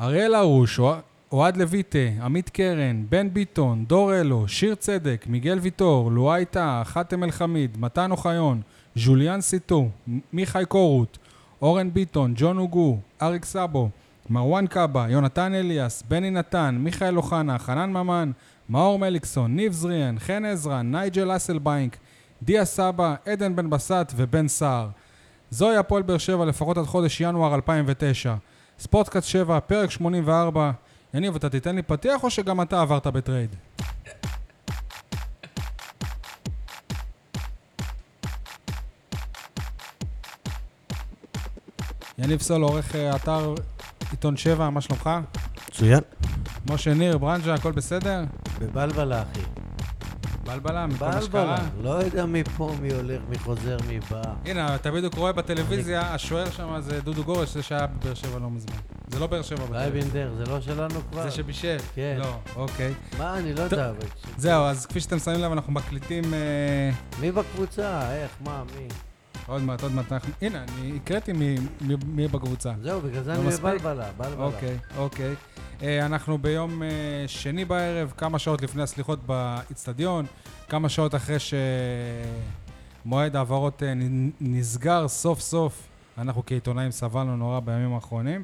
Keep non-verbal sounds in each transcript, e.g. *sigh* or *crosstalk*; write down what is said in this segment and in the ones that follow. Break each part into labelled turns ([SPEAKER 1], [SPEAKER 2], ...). [SPEAKER 1] אריאל הרוש, אוה- אוהד לויטה, עמית קרן, בן ביטון, דור אלו, שיר צדק, מיגל ויטור, לואי טאה, חאתם אל-חמיד, מתן אוחיון, ז'וליאן סיטו, מ- מיכאי קורות, אורן ביטון, ג'ון הוגו, אריק סאבו, מרואן קאבה, יונתן אליאס, בני נתן, מיכאל אוחנה, חנן ממן, מאור מליקסון, ניב זריאן, חן עזרא, נייג'ל אסלביינק, דיה סבא, עדן בן בסט ובן סער. זוהי הפועל באר שבע לפחות עד חודש ינואר 2009. ספורטקאסט 7, פרק 84. יניב, אתה תיתן לי פתיח או שגם אתה עברת בטרייד? יניב סול, עורך אה, אתר עיתון 7, מה שלומך?
[SPEAKER 2] מצוין.
[SPEAKER 1] משה ניר, ברנז'ה, הכל בסדר?
[SPEAKER 2] בבלבלה, אחי.
[SPEAKER 1] בלבלה, מכל מה שקרה.
[SPEAKER 2] בלבלה. לא יודע מי פה, מי הולך, מי חוזר, מי בא.
[SPEAKER 1] הנה, אתה בדיוק רואה בטלוויזיה, השוער שם זה דודו גורש, זה שהיה בבאר שבע לא מזמן. זה לא באר שבע בטלוויזיה.
[SPEAKER 2] אייבינדר, זה לא שלנו כבר?
[SPEAKER 1] זה שבישל.
[SPEAKER 2] כן.
[SPEAKER 1] לא, אוקיי.
[SPEAKER 2] מה, אני לא
[SPEAKER 1] טוב.
[SPEAKER 2] יודע. אבל ש-
[SPEAKER 1] זהו, אז כפי שאתם שמים לב, אנחנו מקליטים אה,
[SPEAKER 2] מי בקבוצה? איך, מה, מי?
[SPEAKER 1] עוד מעט, עוד מעט. אנחנו- הנה, אני הקראתי מי- מי- מי בקבוצה.
[SPEAKER 2] זהו, בגלל זה
[SPEAKER 1] לא
[SPEAKER 2] אני
[SPEAKER 1] מספיק?
[SPEAKER 2] בבלבלה, בלבלה.
[SPEAKER 1] אוקיי, אוקיי. אה, אנחנו ביום אה, שני בערב, כמה שעות לפני הסליחות באיצטדיון, כמה שעות אחרי שמועד ההעברות אה, נ- נסגר סוף סוף, אנחנו כעיתונאים סבלנו נורא בימים האחרונים.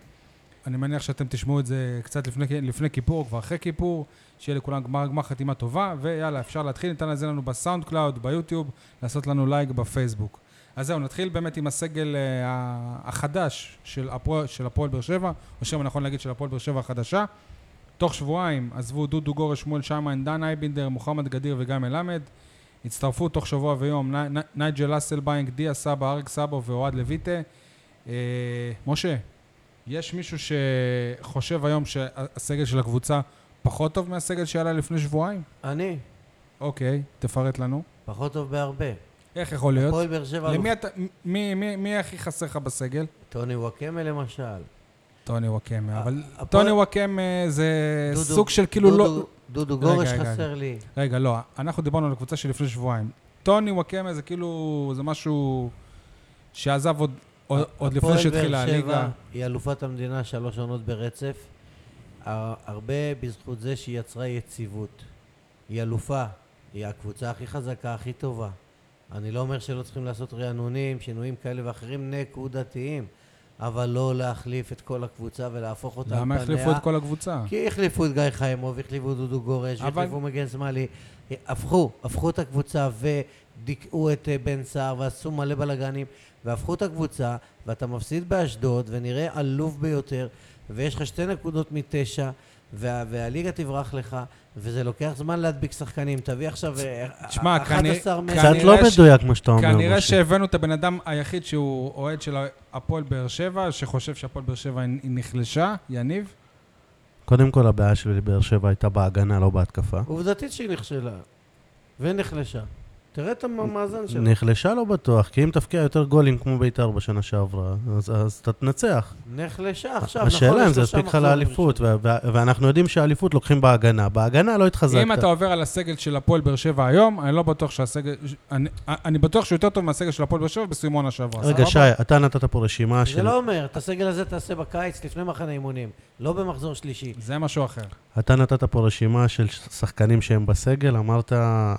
[SPEAKER 1] אני מניח שאתם תשמעו את זה קצת לפני, לפני כיפור, כבר אחרי כיפור, שיהיה לכולם גמר, גמר חתימה טובה, ויאללה, אפשר להתחיל, ניתן לזה לנו בסאונד קלאוד, ביוטיוב, לעשות לנו לייק בפייסבוק. אז זהו, נתחיל באמת עם הסגל אה, ה- החדש של הפועל, של הפועל באר שבע, או שמא נכון להגיד של הפועל באר שבע החדשה. תוך שבועיים עזבו דודו גורש, שמואל שמן, דן אייבינדר, מוחמד גדיר וגם מלמד. הצטרפו תוך שבוע ויום ני- ני- נייג'ל אסלביינק, דיה סבא, אריק סבו ואוהד לויטה. אה, משה, יש מישהו שחושב היום שהסגל של הקבוצה פחות טוב מהסגל שעלה לפני שבועיים?
[SPEAKER 2] אני?
[SPEAKER 1] אוקיי, תפרט לנו.
[SPEAKER 2] פחות טוב בהרבה.
[SPEAKER 1] איך יכול להיות?
[SPEAKER 2] הפועל באר שבע,
[SPEAKER 1] למי אתה, מי, מי, מי הכי חסר לך בסגל?
[SPEAKER 2] טוני וואקמה למשל.
[SPEAKER 1] טוני וואקמה, אבל
[SPEAKER 2] אה, הפועל-
[SPEAKER 1] טוני וואקמה אה, זה
[SPEAKER 2] דודו-
[SPEAKER 1] סוג של כאילו לא...
[SPEAKER 2] דודו- דודו
[SPEAKER 1] רגע,
[SPEAKER 2] גורש
[SPEAKER 1] רגע,
[SPEAKER 2] חסר לי.
[SPEAKER 1] רגע, לא, אנחנו דיברנו על הקבוצה של לפני שבועיים. טוני וואקמה זה כאילו, זה משהו שעזב עוד, עוד, עוד לפני שהתחילה
[SPEAKER 2] הפועל באר
[SPEAKER 1] הליגה.
[SPEAKER 2] שבע היא אלופת המדינה שלוש עונות ברצף, הר- הרבה בזכות זה שהיא יצרה יציבות. היא אלופה, היא הקבוצה הכי חזקה, הכי טובה. אני לא אומר שלא צריכים לעשות רענונים, שינויים כאלה ואחרים נקודתיים, אבל לא להחליף את כל הקבוצה ולהפוך אותה על
[SPEAKER 1] למה החליפו את כל הקבוצה?
[SPEAKER 2] כי החליפו את גיא חיימוב, החליפו את דודו גורש,
[SPEAKER 1] אה. אבל-
[SPEAKER 2] אבל... החליפו מגן שמאלי, אה, הפכו, הפכו את הקבוצה ודיכאו את אה, בן סער ועשו מלא בלאגנים, והפכו את הקבוצה, ואתה מפסיד באשדוד ונראה עלוב ביותר, ויש לך שתי נקודות מתשע, וה, והליגה תברח לך, וזה לוקח זמן להדביק שחקנים, תביא עכשיו אה,
[SPEAKER 1] תשמע,
[SPEAKER 2] אה,
[SPEAKER 1] כנראה-
[SPEAKER 2] 11 מטר.
[SPEAKER 1] כנראה
[SPEAKER 3] קצת לא
[SPEAKER 1] ש-
[SPEAKER 3] מדויק מה שאתה אומר,
[SPEAKER 1] כנראה
[SPEAKER 3] משה.
[SPEAKER 1] שהבאנו את הבן אדם היחיד שהוא אוהד של הפועל באר שבע, שחושב שהפועל באר שבע היא היא נחלשה, יניב.
[SPEAKER 3] קודם כל, הבעיה של באר שבע הייתה בהגנה, לא בהתקפה.
[SPEAKER 2] עובדתית שהיא נכשלה, ונחלשה. תראה את המאזן שלה.
[SPEAKER 3] נחלשה לא בטוח, כי אם תפקיע יותר גולים כמו בית"ר בשנה שעברה, אז- אז אתה תנצח.
[SPEAKER 2] נחלשה עכשיו, נכון?
[SPEAKER 3] השאלה אם
[SPEAKER 2] יש
[SPEAKER 3] זה
[SPEAKER 2] לה
[SPEAKER 3] יספיק לך
[SPEAKER 2] שם מחזור
[SPEAKER 3] לאליפות, וה- וה- ואנחנו יודעים שהאליפות לוקחים בהגנה. בהגנה לא
[SPEAKER 1] אם
[SPEAKER 3] התחזקת.
[SPEAKER 1] אתה עובר על הסגל של הפועל באר שבע היום, אני לא בטוח שהסגל... אני, אני בטוח שהוא יותר טוב מהסגל של הפועל באר שבע בסיום העונה שעברה.
[SPEAKER 3] רגע,
[SPEAKER 1] סבבה?
[SPEAKER 3] שי, אתה נתת פה רשימה
[SPEAKER 2] זה
[SPEAKER 3] של...
[SPEAKER 2] לא אומר, את הסגל הזה תעשה בקיץ לפני מחנה אימונים, לא במחזור שלישי.
[SPEAKER 1] זה משהו אחר.
[SPEAKER 3] אתה נתת פה רשימה של שחקנים שהם בסגל, אמרת, אה,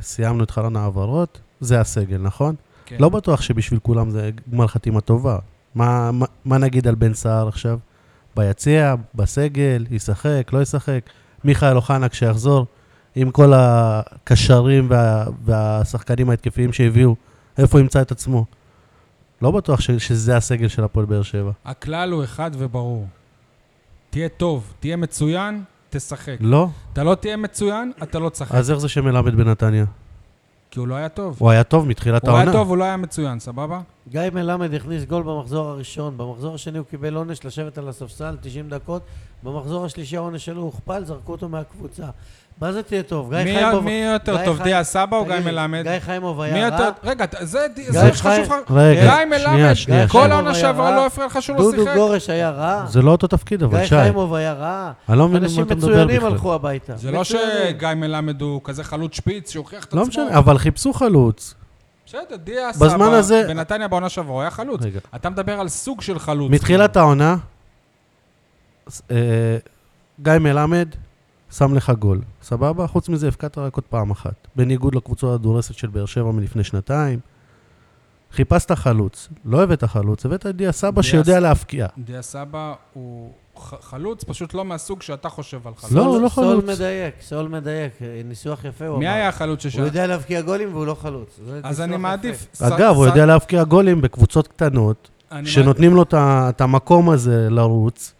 [SPEAKER 3] סיימנו את חלון ההעברות, זה הסגל, נכון?
[SPEAKER 1] כן.
[SPEAKER 3] לא בטוח שבשביל כולם זה גמר חתימה טובה. מה, מה, מה נגיד על בן סער עכשיו? ביציע, בסגל, ישחק, לא ישחק. מיכאל אוחנה כשיחזור, עם כל הקשרים וה, והשחקנים ההתקפיים שהביאו, איפה הוא ימצא את עצמו? לא בטוח ש, שזה הסגל של הפועל באר שבע.
[SPEAKER 1] הכלל הוא אחד וברור. תהיה טוב, תהיה מצוין, תשחק.
[SPEAKER 3] לא?
[SPEAKER 1] אתה לא תהיה מצוין, אתה לא תשחק.
[SPEAKER 3] אז איך זה שמלמד בנתניה?
[SPEAKER 1] כי הוא לא היה טוב.
[SPEAKER 3] אה. הוא היה טוב מתחילת
[SPEAKER 1] הוא היה
[SPEAKER 3] העונה.
[SPEAKER 1] טוב, הוא לא היה מצוין, סבבה?
[SPEAKER 2] גיא מלמד הכניס גול במחזור הראשון, במחזור השני הוא קיבל עונש לשבת על הספסל 90 דקות, במחזור השלישי העונש שלו הוכפל, זרקו אותו מהקבוצה. מה זה תהיה טוב? גיא
[SPEAKER 1] מי
[SPEAKER 2] חיימוב...
[SPEAKER 1] מי יותר
[SPEAKER 2] גיא
[SPEAKER 1] טוב,
[SPEAKER 2] חי-
[SPEAKER 1] דיה סבא או גיא
[SPEAKER 2] תגיד לי,
[SPEAKER 1] מלמד?
[SPEAKER 2] גיא חיימוב
[SPEAKER 1] מי
[SPEAKER 2] היה רע,
[SPEAKER 1] יותר... רגע, אתה- זה
[SPEAKER 2] גיא
[SPEAKER 1] זה חשוב
[SPEAKER 2] חי-
[SPEAKER 1] לך.
[SPEAKER 3] רגע,
[SPEAKER 1] גיא
[SPEAKER 3] שנייה, שנייה.
[SPEAKER 1] מלמד, כל
[SPEAKER 2] חיימוב
[SPEAKER 1] העונה
[SPEAKER 2] היה
[SPEAKER 1] שעברה
[SPEAKER 2] רע.
[SPEAKER 1] לא הפריע לך שהוא לא
[SPEAKER 2] דודו
[SPEAKER 1] שיחק.
[SPEAKER 2] גורש היה רע,
[SPEAKER 3] זה לא אותו תפקיד, אבל
[SPEAKER 2] גיא
[SPEAKER 3] שי,
[SPEAKER 2] חיימוב היה רע,
[SPEAKER 3] אני לא מבין על מה
[SPEAKER 2] אנשים
[SPEAKER 3] אתה מדבר
[SPEAKER 2] מצוינים
[SPEAKER 3] בכלל.
[SPEAKER 2] הלכו הביתה.
[SPEAKER 1] זה לא
[SPEAKER 2] מצוינים.
[SPEAKER 1] שגיא מלמד הוא כזה חלוץ שפיץ שהוכיח את עצמו.
[SPEAKER 3] לא משנה, אבל חיפשו חלוץ.
[SPEAKER 1] בסדר, דיה
[SPEAKER 3] בזמן
[SPEAKER 1] סבא,
[SPEAKER 3] הזה-
[SPEAKER 1] בנתניה בעונה שעברה הוא היה חלוץ.
[SPEAKER 3] רגע.
[SPEAKER 1] אתה מדבר על סוג של חלוץ.
[SPEAKER 3] מתחילת העונה, אה, גיא מלמד שם לך גול, סבבה? חוץ מזה הבקעת רק עוד פעם אחת. בניגוד לקבוצה הדורסת של באר שבע מלפני שנתיים. חיפשת חלוץ, לא הבאת חלוץ, הבאת את דיה סבא
[SPEAKER 1] דיה
[SPEAKER 3] שיודע
[SPEAKER 1] סבא.
[SPEAKER 3] להבקיע.
[SPEAKER 1] דיה סבא הוא ח- חלוץ, פשוט לא מהסוג שאתה חושב על חלוץ.
[SPEAKER 3] לא,
[SPEAKER 2] סול-
[SPEAKER 3] הוא לא חלוץ.
[SPEAKER 2] סול מדייק, סול מדייק, אה, ניסוח יפה הוא
[SPEAKER 1] מי
[SPEAKER 2] אמר.
[SPEAKER 1] היה החלוץ
[SPEAKER 2] הוא
[SPEAKER 1] ששאל?
[SPEAKER 2] יודע להבקיע גולים והוא לא חלוץ. זה
[SPEAKER 1] אז
[SPEAKER 2] ניסוח
[SPEAKER 1] אני
[SPEAKER 2] יפה.
[SPEAKER 1] מעדיף... ס-
[SPEAKER 3] אגב, הוא
[SPEAKER 1] ס-
[SPEAKER 3] יודע להבקיע גולים בקבוצות קטנות,
[SPEAKER 1] אני לא
[SPEAKER 3] שנותנים לו את ה- את המקום הזה לרוץ,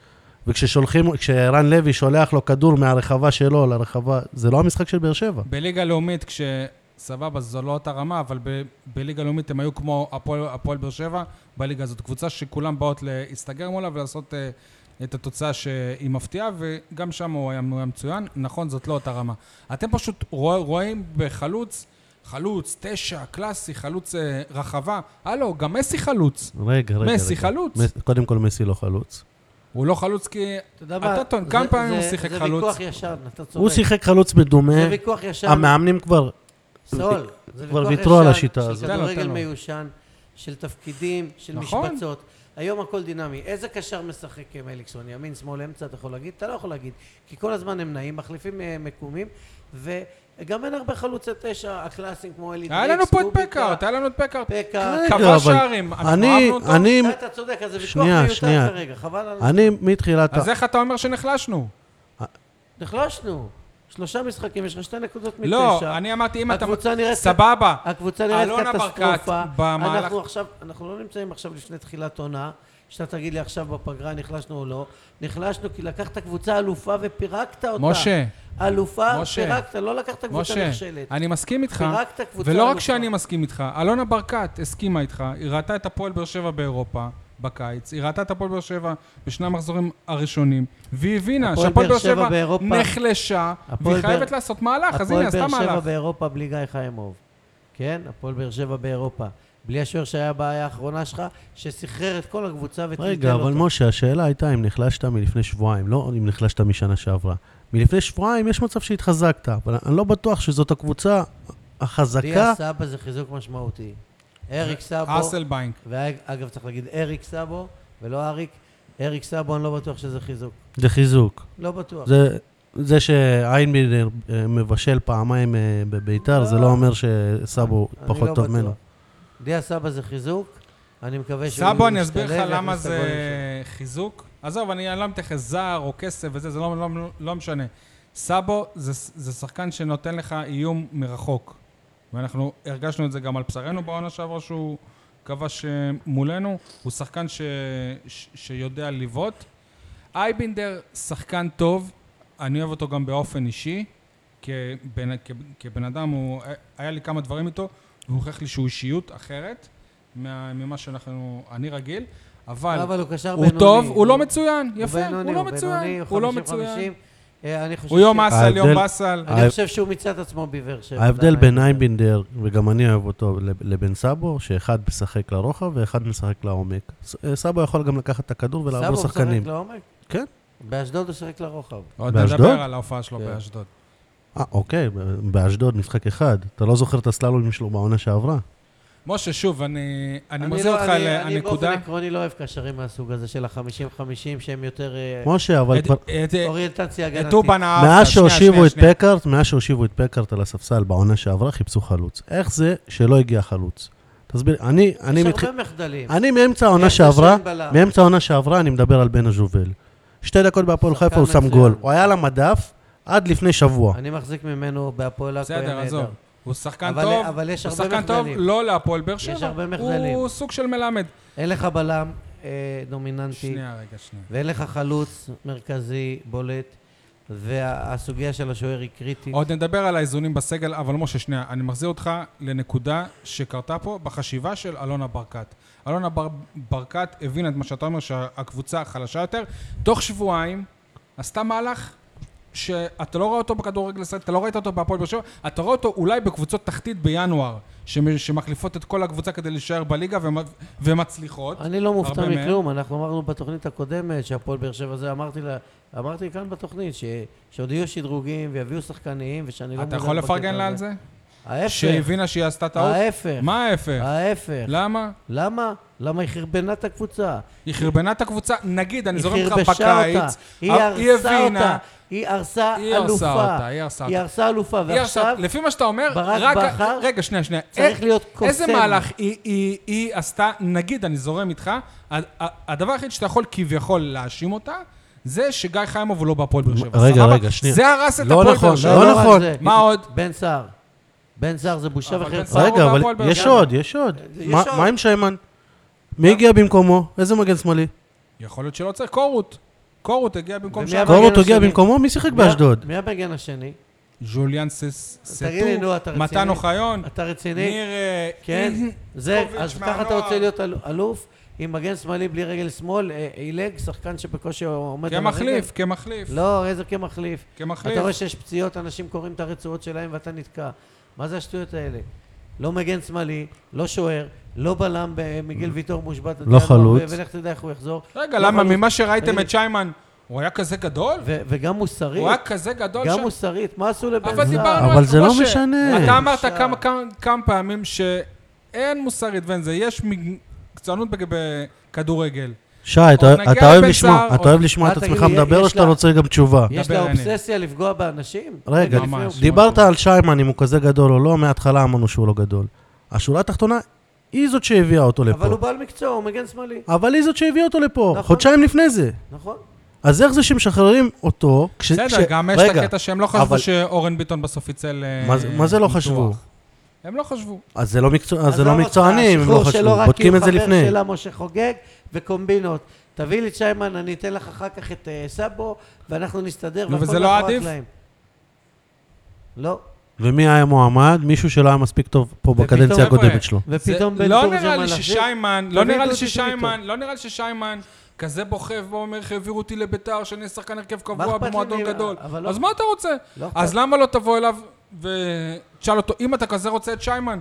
[SPEAKER 3] וכששולחים, כשערן לוי שולח לו כדור מהרחבה שלו לרחבה, זה לא המשחק של באר שבע.
[SPEAKER 1] בליגה לאומית, כש... סבבה, זו לא אותה רמה, אבל ב- בליגה לאומית הם היו כמו הפועל הפועל באר שבע בליגה הזאת. קבוצה שכולם באות להסתגר מולה ולעשות אה, את התוצאה שהיא מפתיעה, וגם שם הוא היה, הוא היה מצוין. נכון, זאת לא אותה רמה. אתם פשוט רוא, רואים בחלוץ, חלוץ, תשע, קלאסי, חלוץ אה, רחבה. הלו, גם מסי חלוץ.
[SPEAKER 3] רגע, רגע.
[SPEAKER 1] מסי
[SPEAKER 3] רגע.
[SPEAKER 1] חלוץ.
[SPEAKER 3] מס- קודם כל מסי לא חלוץ.
[SPEAKER 1] הוא לא חלוץ כי...
[SPEAKER 2] אתה יודע
[SPEAKER 1] אתה
[SPEAKER 2] מה?
[SPEAKER 1] טוען,
[SPEAKER 2] זה-
[SPEAKER 1] כמה פעמים הוא
[SPEAKER 2] זה-
[SPEAKER 1] שיחק
[SPEAKER 2] זה
[SPEAKER 1] חלוץ?
[SPEAKER 2] ויכוח ישן, אתה צודק.
[SPEAKER 3] הוא שיחק אה, חלוץ מדומה,
[SPEAKER 2] זה ויכוח ישן.
[SPEAKER 3] המאמנים כבר...
[SPEAKER 2] סול, זה
[SPEAKER 3] כבר
[SPEAKER 2] ויכוח
[SPEAKER 3] ויתרו על
[SPEAKER 2] ישן
[SPEAKER 3] השיטה הזאת.
[SPEAKER 2] של
[SPEAKER 1] תן לו, תן
[SPEAKER 2] כדורגל
[SPEAKER 1] לו.
[SPEAKER 2] מיושן, של תפקידים, של
[SPEAKER 1] נכון.
[SPEAKER 2] משבצות. היום הכל דינמי. איזה קשר משחק עם אליקסון? ימין, שמאל, אמצע, אתה יכול להגיד? אתה לא יכול להגיד. כי כל הזמן הם נעים, מחליפים אה, מקומים, וגם אין הרבה חלוצי תשע הקלאסיים כמו אלי
[SPEAKER 1] היה לנו פה את
[SPEAKER 2] קוביקה,
[SPEAKER 1] פקארט, היה לנו את פקארט.
[SPEAKER 2] פקארט.
[SPEAKER 3] רגע,
[SPEAKER 1] כבש
[SPEAKER 3] אבל
[SPEAKER 1] שערים, אנחנו
[SPEAKER 3] אני-
[SPEAKER 1] אהבנו אותו.
[SPEAKER 3] אני-
[SPEAKER 2] אתה צודק, אז זה ויכוח
[SPEAKER 3] שנייה, שנייה.
[SPEAKER 2] מיותר כרגע, חבל על...
[SPEAKER 3] אני מתחילת... ה-
[SPEAKER 1] אז איך אתה אומר שנחלשנו?
[SPEAKER 2] נחלשנו. שלושה משחקים, יש לך שתי נקודות מתשע.
[SPEAKER 1] לא, אני אמרתי, אם אתה...
[SPEAKER 2] הקבוצה נראית...
[SPEAKER 1] סבבה.
[SPEAKER 2] הקבוצה נראית
[SPEAKER 1] אלונה ברקת
[SPEAKER 2] קטסטרופה.
[SPEAKER 1] במהלך-
[SPEAKER 2] אנחנו עכשיו, אנחנו לא נמצאים עכשיו לפני תחילת עונה, שאתה תגיד לי עכשיו בפגרה נחלשנו או לא. נחלשנו כי לקחת קבוצה אלופה ופירקת אותה.
[SPEAKER 1] משה,
[SPEAKER 2] אלופה,
[SPEAKER 1] משה.
[SPEAKER 2] פירקת, לא לקחת קבוצה
[SPEAKER 1] משה,
[SPEAKER 2] נכשלת.
[SPEAKER 1] אני מסכים איתך,
[SPEAKER 2] פירקת קבוצה
[SPEAKER 1] ולא רק
[SPEAKER 2] אלופה.
[SPEAKER 1] שאני מסכים איתך, אלונה ברקת הסכימה איתך, היא ראתה את הפועל באר שבע באירופה בקיץ, היא ראתה את הפועל באר שבע בשני המחזורים הראשונים, והיא הבינה
[SPEAKER 2] הפועל
[SPEAKER 1] שהפועל
[SPEAKER 2] באר
[SPEAKER 1] באר
[SPEAKER 2] שבע
[SPEAKER 1] שבע
[SPEAKER 2] באירופה-
[SPEAKER 1] נחלשה,
[SPEAKER 2] הפועל
[SPEAKER 1] והיא חייבת
[SPEAKER 2] באר-
[SPEAKER 1] לעשות מהלך, אז הנה,
[SPEAKER 2] הפועל
[SPEAKER 1] עשתה
[SPEAKER 2] באר שבע
[SPEAKER 1] מהלך.
[SPEAKER 2] באירופה בלי גיא חיימוב. כן, הפועל באר שבע באירופה. בלי השוער שהיה הבעיה האחרונה שלך, שסחרר את כל הקבוצה וטלטל אותו.
[SPEAKER 3] רגע, אבל משה, השאלה הייתה אם נחלשת מלפני שבועיים, לא אם נחלשת משנה שעברה. מלפני שבועיים יש מצב שהתחזקת, אבל אני לא בטוח שזאת הקבוצה החזקה.
[SPEAKER 2] דיה סבא זה חיזוק משמעותי. אריק סאבו,
[SPEAKER 1] אסלביינק.
[SPEAKER 2] ואגב צריך להגיד אריק סאבו ולא אריק, אריק סאבו אני לא בטוח שזה חיזוק.
[SPEAKER 3] זה חיזוק.
[SPEAKER 2] לא בטוח.
[SPEAKER 3] זה, זה שאיינבינר אה, מבשל פעמיים אה, בביתר, זה לא אומר שסאבו
[SPEAKER 2] אני
[SPEAKER 3] פחות
[SPEAKER 2] לא
[SPEAKER 3] טוב
[SPEAKER 2] בטוח.
[SPEAKER 3] ממנו.
[SPEAKER 2] דיה סבא זה חיזוק, אני מקווה שהוא
[SPEAKER 1] סבו, אני אסביר
[SPEAKER 2] ישתלב
[SPEAKER 1] לך למה
[SPEAKER 2] ויכניס את
[SPEAKER 1] זה
[SPEAKER 2] הגולים שלו.
[SPEAKER 1] חיזוק. עזוב, אני אני לא מתייחס זר או כסף וזה, זה לא- לא- לא משנה. סבו זה זה שחקן שנותן לך איום מרחוק. ואנחנו הרגשנו את זה גם על בשרנו בעונה שעברה שהוא כבש אה, מולנו. הוא שחקן ש- ש- שיודע לבעוט. אייבינדר שחקן טוב, אני אוהב אותו גם באופן אישי. כבן, כ, כבן אדם, הוא, היה לי כמה דברים איתו, והוא הוכיח לי שהוא אישיות אחרת מה, ממה שאנחנו, אני רגיל, אבל,
[SPEAKER 2] אבל הוא קשר
[SPEAKER 1] הוא
[SPEAKER 2] בינוני.
[SPEAKER 1] טוב, הוא לא מצוין,
[SPEAKER 2] הוא
[SPEAKER 1] יפה,
[SPEAKER 2] בינוני,
[SPEAKER 1] הוא לא מצוין,
[SPEAKER 2] בינוני,
[SPEAKER 1] הוא לא
[SPEAKER 2] 50-50.
[SPEAKER 1] מצוין.
[SPEAKER 2] אה, אני חושב
[SPEAKER 1] הוא יום
[SPEAKER 2] ש-
[SPEAKER 1] אסל, יום
[SPEAKER 3] ההבדל- אה,
[SPEAKER 1] באסל.
[SPEAKER 2] אני
[SPEAKER 3] ההב-
[SPEAKER 2] חושב שהוא מיצה את עצמו בבאר שבע.
[SPEAKER 3] ההבדל
[SPEAKER 2] בעיניי.
[SPEAKER 3] בין איינבינדר, וגם אני אוהב אותו, לב- לבן סאבו, שאחד משחק לרוחב ואחד משחק לעומק. ס- אה, סאבו יכול גם לקחת את הכדור ולעבור
[SPEAKER 2] סבו
[SPEAKER 3] שחקנים.
[SPEAKER 2] משחק לעומק?
[SPEAKER 3] כן.
[SPEAKER 2] באשדוד הוא שיחק לרוחב.
[SPEAKER 1] עוד
[SPEAKER 3] באשדוד?
[SPEAKER 1] נדבר על ההופעה שלו
[SPEAKER 2] כן.
[SPEAKER 1] באשדוד.
[SPEAKER 3] אה, אוקיי, ב- באשדוד משחק אחד. אתה לא זוכר את הסללומים שלו בעונה שעברה?
[SPEAKER 1] אה, משה, שוב, אני, אני
[SPEAKER 2] אני
[SPEAKER 1] מוזר
[SPEAKER 2] לא-
[SPEAKER 1] אותך
[SPEAKER 2] אני-
[SPEAKER 1] לנקודה.
[SPEAKER 2] אני באופן עקרוני לא אוהב קשרים מהסוג הזה של ה-50-50, שהם יותר אה,
[SPEAKER 3] משה, אבל
[SPEAKER 1] את-
[SPEAKER 3] כבר...
[SPEAKER 1] את- את-
[SPEAKER 2] אוריינטציה
[SPEAKER 1] את
[SPEAKER 2] הגנתית.
[SPEAKER 1] אובן אהבת.
[SPEAKER 3] מאז
[SPEAKER 1] אה, שנייה,
[SPEAKER 3] שהושיבו
[SPEAKER 1] שנייה,
[SPEAKER 3] את
[SPEAKER 1] שנייה.
[SPEAKER 3] פקארט, מאז שהושיבו את פקארט על הספסל בעונה שעברה, חיפשו חלוץ. איך זה שלא הגיע חלוץ? תסביר, אני,
[SPEAKER 1] נכון.
[SPEAKER 3] אני,
[SPEAKER 2] יש
[SPEAKER 3] מתח...
[SPEAKER 2] הרבה מחדלים.
[SPEAKER 3] אני מאמצע העונה
[SPEAKER 1] כן,
[SPEAKER 2] יש
[SPEAKER 3] שעברה,
[SPEAKER 2] שאין בלם.
[SPEAKER 3] מאמצע העונה שעברה אני מדבר על בן הז'ובל. שתי דקות בהפועל
[SPEAKER 2] שחקן
[SPEAKER 3] חיפה הוא שם
[SPEAKER 2] מצוין.
[SPEAKER 3] גול. הוא היה על המדף עד לפני שבוע.
[SPEAKER 2] אני מחזיק ממנו בהפועל עכו, היה
[SPEAKER 1] בסדר, עזוב.
[SPEAKER 2] נהדר.
[SPEAKER 1] הוא שחקן
[SPEAKER 2] אבל-
[SPEAKER 1] טוב,
[SPEAKER 2] אבל יש
[SPEAKER 1] הוא
[SPEAKER 2] הרבה
[SPEAKER 1] שחקן טוב
[SPEAKER 2] מחדלים.
[SPEAKER 1] לא להפועל באר שבע.
[SPEAKER 2] הרבה מחדלים.
[SPEAKER 1] הוא סוג של מלמד.
[SPEAKER 2] אין לך בלם אה, דומיננטי,
[SPEAKER 1] שנייה, רגע, שנייה.
[SPEAKER 2] ואין לך חלוץ מרכזי בולט, והסוגיה של השוער היא קריטית.
[SPEAKER 1] עוד נדבר על האיזונים בסגל, אבל משה, שנייה, אני מחזיר אותך לנקודה שקרתה פה בחשיבה של אלונה ברקת. אלונה בר, ברקת הבינה את מה שאתה אומר, שהקבוצה חלשה יותר. תוך שבועיים עשתה מהלך שאתה לא רואה אותו בכדורגל ישראל, אתה לא ראית אותו בהפועל באר שבע, אתה רואה אותו אולי בקבוצות תחתית בינואר, שמ, שמחליפות את כל הקבוצה כדי להישאר בליגה ומצ- ומצליחות.
[SPEAKER 2] אני לא מופתע
[SPEAKER 1] הרבה מהם.
[SPEAKER 2] מכלום, אנחנו אמרנו בתוכנית הקודמת שהפועל באר שבע זה, אמרתי לה, אמרתי כאן בתוכנית ש- שעוד יהיו שדרוגים ויביאו שחקנים, ושאני לא
[SPEAKER 1] אתה
[SPEAKER 2] מודאג
[SPEAKER 1] יכול
[SPEAKER 2] בקטע
[SPEAKER 1] לפרגן לה על
[SPEAKER 2] הזה.
[SPEAKER 1] זה?
[SPEAKER 2] ההפך,
[SPEAKER 1] שהבינה שהיא עשתה טעות?
[SPEAKER 2] ההפך,
[SPEAKER 1] מה ההפך?
[SPEAKER 2] ההפך.
[SPEAKER 1] למה?
[SPEAKER 2] למה? למה היא חרבנה את הקבוצה?
[SPEAKER 1] היא חרבנה את הקבוצה, נגיד, אני
[SPEAKER 2] היא
[SPEAKER 1] זורק לך
[SPEAKER 2] חרבשה
[SPEAKER 1] בקיץ,
[SPEAKER 2] אותה. היא
[SPEAKER 1] אבל היא
[SPEAKER 2] הרסה
[SPEAKER 1] הבינה-
[SPEAKER 2] אותה. היא הרסה
[SPEAKER 1] היא הרסה
[SPEAKER 2] אלופה.
[SPEAKER 1] אותה, היא הרסה
[SPEAKER 2] היא
[SPEAKER 1] אותה.
[SPEAKER 2] הרסה אלופה,
[SPEAKER 1] היא עכשיו,
[SPEAKER 2] ועכשיו
[SPEAKER 1] לפי מה שאתה אומר,
[SPEAKER 2] ברק
[SPEAKER 1] רק...
[SPEAKER 2] בכר
[SPEAKER 1] רגע, שנייה, שנייה.
[SPEAKER 2] צריך
[SPEAKER 1] אה,
[SPEAKER 2] להיות קוסם.
[SPEAKER 1] איזה מהלך היא, היא, היא עשתה, נגיד, אני זורם איתך, ה- ה- הדבר היחיד שאתה יכול כביכול להאשים אותה, זה שגיא חיימוב הוא לא בהפועל באר שבע.
[SPEAKER 3] רגע,
[SPEAKER 1] סבבה?
[SPEAKER 3] רגע, שנייה.
[SPEAKER 1] זה הרס את
[SPEAKER 3] לא
[SPEAKER 1] הפועל
[SPEAKER 3] נכון,
[SPEAKER 1] באר
[SPEAKER 2] לא,
[SPEAKER 1] שבע.
[SPEAKER 3] לא
[SPEAKER 2] לא רק
[SPEAKER 3] נכון.
[SPEAKER 2] זה.
[SPEAKER 1] מה עוד?
[SPEAKER 2] בן סער. בן סער זה בושה
[SPEAKER 1] אבל בן
[SPEAKER 2] וחרפה.
[SPEAKER 1] סער הוא
[SPEAKER 3] רגע, אבל
[SPEAKER 1] בהפועל באר
[SPEAKER 3] יש
[SPEAKER 1] שבע.
[SPEAKER 3] עוד, יש עוד.
[SPEAKER 2] יש
[SPEAKER 3] מה-
[SPEAKER 2] עוד.
[SPEAKER 3] מה עם שיימן? מי הגיע במקומו? איזה מגן שמאלי?
[SPEAKER 1] יכול להיות שלא צריך, קורות. קורות הגיע במקום
[SPEAKER 2] ומי
[SPEAKER 1] שם.
[SPEAKER 2] הבא?
[SPEAKER 3] קורות
[SPEAKER 2] השני.
[SPEAKER 3] הגיע במקומו? מי שיחק
[SPEAKER 2] מי-
[SPEAKER 3] באשדוד?
[SPEAKER 2] מי המגן השני?
[SPEAKER 1] ז'וליאן סס-
[SPEAKER 2] תגיד לי, נו, אתה
[SPEAKER 1] סטו,
[SPEAKER 2] רציני?
[SPEAKER 1] מתן אוחיון,
[SPEAKER 2] אתה רציני?
[SPEAKER 1] נכון. ניר... אה, *laughs*
[SPEAKER 2] כן?
[SPEAKER 1] אין-
[SPEAKER 2] *laughs* זה,
[SPEAKER 1] קוביץ'
[SPEAKER 2] אז ככה אתה
[SPEAKER 1] מהנוער.
[SPEAKER 2] רוצה להיות אל- אלוף? עם מגן שמאלי בלי רגל שמאל, אה, עילג, שחקן שבקושי
[SPEAKER 1] כן,
[SPEAKER 2] עומד על הרגל?
[SPEAKER 1] כמחליף, כמחליף,
[SPEAKER 2] לא, איזה כמחליף.
[SPEAKER 1] כמחליף.
[SPEAKER 2] אתה רואה שיש פציעות, אנשים קוראים את הרצועות שלהם ואתה נתקע. מה זה השטויות האלה? לא מגן שמאלי, לא שוער, לא בלם, ב- מיגל ויטור מושבת. אתה
[SPEAKER 3] לא
[SPEAKER 2] יודע,
[SPEAKER 3] חלוץ.
[SPEAKER 2] ו- ולך תדע איך הוא יחזור.
[SPEAKER 1] Mm-hmm. רגע,
[SPEAKER 2] לא
[SPEAKER 1] למה?
[SPEAKER 2] חלוץ.
[SPEAKER 1] ממה שראיתם
[SPEAKER 2] תגיד.
[SPEAKER 1] את שיימן, הוא היה כזה גדול?
[SPEAKER 2] ו- וגם מוסרית,
[SPEAKER 1] הוא היה כזה גדול
[SPEAKER 2] גם
[SPEAKER 1] שם?
[SPEAKER 2] מוסרית, מה עשו לבן
[SPEAKER 1] אבל דיברנו
[SPEAKER 3] אבל
[SPEAKER 1] על
[SPEAKER 3] זה לא
[SPEAKER 1] משה,
[SPEAKER 3] משנה.
[SPEAKER 1] אתה אמרת
[SPEAKER 2] בושה.
[SPEAKER 1] כמה- כמה- כמה פעמים שאין מוסרית ואין זה, יש מקצוענות בג- בכדורגל.
[SPEAKER 3] שי, אתה-
[SPEAKER 1] עוד נגיע
[SPEAKER 3] אתה אוהב
[SPEAKER 1] לבן
[SPEAKER 3] לשמוע,
[SPEAKER 1] סער,
[SPEAKER 3] אתה
[SPEAKER 1] עוד-
[SPEAKER 3] אוהב לשמוע
[SPEAKER 2] מה,
[SPEAKER 3] את
[SPEAKER 2] תגיד
[SPEAKER 3] עצמך
[SPEAKER 2] לי,
[SPEAKER 3] מדבר
[SPEAKER 2] יש
[SPEAKER 3] או שאתה
[SPEAKER 2] לה-
[SPEAKER 3] רוצה גם תשובה?
[SPEAKER 2] יש
[SPEAKER 1] דבר
[SPEAKER 2] לה
[SPEAKER 1] אני.
[SPEAKER 2] אובססיה לפגוע באנשים?
[SPEAKER 3] רגע,
[SPEAKER 2] לפני
[SPEAKER 1] ממש.
[SPEAKER 2] הוא-
[SPEAKER 3] דיברת על שיימן, אם הוא כזה גדול או לא, מההתחלה אמרנו שהוא לא גדול. השורה התחתונה, היא זאת שהביאה אותו לפה.
[SPEAKER 2] אבל הוא בעל מקצוע, הוא מגן שמאלי,
[SPEAKER 3] אבל היא זאת שהביאה אותו לפה,
[SPEAKER 2] נכון.
[SPEAKER 3] חודשיים לפני זה.
[SPEAKER 2] נכון?
[SPEAKER 3] אז איך זה שמשחררים אותו? כש-
[SPEAKER 1] בסדר,
[SPEAKER 3] כש-
[SPEAKER 1] גם יש את
[SPEAKER 3] רגע,
[SPEAKER 1] הקטע שהם לא חשבו
[SPEAKER 3] אבל-
[SPEAKER 1] שאורן ביטון בסוף יצא ל...
[SPEAKER 3] מה זה- מה זה לא
[SPEAKER 1] ניתוח.
[SPEAKER 3] חשבו?
[SPEAKER 1] הם לא חשבו.
[SPEAKER 3] אז זה לא מקצוע- אז זה לא
[SPEAKER 2] עזוב אותך,
[SPEAKER 3] מקצוענים, הם לא
[SPEAKER 2] השחרור שלו
[SPEAKER 3] חשבו,
[SPEAKER 2] רק
[SPEAKER 3] בודקים את זה
[SPEAKER 2] כי הוא
[SPEAKER 3] לפני.
[SPEAKER 2] חבר שלה, משה חוגג, וקומבינות. תביא לי את שיימן, אני אתן לך אחר כך את אה, סאבו, ואנחנו נסתדר,
[SPEAKER 1] נו,
[SPEAKER 2] והכל
[SPEAKER 1] וזה לא
[SPEAKER 2] מאחורי
[SPEAKER 1] עדיף?
[SPEAKER 2] הקלעים. לא.
[SPEAKER 3] ומי היה מועמד? מישהו שלא היה מספיק טוב פה
[SPEAKER 2] ופתאום,
[SPEAKER 3] בקדנציה
[SPEAKER 1] חבר'ה,
[SPEAKER 3] הקודמת שלו.
[SPEAKER 2] ופתאום
[SPEAKER 1] זה-
[SPEAKER 2] בן
[SPEAKER 1] לא
[SPEAKER 2] תורג'מן
[SPEAKER 1] נראה לי
[SPEAKER 2] להחזיר-
[SPEAKER 1] ששיימן, לא
[SPEAKER 2] תביא
[SPEAKER 1] נראה לי
[SPEAKER 2] דודו שביטון.
[SPEAKER 1] ששיימן, לא נראה לי ששיימן כזה בוכה ואומר איך העבירו אותי לביתר, שאני שחקן הרכב
[SPEAKER 2] מה
[SPEAKER 1] קבוע
[SPEAKER 2] אכפת לי
[SPEAKER 1] במועדון
[SPEAKER 2] מי-
[SPEAKER 1] גדול.
[SPEAKER 2] אבל לא-
[SPEAKER 1] אז מה אתה רוצה?
[SPEAKER 2] לא אכפת.
[SPEAKER 1] אז למה לא תבוא אליו ותשאל אותו, אם אתה כזה רוצה את שיימן,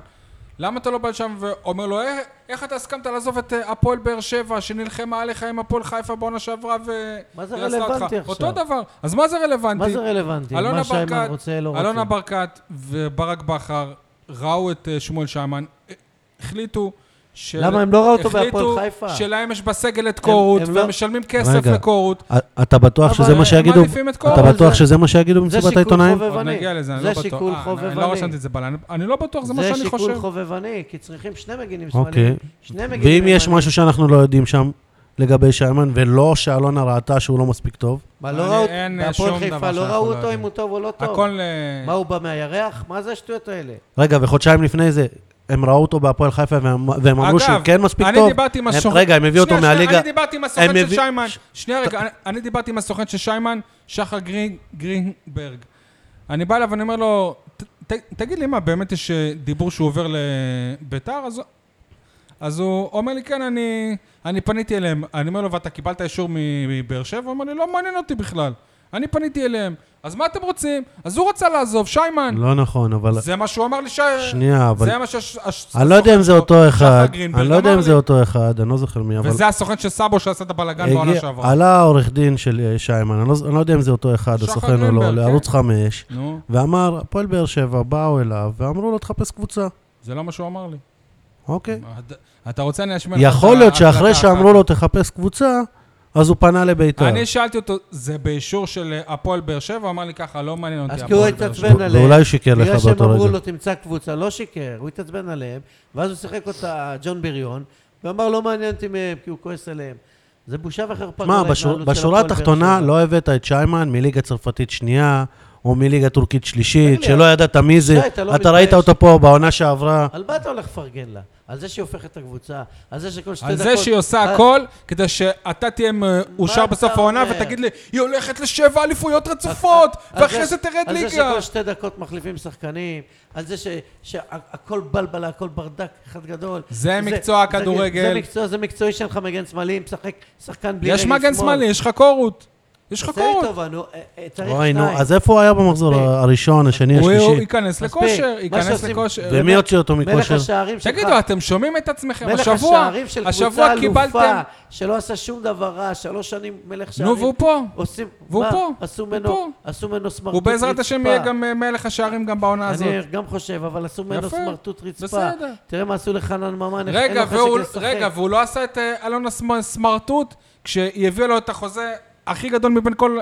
[SPEAKER 1] למה אתה לא בא לשם ואומר לו, "אה, איך אתה הסכמת לעזוב את אה, הפועל באר שבע, שנלחמה עליך עם הפועל חיפה בעונה שעברה ו...
[SPEAKER 2] מה זה
[SPEAKER 1] היא עשתה אותך?"
[SPEAKER 2] רלוונטי עכשיו?
[SPEAKER 1] אותו דבר. אז מה זה רלוונטי?
[SPEAKER 2] מה זה רלוונטי?
[SPEAKER 1] אלונה
[SPEAKER 2] מה שיימן
[SPEAKER 1] ברקת-
[SPEAKER 2] רוצה, לא רוצה.
[SPEAKER 1] אלונה ברקת וברק בכר ראו את אה, שמואל שיימן, אה, החליטו... של...
[SPEAKER 2] למה הם לא ראו אותו בהפועל חיפה?
[SPEAKER 1] החליטו שלהם יש בסגל את קורות,
[SPEAKER 2] הם לא-
[SPEAKER 1] והם משלמים כסף
[SPEAKER 3] רגע.
[SPEAKER 1] לקורות.
[SPEAKER 3] א- אתה בטוח
[SPEAKER 1] אבל
[SPEAKER 3] שזה מה
[SPEAKER 1] הם
[SPEAKER 3] שיגידו?
[SPEAKER 1] מעדיפים את קורות.
[SPEAKER 3] אתה
[SPEAKER 2] אבל
[SPEAKER 3] בטוח
[SPEAKER 2] זה-
[SPEAKER 3] שזה מה שיגידו
[SPEAKER 2] זה
[SPEAKER 3] במסיבת
[SPEAKER 2] שיקול
[SPEAKER 3] העיתונאים?
[SPEAKER 1] עוד
[SPEAKER 2] חובבני.
[SPEAKER 1] נגיע לזה, אני
[SPEAKER 2] זה
[SPEAKER 1] לא בטוח.
[SPEAKER 2] שיקול
[SPEAKER 1] אה, אני-
[SPEAKER 2] חובבני.
[SPEAKER 1] אני לא רשמתי את זה בלילה. אני לא בטוח, זה מה
[SPEAKER 2] זה
[SPEAKER 1] שאני
[SPEAKER 2] שיקול
[SPEAKER 1] חושב.
[SPEAKER 2] חובבני, כי צריכים שני מגינים
[SPEAKER 3] אוקיי.
[SPEAKER 2] שמאליים. שני מגינים
[SPEAKER 3] ואם יש
[SPEAKER 2] ימניים.
[SPEAKER 3] משהו שאנחנו לא יודעים שם לגבי שיימן, ולא שאלונה ראתה שהוא לא מספיק טוב,
[SPEAKER 2] מה, לא
[SPEAKER 1] אני-
[SPEAKER 2] ראו,
[SPEAKER 1] אין אה, שום
[SPEAKER 2] בהפועל
[SPEAKER 1] דבר
[SPEAKER 2] חיפה לא
[SPEAKER 1] שאנחנו
[SPEAKER 2] ראו
[SPEAKER 1] לא
[SPEAKER 2] אותו
[SPEAKER 1] יודעים.
[SPEAKER 2] אם הוא טוב או לא טוב.
[SPEAKER 1] הכל... אה,
[SPEAKER 2] מה, הוא בא מהירח? מה זה השטויות האלה?
[SPEAKER 3] רגע, וחודשיים לפני זה, הם ראו אותו בהפועל חיפה והם, והם אמרו
[SPEAKER 1] אגב,
[SPEAKER 3] שהוא כן מספיק
[SPEAKER 1] אני
[SPEAKER 3] טוב?
[SPEAKER 1] דיברתי עם
[SPEAKER 3] הם-
[SPEAKER 1] הסוכן...
[SPEAKER 3] רגע, הם הביאו אותו
[SPEAKER 1] שנייה, שנייה,
[SPEAKER 3] מהליגה...
[SPEAKER 1] אני דיברתי עם הסוכן של
[SPEAKER 3] הביא-
[SPEAKER 1] שיימן.
[SPEAKER 3] ש-
[SPEAKER 1] שנייה רגע, אני- אני דיברתי עם הסוכן של שיימן, שחר גרין- גרינברג. אני בא אליו ואני אומר לו, "ת- ת- תגיד לי מה, באמת יש אה, דיבור שהוא עובר לביתר? אז- אז הוא אומר לי, כן, אני, אני פניתי אליהם. אני אומר לו, ואתה קיבלת אישור מבאר שבע? הוא אומר לי, לא מעניין אותי בכלל. אני פניתי אליהם. אז מה אתם רוצים? אז הוא רצה לעזוב, שיימן.
[SPEAKER 3] לא נכון, אבל...
[SPEAKER 1] זה מה שהוא אמר לי ש...
[SPEAKER 3] שנייה, אבל...
[SPEAKER 1] זה מה שהש... הש-
[SPEAKER 3] אני לא יודע אם זה אותו אחד,
[SPEAKER 1] גרינברג
[SPEAKER 3] אני לא יודע
[SPEAKER 1] אמר
[SPEAKER 3] אם זה
[SPEAKER 1] לי.
[SPEAKER 3] אותו אחד, אני לא זוכר מי, אבל...
[SPEAKER 1] וזה הסוכן של סאבו שעשה את הבלאגן בעונה
[SPEAKER 3] הגיע-
[SPEAKER 1] שעברה.
[SPEAKER 3] עלה העורך דין של אה, שיימן, אני לא- אני לא יודע אם זה אותו אחד,
[SPEAKER 1] שחר
[SPEAKER 3] הסוכן או לא,
[SPEAKER 1] גרינברג,
[SPEAKER 3] לערוץ
[SPEAKER 1] כן.
[SPEAKER 3] 5,
[SPEAKER 1] נו,
[SPEAKER 3] ואמר, הפועל באר שבע, באו אליו ואמרו לו, תחפש קבוצה.
[SPEAKER 1] זה לא מה שהוא אמר לי.
[SPEAKER 3] אוקיי.
[SPEAKER 1] אתה- אתה רוצה, אני אשמיע לך את
[SPEAKER 3] יכול להיות שאחרי
[SPEAKER 1] ההקלטה
[SPEAKER 3] שאמרו
[SPEAKER 1] אחר
[SPEAKER 3] לו, תחפש קבוצה, אז הוא פנה
[SPEAKER 1] כך.
[SPEAKER 3] לביתר.
[SPEAKER 1] אני שאלתי אותו, זה באישור של אה, הפועל באר שבע? הוא אמר לי ככה, לא מעניין אותי
[SPEAKER 2] אז כי הוא
[SPEAKER 1] הפועל באר שבע.
[SPEAKER 2] התעצבן עליהם.
[SPEAKER 3] ואולי הוא שיקר לך
[SPEAKER 2] בגלל שהם
[SPEAKER 3] באותו
[SPEAKER 2] אמרו
[SPEAKER 3] רגע.
[SPEAKER 2] לו, תמצא קבוצה, לא שיקר, הוא התעצבן עליהם, ואז הוא שיחק אותה ג'ון בריון, ואמר, לא מעניין אותי מהם, כי הוא כועס עליהם. זה בושה וחרפה.
[SPEAKER 3] שמע,
[SPEAKER 2] כל
[SPEAKER 3] בשור-
[SPEAKER 2] ההתנהלות של
[SPEAKER 3] בשורה
[SPEAKER 2] הפועל באר
[SPEAKER 3] התחתונה
[SPEAKER 2] שבע.
[SPEAKER 3] לא הבאת את שיימן מליגה צרפתית שנייה, או מליגה טורקית
[SPEAKER 2] תגיד
[SPEAKER 3] שלישית,
[SPEAKER 2] לי,
[SPEAKER 3] שלא ידעת מי זה.
[SPEAKER 2] שי, אתה לא
[SPEAKER 3] אתה ראית
[SPEAKER 2] מתבייש?
[SPEAKER 3] אותו פה בעונה שעברה.
[SPEAKER 2] על מה אתה הולך לפרגן לה? על זה שהיא הופכת את הקבוצה? על זה שכל שתי
[SPEAKER 1] על
[SPEAKER 2] דקות...
[SPEAKER 1] זה שהיא עושה
[SPEAKER 2] אה,
[SPEAKER 1] הכל כדי שאתה תהיה מאושר
[SPEAKER 2] אתה
[SPEAKER 1] בסוף העונה
[SPEAKER 2] אומר?
[SPEAKER 1] ותגיד לי, היא הולכת לשבע אליפויות רצופות,
[SPEAKER 2] על
[SPEAKER 1] ואחרי זה תרד
[SPEAKER 2] על זה
[SPEAKER 1] ליגה.
[SPEAKER 2] שכל שתי דקות מחליפים שחקנים, על זה שהכל בלבלה, הכל ברדק אחד גדול.
[SPEAKER 1] זה מקצוע הכדורגל.
[SPEAKER 2] זה מקצוע, זה מקצועי שאין לך מגן שמאלי, משחק שחקן בלי רגל
[SPEAKER 1] יש
[SPEAKER 2] שמאל.
[SPEAKER 1] מגן שמאלי, יש לך קורות. יש לך
[SPEAKER 2] עשה
[SPEAKER 1] קורות.
[SPEAKER 2] לי טובה, נו, אה, אה, צריך
[SPEAKER 3] אוי, נו,
[SPEAKER 2] שניים.
[SPEAKER 3] אז איפה הוא היה במחזור
[SPEAKER 2] מספיק.
[SPEAKER 3] הראשון, השני,
[SPEAKER 1] הוא הוא
[SPEAKER 3] השלישי?
[SPEAKER 1] ייכנס
[SPEAKER 2] מספיק.
[SPEAKER 1] לכושר,
[SPEAKER 2] מה
[SPEAKER 1] ייכנס
[SPEAKER 2] שעושים-
[SPEAKER 1] לכושר.
[SPEAKER 3] ומי הוציא אותו
[SPEAKER 2] מלך
[SPEAKER 3] מכושר?
[SPEAKER 2] השערים שלך.
[SPEAKER 1] תגידו, אתם שומעים את עצמכם?
[SPEAKER 2] מלך
[SPEAKER 1] השבוע,
[SPEAKER 2] השערים של
[SPEAKER 1] השבוע
[SPEAKER 2] קבוצה אלופה,
[SPEAKER 1] קיבלתם...
[SPEAKER 2] שלא עשה שום דבר רע, שלוש שנים מלך שערים.
[SPEAKER 1] נו, והוא פה.
[SPEAKER 2] עושים,
[SPEAKER 1] והוא
[SPEAKER 2] מה?
[SPEAKER 1] פה,
[SPEAKER 2] עשו
[SPEAKER 1] הוא
[SPEAKER 2] ממנו,
[SPEAKER 1] פה.
[SPEAKER 2] עשו ממנו סמרטוט
[SPEAKER 1] הוא
[SPEAKER 2] רצפה.
[SPEAKER 1] בעזרת השם יהיה גם אה, מלך השערים גם בעונה הזאת.
[SPEAKER 2] אני גם חושב, אבל עשו ממנו
[SPEAKER 1] יפה,
[SPEAKER 2] סמרטוט רצפה.
[SPEAKER 1] בסדר.
[SPEAKER 2] תראה מה עשו לחנן ממן, איך אין
[SPEAKER 1] רגע,
[SPEAKER 2] לו חשק
[SPEAKER 1] והוא,
[SPEAKER 2] לשחק.
[SPEAKER 1] רגע, והוא לא עשה את אה, אלון הסמ- סמרטוט כשהיא הביאה לו את החוזה הכי גדול מבין כל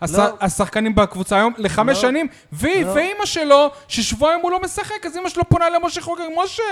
[SPEAKER 1] הש...
[SPEAKER 2] לא.
[SPEAKER 1] השחקנים בקבוצה היום, לחמש
[SPEAKER 2] לא.
[SPEAKER 1] שנים, והיא
[SPEAKER 2] לא.
[SPEAKER 1] ואימא שלו, ששבועיים הוא לא משחק, אז אימא שלו פונה למשה חוגג, משה,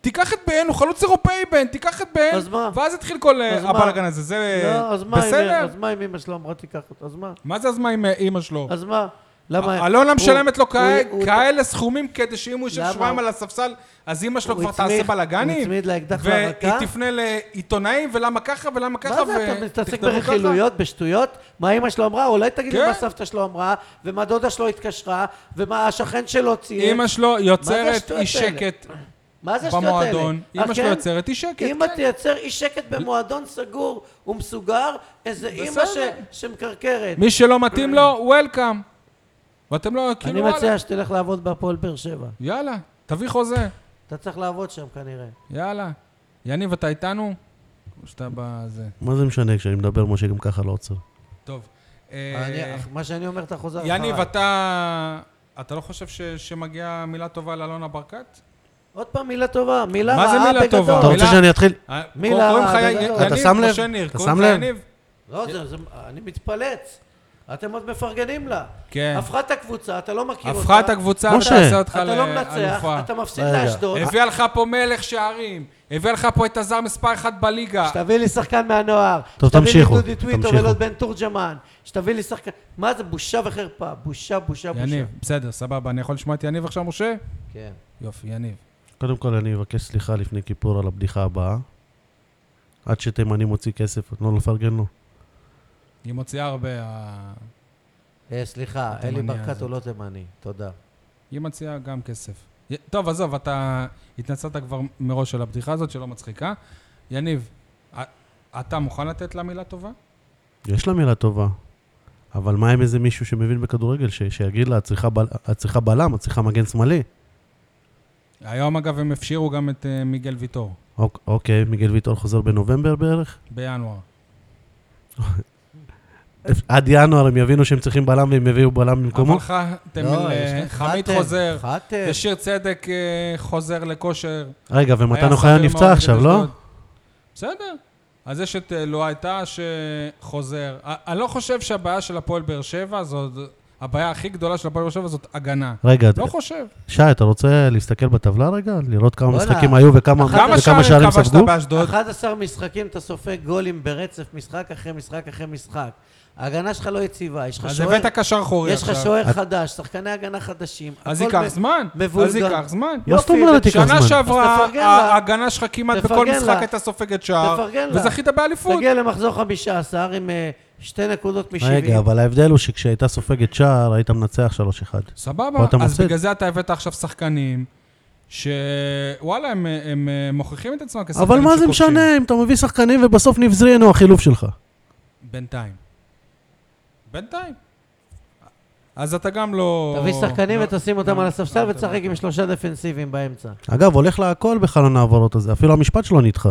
[SPEAKER 1] תיקח את בן, הוא חלוץ אירופאי בן, תיקח את בן,
[SPEAKER 2] אז מה?
[SPEAKER 1] ואז התחיל כל אה,
[SPEAKER 2] אז מה?
[SPEAKER 1] הבלאגן הזה, זה
[SPEAKER 2] לא, אז מה אם-
[SPEAKER 1] בסדר?
[SPEAKER 2] אז מה אם אמא שלו אמרה תיקח אותו? אז מה?
[SPEAKER 1] מה זה אז מה עם אה, אימא שלו?
[SPEAKER 2] אז מה? למה?
[SPEAKER 1] אלונה
[SPEAKER 2] הוא-
[SPEAKER 1] משלמת לו
[SPEAKER 2] הוא-
[SPEAKER 1] כאלה-
[SPEAKER 2] הוא-
[SPEAKER 1] כאלה סכומים כדי שאם הוא יושב
[SPEAKER 2] למה?
[SPEAKER 1] שבועיים על הספסל, אז אימא שלו
[SPEAKER 2] הוא
[SPEAKER 1] כבר תעשה
[SPEAKER 2] הצמיד-
[SPEAKER 1] בלאגנים?
[SPEAKER 2] הוא הצמיד לאקדח
[SPEAKER 1] והיא
[SPEAKER 2] לרקה?
[SPEAKER 1] תפנה לעיתונאים, ולמה ככה ולמה ככה,
[SPEAKER 2] מה זה, אתה מתעסק
[SPEAKER 1] תכתבו ככה?
[SPEAKER 2] ברכילויות, בשטויות? מה אימא שלו אמרה? אולי תגיד לי
[SPEAKER 1] כן.
[SPEAKER 2] מה סבתא שלו אמרה, ומה דודה שלו התקשרה, ומה השכן שלו צייץ.
[SPEAKER 1] אימא שלו יוצרת
[SPEAKER 2] השטויות
[SPEAKER 1] אי שקט
[SPEAKER 2] מה זה השטויות האלה?
[SPEAKER 1] במועדון,
[SPEAKER 2] אה,
[SPEAKER 1] אימא שלו
[SPEAKER 2] כן?
[SPEAKER 1] יוצרת אי שקט,
[SPEAKER 2] אימא
[SPEAKER 1] כן.
[SPEAKER 2] תייצר אי שקט במועדון סגור ומסוגר, איזה אימא ש-
[SPEAKER 1] בסדר.
[SPEAKER 2] שמקרקרת.
[SPEAKER 1] מי שלא מתאים לו, וולקאם. ואתם לא,
[SPEAKER 2] אני
[SPEAKER 1] כאילו, וואלה,
[SPEAKER 2] מציע שתלך לעבוד בהפועל באר שבע.
[SPEAKER 1] יאללה, תביא חוזה,
[SPEAKER 2] אתה צריך לעבוד שם כנראה.
[SPEAKER 1] יאללה. יניב, אתה איתנו? או שאתה בזה?
[SPEAKER 3] מה זה משנה כשאני מדבר, משה גם ככה לא
[SPEAKER 1] אה,
[SPEAKER 3] עוצר.
[SPEAKER 1] טוב.
[SPEAKER 2] אני-
[SPEAKER 1] אה,
[SPEAKER 2] אך- מה שאני אומר, אתה
[SPEAKER 3] לא,
[SPEAKER 2] חוזר אחריי.
[SPEAKER 1] יניב, אתה... אתה לא חושב ש- שמגיעה מילה טובה לאלונה ברקת?
[SPEAKER 2] עוד פעם מילה טובה, מילה
[SPEAKER 1] מה זה
[SPEAKER 2] רעה
[SPEAKER 1] מילה טובה?
[SPEAKER 3] אתה
[SPEAKER 2] בגדול.
[SPEAKER 3] רוצה
[SPEAKER 1] מילה-
[SPEAKER 3] שאני אתחיל?
[SPEAKER 1] אה,
[SPEAKER 2] מילה
[SPEAKER 1] קוראים
[SPEAKER 2] רעה,
[SPEAKER 1] לך י-
[SPEAKER 2] בגדול.
[SPEAKER 1] יניב,
[SPEAKER 3] אתה שם לב?
[SPEAKER 1] משה ניר,
[SPEAKER 3] אתה
[SPEAKER 1] קוראים
[SPEAKER 3] שם
[SPEAKER 1] לך
[SPEAKER 3] לב?
[SPEAKER 1] יניב?
[SPEAKER 2] לא, זה, זה, אני מתפלץ. אתם עוד מפרגנים לה.
[SPEAKER 1] כן.
[SPEAKER 2] הפכה את הקבוצה, אתה לא מכיר אותה.
[SPEAKER 1] הפכה את הקבוצה
[SPEAKER 3] משה.
[SPEAKER 1] ותעשה אותך
[SPEAKER 2] אתה לא מנצח,
[SPEAKER 1] לאלופה.
[SPEAKER 2] אתה מפסיד
[SPEAKER 3] רגע.
[SPEAKER 2] לאשדוד.
[SPEAKER 1] הביאה לך פה מלך שערים, הביאה לך פה את הזר מספר אחת בליגה.
[SPEAKER 2] שתביא לי שחקן מהנוער.
[SPEAKER 3] טוב, תמשיכו,
[SPEAKER 2] שתביא לי דודי טוויטו
[SPEAKER 3] תמשיכו.
[SPEAKER 2] ולא את בן תורג'מן. שתביא לי שחקן... מה זה, בושה וחרפה. בושה, בושה, בושה.
[SPEAKER 1] יניב, בסדר, סבבה. אני יכול לשמוע את יניב עכשיו, משה?
[SPEAKER 2] כן.
[SPEAKER 1] יופי, יניב.
[SPEAKER 3] קודם כל, אני אבקש סליחה לפני כיפור על הבדיחה הבאה. עד שתימני מוציא כסף, לא לפרגן לו.
[SPEAKER 1] היא מוציאה הרבה... ה-
[SPEAKER 2] אה, סליחה,
[SPEAKER 1] התימני
[SPEAKER 2] אלי ברקת
[SPEAKER 1] הזה.
[SPEAKER 2] הוא לא תימני. תודה.
[SPEAKER 1] היא מציעה גם כסף. י- טוב, עזוב, אתה התנצלת כבר מראש על הבדיחה הזאת, שלא מצחיקה. יניב, א- אתה מוכן לתת לה מילה טובה?
[SPEAKER 3] יש לה מילה טובה, אבל מה עם איזה מישהו שמבין בכדורגל, ש- שיגיד לה, "את צריכה בל- את צריכה בלם, את צריכה מגן שמאלי?
[SPEAKER 1] היום, אגב, הם הפשירו גם את אה, מיגל ויטור,
[SPEAKER 3] אוק- אוקיי, מיגל ויטור חוזר בנובמבר בערך?
[SPEAKER 1] בינואר.
[SPEAKER 3] עד ינואר הם יבינו שהם צריכים בלם והם יביאו בלם במקומו?
[SPEAKER 1] אבל חתם
[SPEAKER 3] לא,
[SPEAKER 1] אל-
[SPEAKER 2] לא, יש-
[SPEAKER 1] אה, חמיד
[SPEAKER 2] חתם,
[SPEAKER 1] חוזר,
[SPEAKER 2] חתם.
[SPEAKER 1] ושיר צדק אה, חוזר לכושר.
[SPEAKER 3] רגע,
[SPEAKER 1] היה
[SPEAKER 3] ומתן
[SPEAKER 1] סביר
[SPEAKER 3] אוחיון
[SPEAKER 1] מאוד
[SPEAKER 3] נפצע
[SPEAKER 1] נגד
[SPEAKER 3] עכשיו, לא?
[SPEAKER 1] אשדוד. בסדר. אז יש את אה, לואי טאה שחוזר. א- אני לא חושב שהבעיה של הפועל באר שבע, זאת הבעיה הכי גדולה של הפועל באר שבע זאת הגנה.
[SPEAKER 3] רגע,
[SPEAKER 1] לא חושב.
[SPEAKER 3] שי, אתה רוצה להסתכל בטבלה רגע? לראות כמה
[SPEAKER 2] בואנה,
[SPEAKER 3] משחקים היו וכמה
[SPEAKER 2] אחת-
[SPEAKER 1] לא כמה
[SPEAKER 3] וכמה
[SPEAKER 1] שערים
[SPEAKER 3] שערים
[SPEAKER 1] כבשת
[SPEAKER 3] ספגו?
[SPEAKER 1] באשדוד?
[SPEAKER 2] 11 משחקים אתה סופג גולים ברצף, משחק אחרי משחק אחרי משחק. ההגנה שלך לא יציבה, יש לך
[SPEAKER 1] אז
[SPEAKER 2] שוער,
[SPEAKER 1] הבאת קשר אחורי
[SPEAKER 2] יש לך
[SPEAKER 1] עכשיו.
[SPEAKER 2] שוער חדש, שחקני הגנה חדשים.
[SPEAKER 1] אז
[SPEAKER 2] הכל
[SPEAKER 1] ייקח
[SPEAKER 2] מ-
[SPEAKER 1] זמן.
[SPEAKER 2] מבולגן.
[SPEAKER 1] אז ייקח זמן.
[SPEAKER 3] מה זאת
[SPEAKER 2] יופי,
[SPEAKER 3] אומרת
[SPEAKER 1] שנה
[SPEAKER 3] תיקח זמן?
[SPEAKER 1] שעברה,
[SPEAKER 2] אז תפרגן לה.
[SPEAKER 1] ההגנה שלך כמעט בכל
[SPEAKER 2] תפרגן
[SPEAKER 1] משחק
[SPEAKER 2] לה.
[SPEAKER 1] הייתה סופגת שער,
[SPEAKER 2] תפרגן לה.
[SPEAKER 1] וזכית באליפות.
[SPEAKER 2] תגיע למחזור 15 עם אה, שתי נקודות מ-70.
[SPEAKER 3] רגע, אבל ההבדל הוא שכשהייתה סופגת שער, היית מנצח 3-1.
[SPEAKER 1] סבבה,
[SPEAKER 3] פה אתה
[SPEAKER 1] אז
[SPEAKER 3] מפסיד.
[SPEAKER 1] בגלל זה אתה הבאת עכשיו שחקנים, שוואלה, הם, הם, אה, מוכיחים את עצמם כשחקנים
[SPEAKER 3] אבל מה זה
[SPEAKER 1] שכובשים.
[SPEAKER 3] משנה אם אתה מביא שחקנים ובסוף נבזרינו החילוף שלך?
[SPEAKER 1] בינתיים. בינתיים. אז אתה גם לא...
[SPEAKER 2] תביא שחקנים
[SPEAKER 1] לא-
[SPEAKER 2] ותשים
[SPEAKER 1] לא-
[SPEAKER 2] אותם על
[SPEAKER 1] לא,
[SPEAKER 2] הספסל
[SPEAKER 1] אתה
[SPEAKER 2] ותשחק
[SPEAKER 1] לא-
[SPEAKER 2] עם שלושה דפנסיבים באמצע.
[SPEAKER 3] אגב, הולך לה הכל בחלון ההעברות הזה, אפילו המשפט שלו נדחה.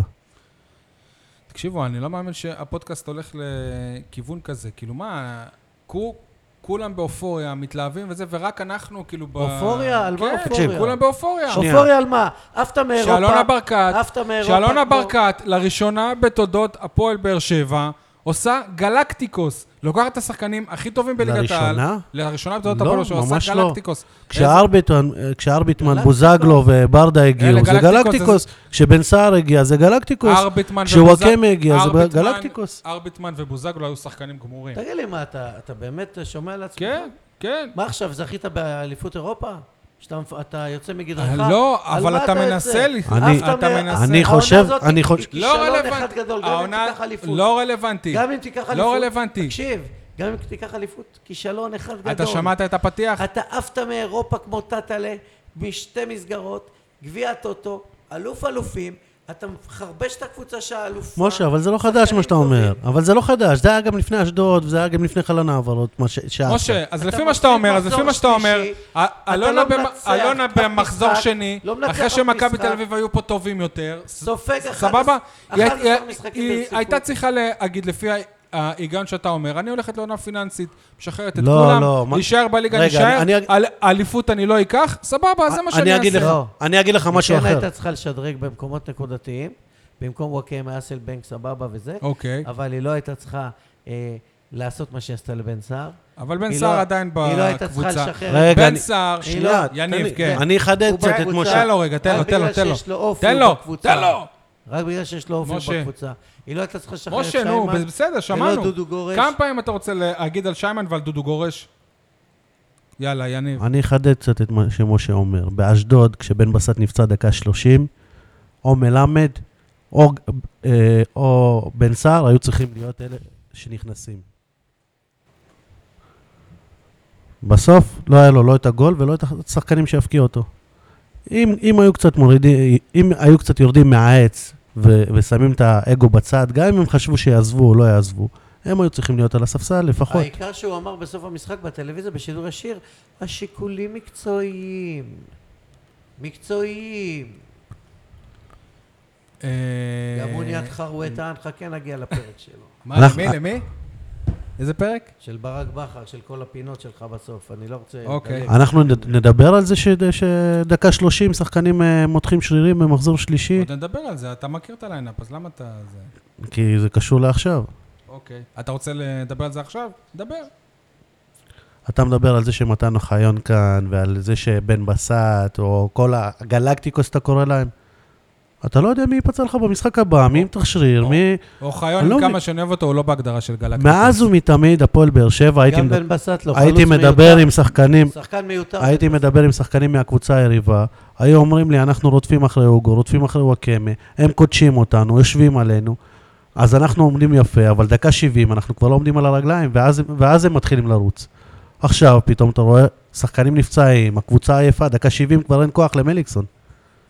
[SPEAKER 1] תקשיבו, אני לא מאמין שהפודקאסט הולך לכיוון כזה. כאילו, מה, כו- כולם באופוריה, מתלהבים וזה, ורק אנחנו, כאילו, ב...
[SPEAKER 2] אופוריה? על מה
[SPEAKER 1] כן,
[SPEAKER 2] אופוריה?
[SPEAKER 1] תקשיב, כולם באופוריה.
[SPEAKER 3] שנייה.
[SPEAKER 2] אופוריה על מה? עפת מאירופה.
[SPEAKER 1] שאלונה ברקת,
[SPEAKER 2] עפת מאירופה.
[SPEAKER 1] שאלונה
[SPEAKER 2] כמו-
[SPEAKER 1] ברקת, לראשונה בתולדות הפועל באר שבע, עושה גלקטיקוס. לוקחת את השחקנים הכי טובים בליגת העל.
[SPEAKER 3] לראשונה?
[SPEAKER 1] לראשונה בתולדות
[SPEAKER 3] לא,
[SPEAKER 1] הפועל באר שבע,
[SPEAKER 3] ממש
[SPEAKER 1] עושה
[SPEAKER 3] לא.
[SPEAKER 1] גלקטיקוס.
[SPEAKER 3] כשהארביטמן, כשהארביטמן,
[SPEAKER 2] גלקטיקוס.
[SPEAKER 3] בוזגלו וברדה
[SPEAKER 1] אלה
[SPEAKER 3] הגיעו, זה
[SPEAKER 1] גלקטיקוס,
[SPEAKER 3] גלקטיקוס. כשבן סער הגיע, זה גלקטיקוס.
[SPEAKER 1] ארביטמן
[SPEAKER 3] כשוואקמה הגיע, אוקיי זה
[SPEAKER 1] ארביטמן-
[SPEAKER 3] גלקטיקוס.
[SPEAKER 1] ארביטמן ובוזגלו היו שחקנים גמורים.
[SPEAKER 2] תגיד לי, מה, אתה אתה באמת שומע על עצמך?
[SPEAKER 1] כן, כן.
[SPEAKER 2] מה עכשיו, זכית באליפות אירופה? שאתה מפ- אתה יוצא מגדרך?
[SPEAKER 1] לא,
[SPEAKER 2] על
[SPEAKER 1] אבל
[SPEAKER 2] מה
[SPEAKER 1] אתה
[SPEAKER 2] יוצא?
[SPEAKER 1] מנסה... לי-
[SPEAKER 3] אני-
[SPEAKER 2] עפת
[SPEAKER 1] אתה
[SPEAKER 2] מה-
[SPEAKER 1] מנסה.
[SPEAKER 3] אני
[SPEAKER 2] העונה
[SPEAKER 3] חושב-
[SPEAKER 2] הזאת
[SPEAKER 3] אני
[SPEAKER 2] היא
[SPEAKER 3] חוש-
[SPEAKER 1] לא
[SPEAKER 2] כישלון אחד
[SPEAKER 1] רלוונטי.
[SPEAKER 2] גדול, גם אם
[SPEAKER 1] העונה-
[SPEAKER 2] תיקח אליפות.
[SPEAKER 1] לא רלוונטי.
[SPEAKER 2] גם אם תיקח אליפות.
[SPEAKER 1] לא רלוונטי.
[SPEAKER 2] תקשיב, גם אם תיקח אליפות, כישלון אחד גדול.
[SPEAKER 1] אתה שמעת את הפתיח?
[SPEAKER 2] אתה עפת מאירופה כמו טאטלה, משתי מסגרות, גביע הטוטו, אלוף אלופים, אתה מחרבש את הקבוצה שהאלופה.
[SPEAKER 3] משה, אבל זה לא חדש מה שאתה אומר. אבל זה לא חדש. זה היה גם לפני אשדוד, וזה היה גם לפני חלון העברות, מה ש- שעה.
[SPEAKER 1] משה, אז
[SPEAKER 2] אתה
[SPEAKER 1] לפי מה
[SPEAKER 2] מפסיד
[SPEAKER 1] שאתה אומר, אז לפי
[SPEAKER 2] מחזור
[SPEAKER 1] מה שאתה אומר,
[SPEAKER 2] שלישי,
[SPEAKER 1] א-
[SPEAKER 2] אתה
[SPEAKER 1] אלונה
[SPEAKER 2] לא
[SPEAKER 1] במ-
[SPEAKER 2] מנצח
[SPEAKER 1] אלונה
[SPEAKER 2] אף
[SPEAKER 1] במחזור
[SPEAKER 2] משחק,
[SPEAKER 1] שני,
[SPEAKER 2] לא מנצח
[SPEAKER 1] אחרי
[SPEAKER 2] אף
[SPEAKER 1] שמכבי
[SPEAKER 2] משחק.
[SPEAKER 1] תל אביב היו פה טובים יותר, ס-
[SPEAKER 2] סופג
[SPEAKER 1] סבבה?
[SPEAKER 2] 11
[SPEAKER 1] היא- היא-
[SPEAKER 2] משחקים
[SPEAKER 1] היא
[SPEAKER 2] ברציפות.
[SPEAKER 1] הייתה צריכה להגיד, לפי ה- ההיגיון שאתה אומר, אני הולכת לעונה פיננסית, משחררת את
[SPEAKER 3] לא,
[SPEAKER 1] כולם,
[SPEAKER 3] לא, מה-
[SPEAKER 1] להישאר בליגה,
[SPEAKER 3] רגע,
[SPEAKER 1] להישאר,
[SPEAKER 3] אני- אני-
[SPEAKER 1] אל- אליפות אני לא אקח, סבבה, זה מה שאני אעשה.
[SPEAKER 3] אני אגיד לך,
[SPEAKER 2] לא.
[SPEAKER 3] אני אגיד לך משהו
[SPEAKER 2] היא כן
[SPEAKER 3] אחר.
[SPEAKER 2] הייתה צריכה לשדרג במקומות נקודתיים, במקום וואקמה, אסלבנק, סבבה וזה,
[SPEAKER 1] אוקיי,
[SPEAKER 2] אבל היא לא הייתה צריכה אה, לעשות מה שהיא עשתה לבן סער.
[SPEAKER 1] אבל בן
[SPEAKER 2] היא
[SPEAKER 1] סער
[SPEAKER 2] לא-
[SPEAKER 1] עדיין
[SPEAKER 2] היא לא הייתה צריכה
[SPEAKER 1] בקבוצה.
[SPEAKER 2] לשחרר.
[SPEAKER 3] רגע,
[SPEAKER 1] בן
[SPEAKER 3] אני-
[SPEAKER 1] סער,
[SPEAKER 2] היא לא-
[SPEAKER 1] שנייה,
[SPEAKER 3] תן
[SPEAKER 1] יניב,
[SPEAKER 3] לי-
[SPEAKER 1] כן.
[SPEAKER 3] אני אחדד
[SPEAKER 2] הוא
[SPEAKER 3] קצת את
[SPEAKER 2] בקבוצה.
[SPEAKER 3] משה.
[SPEAKER 1] תן לו רגע, תן לו,
[SPEAKER 2] רק
[SPEAKER 1] תן לו,
[SPEAKER 2] בגלל
[SPEAKER 1] תן לו.
[SPEAKER 2] שיש לו אופי
[SPEAKER 1] תן לו,
[SPEAKER 2] בקבוצה.
[SPEAKER 1] תן לו.
[SPEAKER 2] רק בגלל שיש לו אופי
[SPEAKER 1] משה.
[SPEAKER 2] בקבוצה. היא לא הייתה צריכה לשחרר את
[SPEAKER 1] משה,
[SPEAKER 2] שיימן.
[SPEAKER 1] נו, בסדר, שמענו.
[SPEAKER 2] ולא דודו גורש. נכון.
[SPEAKER 1] כמה פעמים אתה רוצה להגיד על שיימן ועל דודו גורש? יאללה, יניב.
[SPEAKER 3] אני אחדד קצת את מה שמשה אומר. באשדוד, כשבן בסט נפצע דקה 30, או מלמד או, אה, או בן סער היו צריכים להיות אלה שנכנסים. בסוף לא היה לו לא את הגול ולא את השחקנים שיפקיע אותו. אם, אם, היו קצת מורידים, אם היו קצת יורדים מהעץ ו, ושמים את האגו בצד, גם אם הם חשבו שיעזבו או לא יעזבו, הם היו צריכים להיות על הספסל לפחות.
[SPEAKER 2] העיקר שהוא אמר בסוף המשחק בטלוויזיה, בשידור ישיר, השיקולים מקצועיים. מקצועיים.
[SPEAKER 1] אה,
[SPEAKER 2] גם הוא נהיה אה, חרווטן, חכה נגיע לפרק שלו.
[SPEAKER 1] מה,
[SPEAKER 3] אנחנו-
[SPEAKER 1] למי, למי? איזה פרק?
[SPEAKER 2] של ברק בכר, של כל הפינות שלך בסוף, אני לא רוצה...
[SPEAKER 1] אוקיי.
[SPEAKER 2] לדלג.
[SPEAKER 3] אנחנו נד- נדבר על זה ש- שדקה 30 שחקנים אה, מותחים שרירים במחזור שלישי,
[SPEAKER 1] עוד נדבר על זה, אתה מכיר את הליינאפ, אז למה אתה... זה?
[SPEAKER 3] כי זה קשור לעכשיו.
[SPEAKER 1] אוקיי. אתה רוצה לדבר על זה עכשיו? דבר.
[SPEAKER 3] אתה מדבר על זה שמתן אוחיון כאן, ועל זה שבן בסט, או כל הגלקטיקוס שאתה קורא להם. אתה לא יודע מי ייפצע לך במשחק הבא, מי ימתח שריר, מי...
[SPEAKER 1] אוחיון,
[SPEAKER 3] אני לא
[SPEAKER 1] עם
[SPEAKER 3] מבין.
[SPEAKER 1] כמה שאני אוהב אותו, הוא לא בהגדרה של גלקטיקוס.
[SPEAKER 3] מאז ומתמיד, הפועל באר שבע, הייתי
[SPEAKER 2] גם
[SPEAKER 3] מד-
[SPEAKER 2] בן בסט לא,
[SPEAKER 3] הייתי
[SPEAKER 2] חלוץ
[SPEAKER 3] מדבר
[SPEAKER 2] מיותר.
[SPEAKER 3] עם שחקנים,
[SPEAKER 2] שחקן מיותר.
[SPEAKER 3] הייתי מדבר עם שחקנים מהקבוצה היריבה, היו אומרים לי, אנחנו רודפים אחרי אוגו, רודפים אחרי וואקמה, הם קודשים אותנו, יושבים עלינו, אז אנחנו עומדים יפה, אבל דקה 70 אנחנו כבר לא עומדים על הרגליים, ואז, ואז הם מתחילים לרוץ. עכשיו פתאום אתה רואה שחקנים נפצעים, הקבוצה עייפה, דקה 70 כבר אין כוח למליקסון.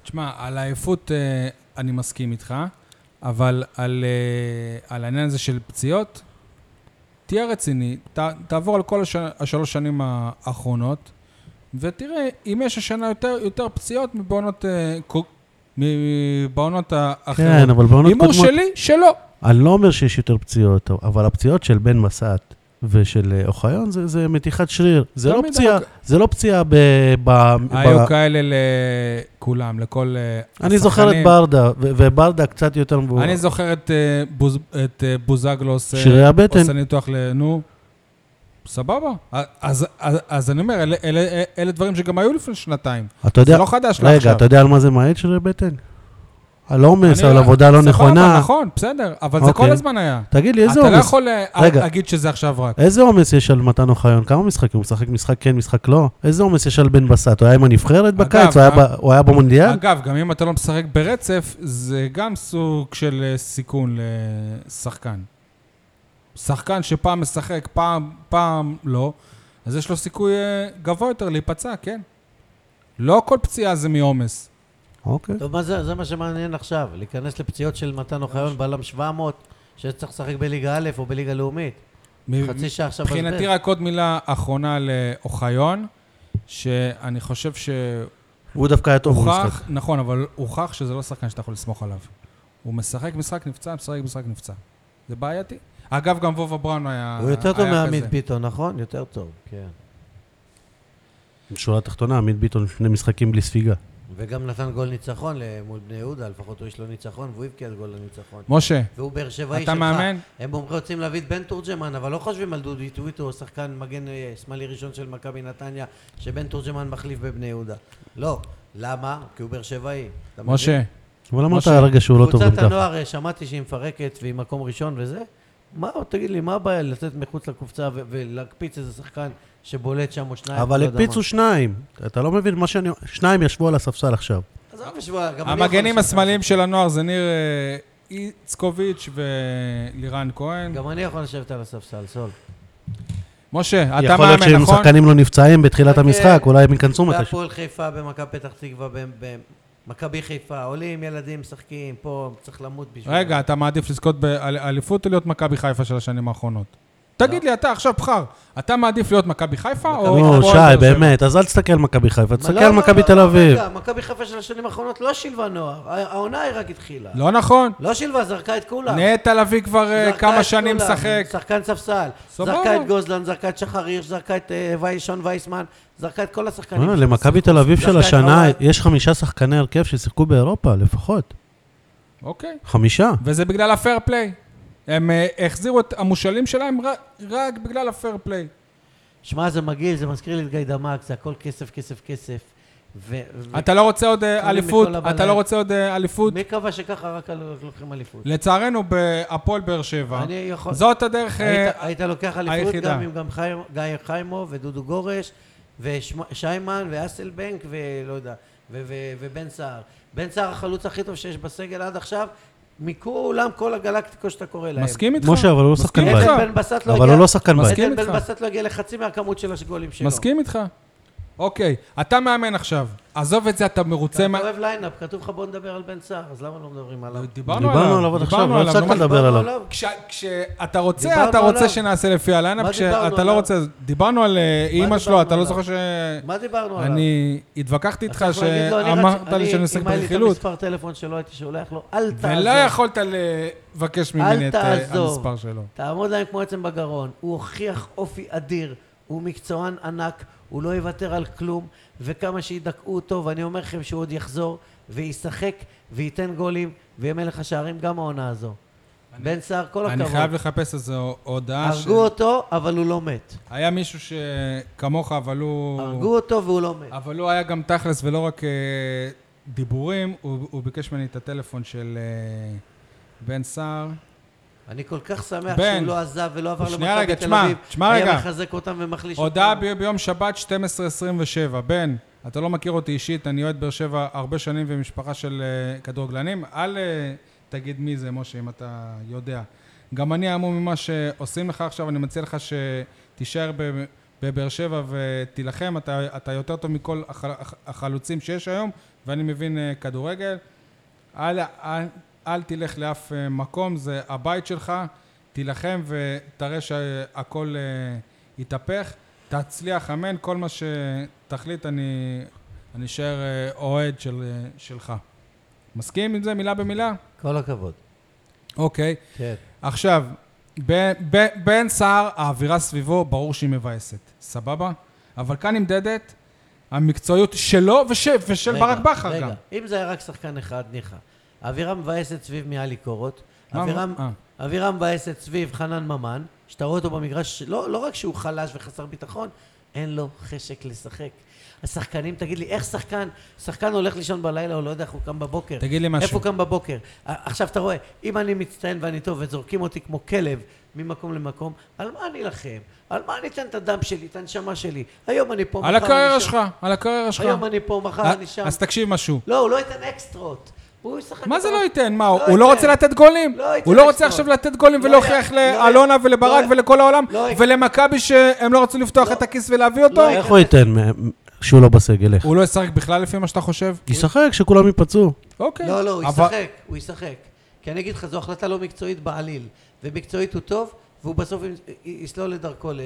[SPEAKER 1] תשמע, על העייפות אה, אני מסכים איתך, אבל על, אה, על העניין הזה של פציעות, תהיה רציני, ת, תעבור על כל הש, השלוש שנים האחרונות, ותראה אם יש השנה יותר, יותר פציעות מבעונות, אה, קו- מבעונות האחרות.
[SPEAKER 3] כן, אבל בעונות
[SPEAKER 1] הימור
[SPEAKER 3] קודמות...
[SPEAKER 1] שלי, שלא.
[SPEAKER 3] אני לא אומר שיש יותר פציעות, אבל הפציעות של בן מסת ושל אה, אוחיון זה, זה מתיחת שריר, זה לא
[SPEAKER 1] תמיד
[SPEAKER 3] פציעה,
[SPEAKER 1] היו-
[SPEAKER 3] זה לא פציעה ב... ב,
[SPEAKER 1] היו
[SPEAKER 3] ב
[SPEAKER 1] כאלה לכולם, לכל אה,
[SPEAKER 3] אני זוכר את
[SPEAKER 1] השחקנים.
[SPEAKER 3] ברדה, ו- וברדה קצת יותר מבוגר.
[SPEAKER 1] אני זוכר את, אה, בוז, את אה, בוזגלוס. אה,
[SPEAKER 3] שרירי הבטן.
[SPEAKER 1] עושה ניתוח ל... נו, סבבה. אז, אז, אז, אז אני אומר, אלה, אלה, אלה דברים שגם היו לפני שנתיים.
[SPEAKER 3] אתה יודע,
[SPEAKER 1] זה לא חדש לה
[SPEAKER 3] רגע,
[SPEAKER 1] עכשיו.
[SPEAKER 3] אתה יודע על מה זה מעיד שרירי בטן? על עומס,
[SPEAKER 1] אני-
[SPEAKER 3] על עבודה לא
[SPEAKER 1] סבבה,
[SPEAKER 3] נכונה.
[SPEAKER 1] נכון, בסדר, אבל זה
[SPEAKER 3] אוקיי.
[SPEAKER 1] כל הזמן היה.
[SPEAKER 3] תגיד לי, איזה
[SPEAKER 1] אתה לא
[SPEAKER 3] עומס?
[SPEAKER 1] יכול אה,
[SPEAKER 3] רגע.
[SPEAKER 1] להגיד שזה עכשיו רק.
[SPEAKER 3] איזה עומס יש על מתן אוחיון? כמה משחקים? הוא משחק משחק כן, משחק לא? איזה עומס יש על בן בסט? הוא היה עם הנבחרת
[SPEAKER 1] אגב,
[SPEAKER 3] בקיץ? הוא היה
[SPEAKER 1] אה,
[SPEAKER 3] ב- הוא היה
[SPEAKER 2] כן.
[SPEAKER 3] במונדיאל?
[SPEAKER 1] אגב, גם אם אתה לא משחק ברצף, זה גם סוג של אה, סיכון לשחקן. שחקן שפעם משחק, פעם, פעם לא, אז יש לו סיכוי אה, גבוה יותר להיפצע, כן. לא כל פציעה זה מעומס.
[SPEAKER 3] אוקיי.
[SPEAKER 2] טוב, מה זה, זה מה שמעניין עכשיו, להיכנס לפציעות של מתן אוחיון, בלם 700, שצריך לשחק בליגה א' או בליגה לאומית.
[SPEAKER 1] מ-
[SPEAKER 2] חצי שעה עכשיו
[SPEAKER 1] מבחינתי רק עוד מילה אחרונה לאוחיון, שאני חושב שהוכח,
[SPEAKER 3] הוא דווקא היה טוב במשחק.
[SPEAKER 1] נכון, אבל הוכח שזה לא שחקן שאתה יכול לסמוך עליו. הוא משחק משחק נפצע, משחק משחק נפצע. זה בעייתי. אגב, גם וובה בראון היה
[SPEAKER 2] הוא יותר טוב
[SPEAKER 1] היה
[SPEAKER 2] מעמית
[SPEAKER 1] כזה.
[SPEAKER 2] ביטון, נכון? יותר טוב, כן.
[SPEAKER 3] בשורה התחתונה, עמית ביטון לפני משחקים בלי ספיגה.
[SPEAKER 2] וגם נתן גול ניצחון ל- מול בני יהודה, לפחות הוא יש לו ניצחון, והוא הבקיע את גול הניצחון.
[SPEAKER 1] משה,
[SPEAKER 2] והוא באר שבעי
[SPEAKER 1] אתה
[SPEAKER 2] שלך.
[SPEAKER 1] מאמן?
[SPEAKER 2] הם אומרים רוצים להביא את בן תורג'מן, אבל לא חושבים על דודי טוויטו, הוא שחקן מגן אה, שמאלי ראשון של מכבי נתניה, שבן תורג'מן מחליף בבני יהודה. לא. למה? כי הוא באר שבעי. אתה מבין?
[SPEAKER 1] משה,
[SPEAKER 3] אבל אמרת
[SPEAKER 1] משה,
[SPEAKER 3] הרגע שהוא לא טוב
[SPEAKER 2] קבוצת
[SPEAKER 3] גם ככה.
[SPEAKER 2] הנוער, אה, שמעתי שהיא מפרקת והיא מקום ראשון וזה. מה, תגיד לי, מה הבעיה לתת מחוץ לקופצה ו- ולהקפיץ איזה שחקן שבולט שם או שניים?
[SPEAKER 3] אבל
[SPEAKER 2] לא יודע
[SPEAKER 3] הקפיצו
[SPEAKER 2] מה.
[SPEAKER 3] שניים. אתה לא מבין מה שאני... שניים ישבו על הספסל עכשיו.
[SPEAKER 2] עזוב בשבוע, גם אני יכול
[SPEAKER 1] המגנים
[SPEAKER 2] לשבת.
[SPEAKER 1] השמאליים של הנוער זה ניר אה, איצקוביץ' ולירן כהן.
[SPEAKER 2] גם אני יכול לשבת על הספסל, סול.
[SPEAKER 1] משה, אתה
[SPEAKER 3] יכול להיות
[SPEAKER 1] מאמן,
[SPEAKER 3] שאם
[SPEAKER 1] נכון?
[SPEAKER 3] שחקנים לא נפצעים בתחילת
[SPEAKER 2] אוקיי.
[SPEAKER 3] המשחק, אולי הם ייכנסו מתישהו.
[SPEAKER 2] בהפועל חיפה, במכבי פתח תקווה, ב- ב- מכבי חיפה, עולים, ילדים, משחקים, פה צריך למות בשביל...
[SPEAKER 1] רגע, אתה מעדיף לזכות באליפות או להיות מכבי חיפה של השנים האחרונות?
[SPEAKER 2] לא.
[SPEAKER 1] תגיד לי, אתה עכשיו בחר, אתה מעדיף להיות מכבי חיפה
[SPEAKER 2] אוקיי,
[SPEAKER 1] או...
[SPEAKER 3] נו,
[SPEAKER 1] הפועל באר
[SPEAKER 3] שי,
[SPEAKER 1] שבע?
[SPEAKER 3] באמת, אז אל תסתכל על מכבי חיפה,
[SPEAKER 2] מה,
[SPEAKER 3] תסתכל
[SPEAKER 2] נכון, לא,
[SPEAKER 3] על
[SPEAKER 2] לא,
[SPEAKER 3] מכבי
[SPEAKER 2] לא,
[SPEAKER 3] תל אביב.
[SPEAKER 2] רגע, מכבי חיפה של השנים האחרונות לא שילבה נוער, הע- העונה היא רק התחילה.
[SPEAKER 1] לא נכון.
[SPEAKER 2] לא שילבה, זרקה את כולם.
[SPEAKER 1] נטע לביא כבר אה,
[SPEAKER 2] זרקה
[SPEAKER 1] כמה
[SPEAKER 2] את
[SPEAKER 1] שנים
[SPEAKER 2] כולם.
[SPEAKER 1] משחק.
[SPEAKER 2] שחקן ספסל.
[SPEAKER 1] סבבה.
[SPEAKER 2] זרקה את גוזלן, זרקה את שחר הירש, זרקה את אה, ויישון וייסמן, זרקה את כל השחקנים.
[SPEAKER 3] אה, למכבי תל אביב של
[SPEAKER 2] דווקא את
[SPEAKER 3] השנה
[SPEAKER 2] אוהד.
[SPEAKER 3] יש חמישה שחקני הרכב ששיחקו באירופה, לפחות.
[SPEAKER 1] אוקיי.
[SPEAKER 3] חמישה.
[SPEAKER 1] וזה בגלל הפייר פליי. הם אה, החזירו את המושאלים שלהם ר- רק בגלל הפייר פליי.
[SPEAKER 2] שמע, זה מגעיל, זה מזכיר לי את גיא דמק, זה הכל כסף, כסף, כסף. ו- ו-
[SPEAKER 1] אתה לא רוצה עוד אה,
[SPEAKER 2] קונים
[SPEAKER 1] אליפות,
[SPEAKER 2] מכל
[SPEAKER 1] אתה
[SPEAKER 2] הבלם.
[SPEAKER 1] לא רוצה עוד אה, אליפות.
[SPEAKER 2] מי קבע שככה רק על- לוקחים אליפות?
[SPEAKER 1] לצערנו, בהפועל באר שבע,
[SPEAKER 2] אני יכול...
[SPEAKER 1] זאת הדרך... אה,
[SPEAKER 2] היית, היית לוקח אליפות
[SPEAKER 1] היחידה.
[SPEAKER 2] גם עם גם חיים, גיא חיימו ודודו גורש ושיימן ואסלבנק ולא יודע, ו, ו, ובן סער. בן סער החלוץ הכי טוב שיש בסגל עד עכשיו, מכולם כל הגלקטיקו שאתה קורא להם.
[SPEAKER 1] מסכים איתך?
[SPEAKER 3] משה, אבל הוא לא
[SPEAKER 1] מסכים
[SPEAKER 3] שחקן
[SPEAKER 1] איתך?
[SPEAKER 3] בית.
[SPEAKER 2] איתן בן בסט לא
[SPEAKER 3] אבל
[SPEAKER 2] הגיע-
[SPEAKER 3] הוא לא שחקן בית.
[SPEAKER 1] מסכים
[SPEAKER 2] איתן בן
[SPEAKER 1] איתך.
[SPEAKER 2] בסט לא הגיע לחצי מהכמות של השגולים שלו.
[SPEAKER 1] מסכים איתך. אוקיי, אתה מאמן עכשיו. עזוב את זה, אתה מרוצה
[SPEAKER 2] אתה
[SPEAKER 1] מה...
[SPEAKER 2] אוהב ליינאפ, כתוב לך בוא נדבר על בן סער, אז למה לא מדברים עליו?
[SPEAKER 1] דיברנו
[SPEAKER 3] דיברנו עליו עד עכשיו,
[SPEAKER 1] דיברנו
[SPEAKER 3] לא כן.
[SPEAKER 1] עליו.
[SPEAKER 3] הפסקת
[SPEAKER 1] נו, מה-
[SPEAKER 3] לדבר
[SPEAKER 2] דיברנו
[SPEAKER 3] עליו.
[SPEAKER 2] עליו.
[SPEAKER 1] כש- כשאתה רוצה,
[SPEAKER 2] דיברנו
[SPEAKER 1] אתה רוצה
[SPEAKER 2] עליו.
[SPEAKER 1] שנעשה לפי הליינאפ,
[SPEAKER 2] מה דיברנו
[SPEAKER 1] כשאתה לא
[SPEAKER 2] עליו?
[SPEAKER 1] רוצה... דיברנו על אה, אימא שלו,
[SPEAKER 2] דיברנו
[SPEAKER 1] אתה לא
[SPEAKER 2] עליו?
[SPEAKER 1] זוכר ש...
[SPEAKER 2] מה דיברנו עליו?
[SPEAKER 1] אני התווכחתי איתך
[SPEAKER 2] עכשיו הוא יגיד לו, אני רצ-
[SPEAKER 1] שאמרת לי
[SPEAKER 2] אני-
[SPEAKER 1] שאני עוסק
[SPEAKER 2] אם היה לי את
[SPEAKER 1] ברכילות,
[SPEAKER 2] המספר טלפון שלו, הייתי שולח לו, אל תעזור.
[SPEAKER 1] ולא יכולת לבקש ממני
[SPEAKER 2] אל
[SPEAKER 1] את אה,
[SPEAKER 2] תעזוב.
[SPEAKER 1] המספר שלו.
[SPEAKER 2] תעמוד להם כמו עצם בגרון. הוא הוכיח אופי אדיר, הוא מקצוען ענק, הוא לא יוותר על כלום, וכמה שידכאו אותו, ואני אומר לכם שהוא עוד יחזור, וישחק, וייתן גולים, ויהיה מלך השערים גם העונה הזו. בן סער, כל הכבוד.
[SPEAKER 1] אני חייב לחפש איזו הודעה ש...
[SPEAKER 2] הרגו אותו, אבל הוא לא מת.
[SPEAKER 1] היה מישהו שכמוך, אבל הוא...
[SPEAKER 2] הרגו אותו והוא לא מת.
[SPEAKER 1] אבל הוא היה גם תכלס ולא רק אה, דיבורים, הוא הוא ביקש ממני את הטלפון של אה, בן סער.
[SPEAKER 2] אני כל כך שמח
[SPEAKER 1] בן,
[SPEAKER 2] שהוא לא עזב ולא עבר
[SPEAKER 1] שנייה רגע,
[SPEAKER 2] למכבי תל
[SPEAKER 1] תשמע,
[SPEAKER 2] אביב.
[SPEAKER 1] תשמע רגע.
[SPEAKER 2] היה מחזק אותם ומחליש אותם.
[SPEAKER 1] הודעה ב- ביום שבת 12:27. בן, אתה לא מכיר אותי אישית, אני אוהד באר שבע הרבה שנים ומשפחה של אה, כדורגלנים. אל אה, תגיד מי זה, משה, אם אתה יודע. גם אני המום ממה שעושים לך עכשיו, אני מציע לך שתישאר ב- בבאר שבע ותילחם. אתה, אתה יותר טוב מכל הח, הח, החלוצים שיש היום, ואני מבין אה, כדורגל. אל, אל, אל תלך לאף אה, מקום, זה הבית שלך, תילחם ותראה שהכל אה, יתהפך. תצליח, אמן, כל מה שתחליט, אני אני אשאר אה, אוהד של, אה, שלך. מסכים עם זה מילה במילה?
[SPEAKER 2] כל הכבוד.
[SPEAKER 1] אוקיי.
[SPEAKER 2] כן.
[SPEAKER 1] עכשיו, ב- ב- בן סער, האווירה סביבו, ברור שהיא מבאסת, סבבה? אבל כאן נמדדת המקצועיות שלו וש, ושל
[SPEAKER 2] רגע,
[SPEAKER 1] ברק בכר
[SPEAKER 2] רגע,
[SPEAKER 1] גם.
[SPEAKER 2] אם זה היה רק שחקן אחד, ניחא. האווירה מבאסת סביב מיאלי קורות.
[SPEAKER 1] מה-
[SPEAKER 2] האווירה-
[SPEAKER 1] אה.
[SPEAKER 2] האווירה מבאסת סביב חנן ממן, שאתה רואה אותו במגרש, לא לא רק שהוא חלש וחסר ביטחון, אין לו חשק לשחק. השחקנים, תגיד לי, איך שחקן, שחקן הולך לישון בלילה, הוא לא יודע איך הוא קם בבוקר.
[SPEAKER 1] תגיד לי משהו.
[SPEAKER 2] איפה הוא קם בבוקר? ע- עכשיו אתה רואה, אם אני מצטיין ואני טוב וזורקים אותי כמו כלב ממקום למקום, על מה אני אלחם? על מה אני אתן את הדם שלי, את הנשמה שלי? היום אני פה, מחר
[SPEAKER 1] על
[SPEAKER 2] אני
[SPEAKER 1] הקריירה
[SPEAKER 2] שם.
[SPEAKER 1] שלך, על הקריירה שלך.
[SPEAKER 2] היום אני פה, מחר אני
[SPEAKER 1] אה,
[SPEAKER 2] שם.
[SPEAKER 1] אז תקשיב משהו.
[SPEAKER 2] לא, הוא לא ייתן אקסטרות. הוא ישחק...
[SPEAKER 1] מה זה
[SPEAKER 2] אותו-
[SPEAKER 1] לא ייתן? מה, הוא לא רוצה
[SPEAKER 2] ייתן.
[SPEAKER 1] לתת גולים?
[SPEAKER 2] לא ייתן
[SPEAKER 1] הוא לא רוצה
[SPEAKER 2] אקסטרות.
[SPEAKER 1] עכשיו לתת גולים
[SPEAKER 2] לא
[SPEAKER 1] ולהוכיח
[SPEAKER 2] י- לא י-
[SPEAKER 1] לאלונה ולברק
[SPEAKER 2] לא י-
[SPEAKER 1] ולכל העולם
[SPEAKER 2] לא י-
[SPEAKER 1] ולמכבי שהם לא רצו לפתוח
[SPEAKER 2] לא.
[SPEAKER 1] את הכיס ולהביא אותו?
[SPEAKER 2] לא י-
[SPEAKER 3] אה, איך הוא ייתן מ- שהוא לא בסגל? איך?
[SPEAKER 1] הוא לא ישחק בכלל לפי מה שאתה חושב?
[SPEAKER 3] ישחק, שכולם ייפצעו.
[SPEAKER 1] אוקיי.
[SPEAKER 2] לא, לא, הוא
[SPEAKER 1] אבל-
[SPEAKER 2] ישחק, הוא ישחק. כי אני אגיד לך, זו החלטה לא מקצועית בעליל. ומקצועית הוא טוב, והוא בסוף י- י- יסלול את דרכו ל-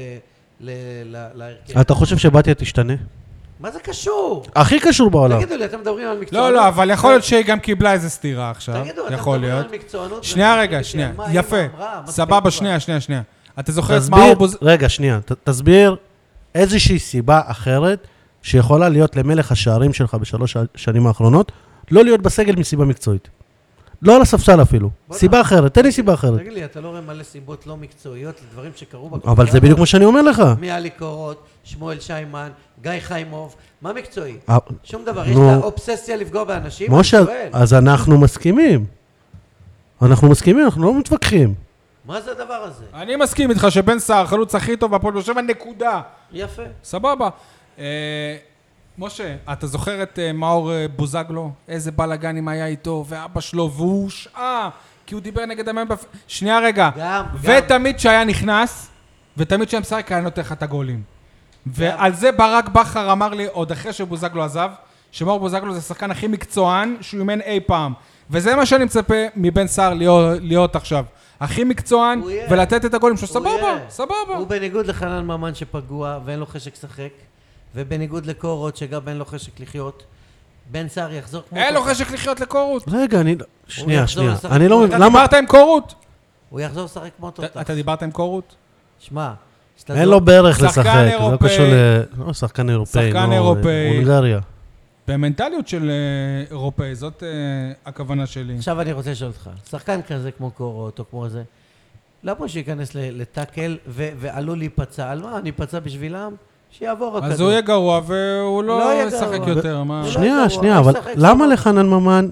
[SPEAKER 2] ל- ל- להרכב.
[SPEAKER 3] אתה חושב שבתיה תשתנה?
[SPEAKER 2] מה זה קשור?
[SPEAKER 3] הכי קשור בעולם.
[SPEAKER 2] תגידו לי, אתם מדברים על מקצוענות?
[SPEAKER 1] לא, לא, אבל יכול להיות שהיא גם קיבלה איזה סטירה עכשיו.
[SPEAKER 2] תגידו, אתם
[SPEAKER 1] יכול
[SPEAKER 2] מדברים
[SPEAKER 1] להיות.
[SPEAKER 2] על מקצוענות?
[SPEAKER 1] שנייה
[SPEAKER 2] ומחכים
[SPEAKER 1] רגע,
[SPEAKER 2] לי,
[SPEAKER 1] שנייה.
[SPEAKER 2] מה אמא
[SPEAKER 1] יפה.
[SPEAKER 2] אמרה, מה
[SPEAKER 1] סבבה,
[SPEAKER 2] כתבה.
[SPEAKER 1] שנייה, שנייה, שנייה. אתה זוכר את מה
[SPEAKER 3] תסביר,
[SPEAKER 1] אורבוז...
[SPEAKER 3] רגע, שנייה, ת- תסביר איזושהי סיבה אחרת שיכולה להיות למלך השערים שלך בשלוש השנים האחרונות, לא להיות בסגל מסיבה מקצועית. לא על הספסל אפילו.
[SPEAKER 2] בוא'נה.
[SPEAKER 3] סיבה אחרת, תן לי סיבה אחרת.
[SPEAKER 2] תגיד לי, אתה לא רואה מלא סיבות לא מקצועיות לדברים שקרו בקבוצה?
[SPEAKER 3] אבל זה בדיוק מה שאני אומר לך.
[SPEAKER 2] מיאלי קורות, שמואל שיימן, גיא חיימוב, מה מקצועי?
[SPEAKER 3] אה,
[SPEAKER 2] שום דבר, יש
[SPEAKER 3] נו.
[SPEAKER 2] לה אובססיה לפגוע באנשים? אני
[SPEAKER 3] משה, אה.
[SPEAKER 2] שואל.
[SPEAKER 3] אז אנחנו מסכימים. אנחנו מסכימים, אנחנו לא מתווכחים.
[SPEAKER 2] מה זה הדבר הזה?
[SPEAKER 1] אני מסכים איתך שבן סער, החלוץ הכי טוב בהפועל באר שבע, נקודה.
[SPEAKER 2] יפה.
[SPEAKER 1] סבבה. אה, משה, אתה זוכר את אה, מאור אה, בוזגלו? איזה בלאגנים היה איתו, ואבא שלו, והוא הושעה, כי הוא דיבר נגד המאמן בפ... שנייה רגע.
[SPEAKER 2] גם,
[SPEAKER 1] ותמיד כשהיה נכנס, ותמיד כשהיה משחק, היה נותן לך את הגולים. ועל זה ברק בכר אמר לי, עוד אחרי שבוזגלו עזב, שמאור בוזגלו זה השחקן הכי מקצוען שהוא אימן אי פעם. וזה מה שאני מצפה מבן סער להיות, להיות עכשיו. הכי מקצוען,
[SPEAKER 2] הוא יהיה.
[SPEAKER 1] ולתת את הגולים שלו.
[SPEAKER 2] הוא
[SPEAKER 1] סבבה,
[SPEAKER 2] יהיה.
[SPEAKER 1] סבבה.
[SPEAKER 2] הוא בניגוד לחנן ממן שפגוע ואין לו חשק לשחק, ובניגוד לקורות שגם אין לו חשק לחיות, בן סער יחזור כמו...
[SPEAKER 1] אין לו
[SPEAKER 2] תותח.
[SPEAKER 1] חשק לחיות לקורות.
[SPEAKER 3] רגע, אני... לא- שנייה,
[SPEAKER 2] יחזור
[SPEAKER 3] שנייה.
[SPEAKER 2] לשחק.
[SPEAKER 3] אני לא
[SPEAKER 1] אתה
[SPEAKER 3] מבין, למה...
[SPEAKER 1] דיברת עם קורות?
[SPEAKER 2] הוא יחזור לשחק כמו
[SPEAKER 1] אתה
[SPEAKER 2] תותח.
[SPEAKER 1] אתה דיברת עם קורות?
[SPEAKER 2] שמע, לא- כשאתה
[SPEAKER 3] אין
[SPEAKER 2] זו-
[SPEAKER 3] לו ברך
[SPEAKER 1] שחקן
[SPEAKER 3] לשחק, זה לא
[SPEAKER 1] אירופאי.
[SPEAKER 3] קשור ל... לא, שחקן אירופאי,
[SPEAKER 1] שחקן
[SPEAKER 3] נו,
[SPEAKER 1] אירופאי.
[SPEAKER 3] הונגריה.
[SPEAKER 1] במנטליות של אה, אירופאי, זאת אה, הכוונה שלי.
[SPEAKER 2] עכשיו אני רוצה לשאול אותך, שחקן כזה כמו קורות או כמו זה, למה שייכנס ל- לטאקל ו- ועלול להיפצע? על מה, אני אפצע בשבילם? שיעבור הכדור.
[SPEAKER 1] אז הוא יהיה גרוע והוא
[SPEAKER 2] לא
[SPEAKER 1] לא
[SPEAKER 2] יהיה
[SPEAKER 1] ישחק
[SPEAKER 2] גרוע.
[SPEAKER 1] יותר, מה?
[SPEAKER 2] הוא לא
[SPEAKER 3] שנייה,
[SPEAKER 2] ידוע,
[SPEAKER 3] שנייה,
[SPEAKER 2] הוא
[SPEAKER 3] אבל
[SPEAKER 2] ישחק
[SPEAKER 3] למה
[SPEAKER 2] סבבה.
[SPEAKER 3] לחנן ממן...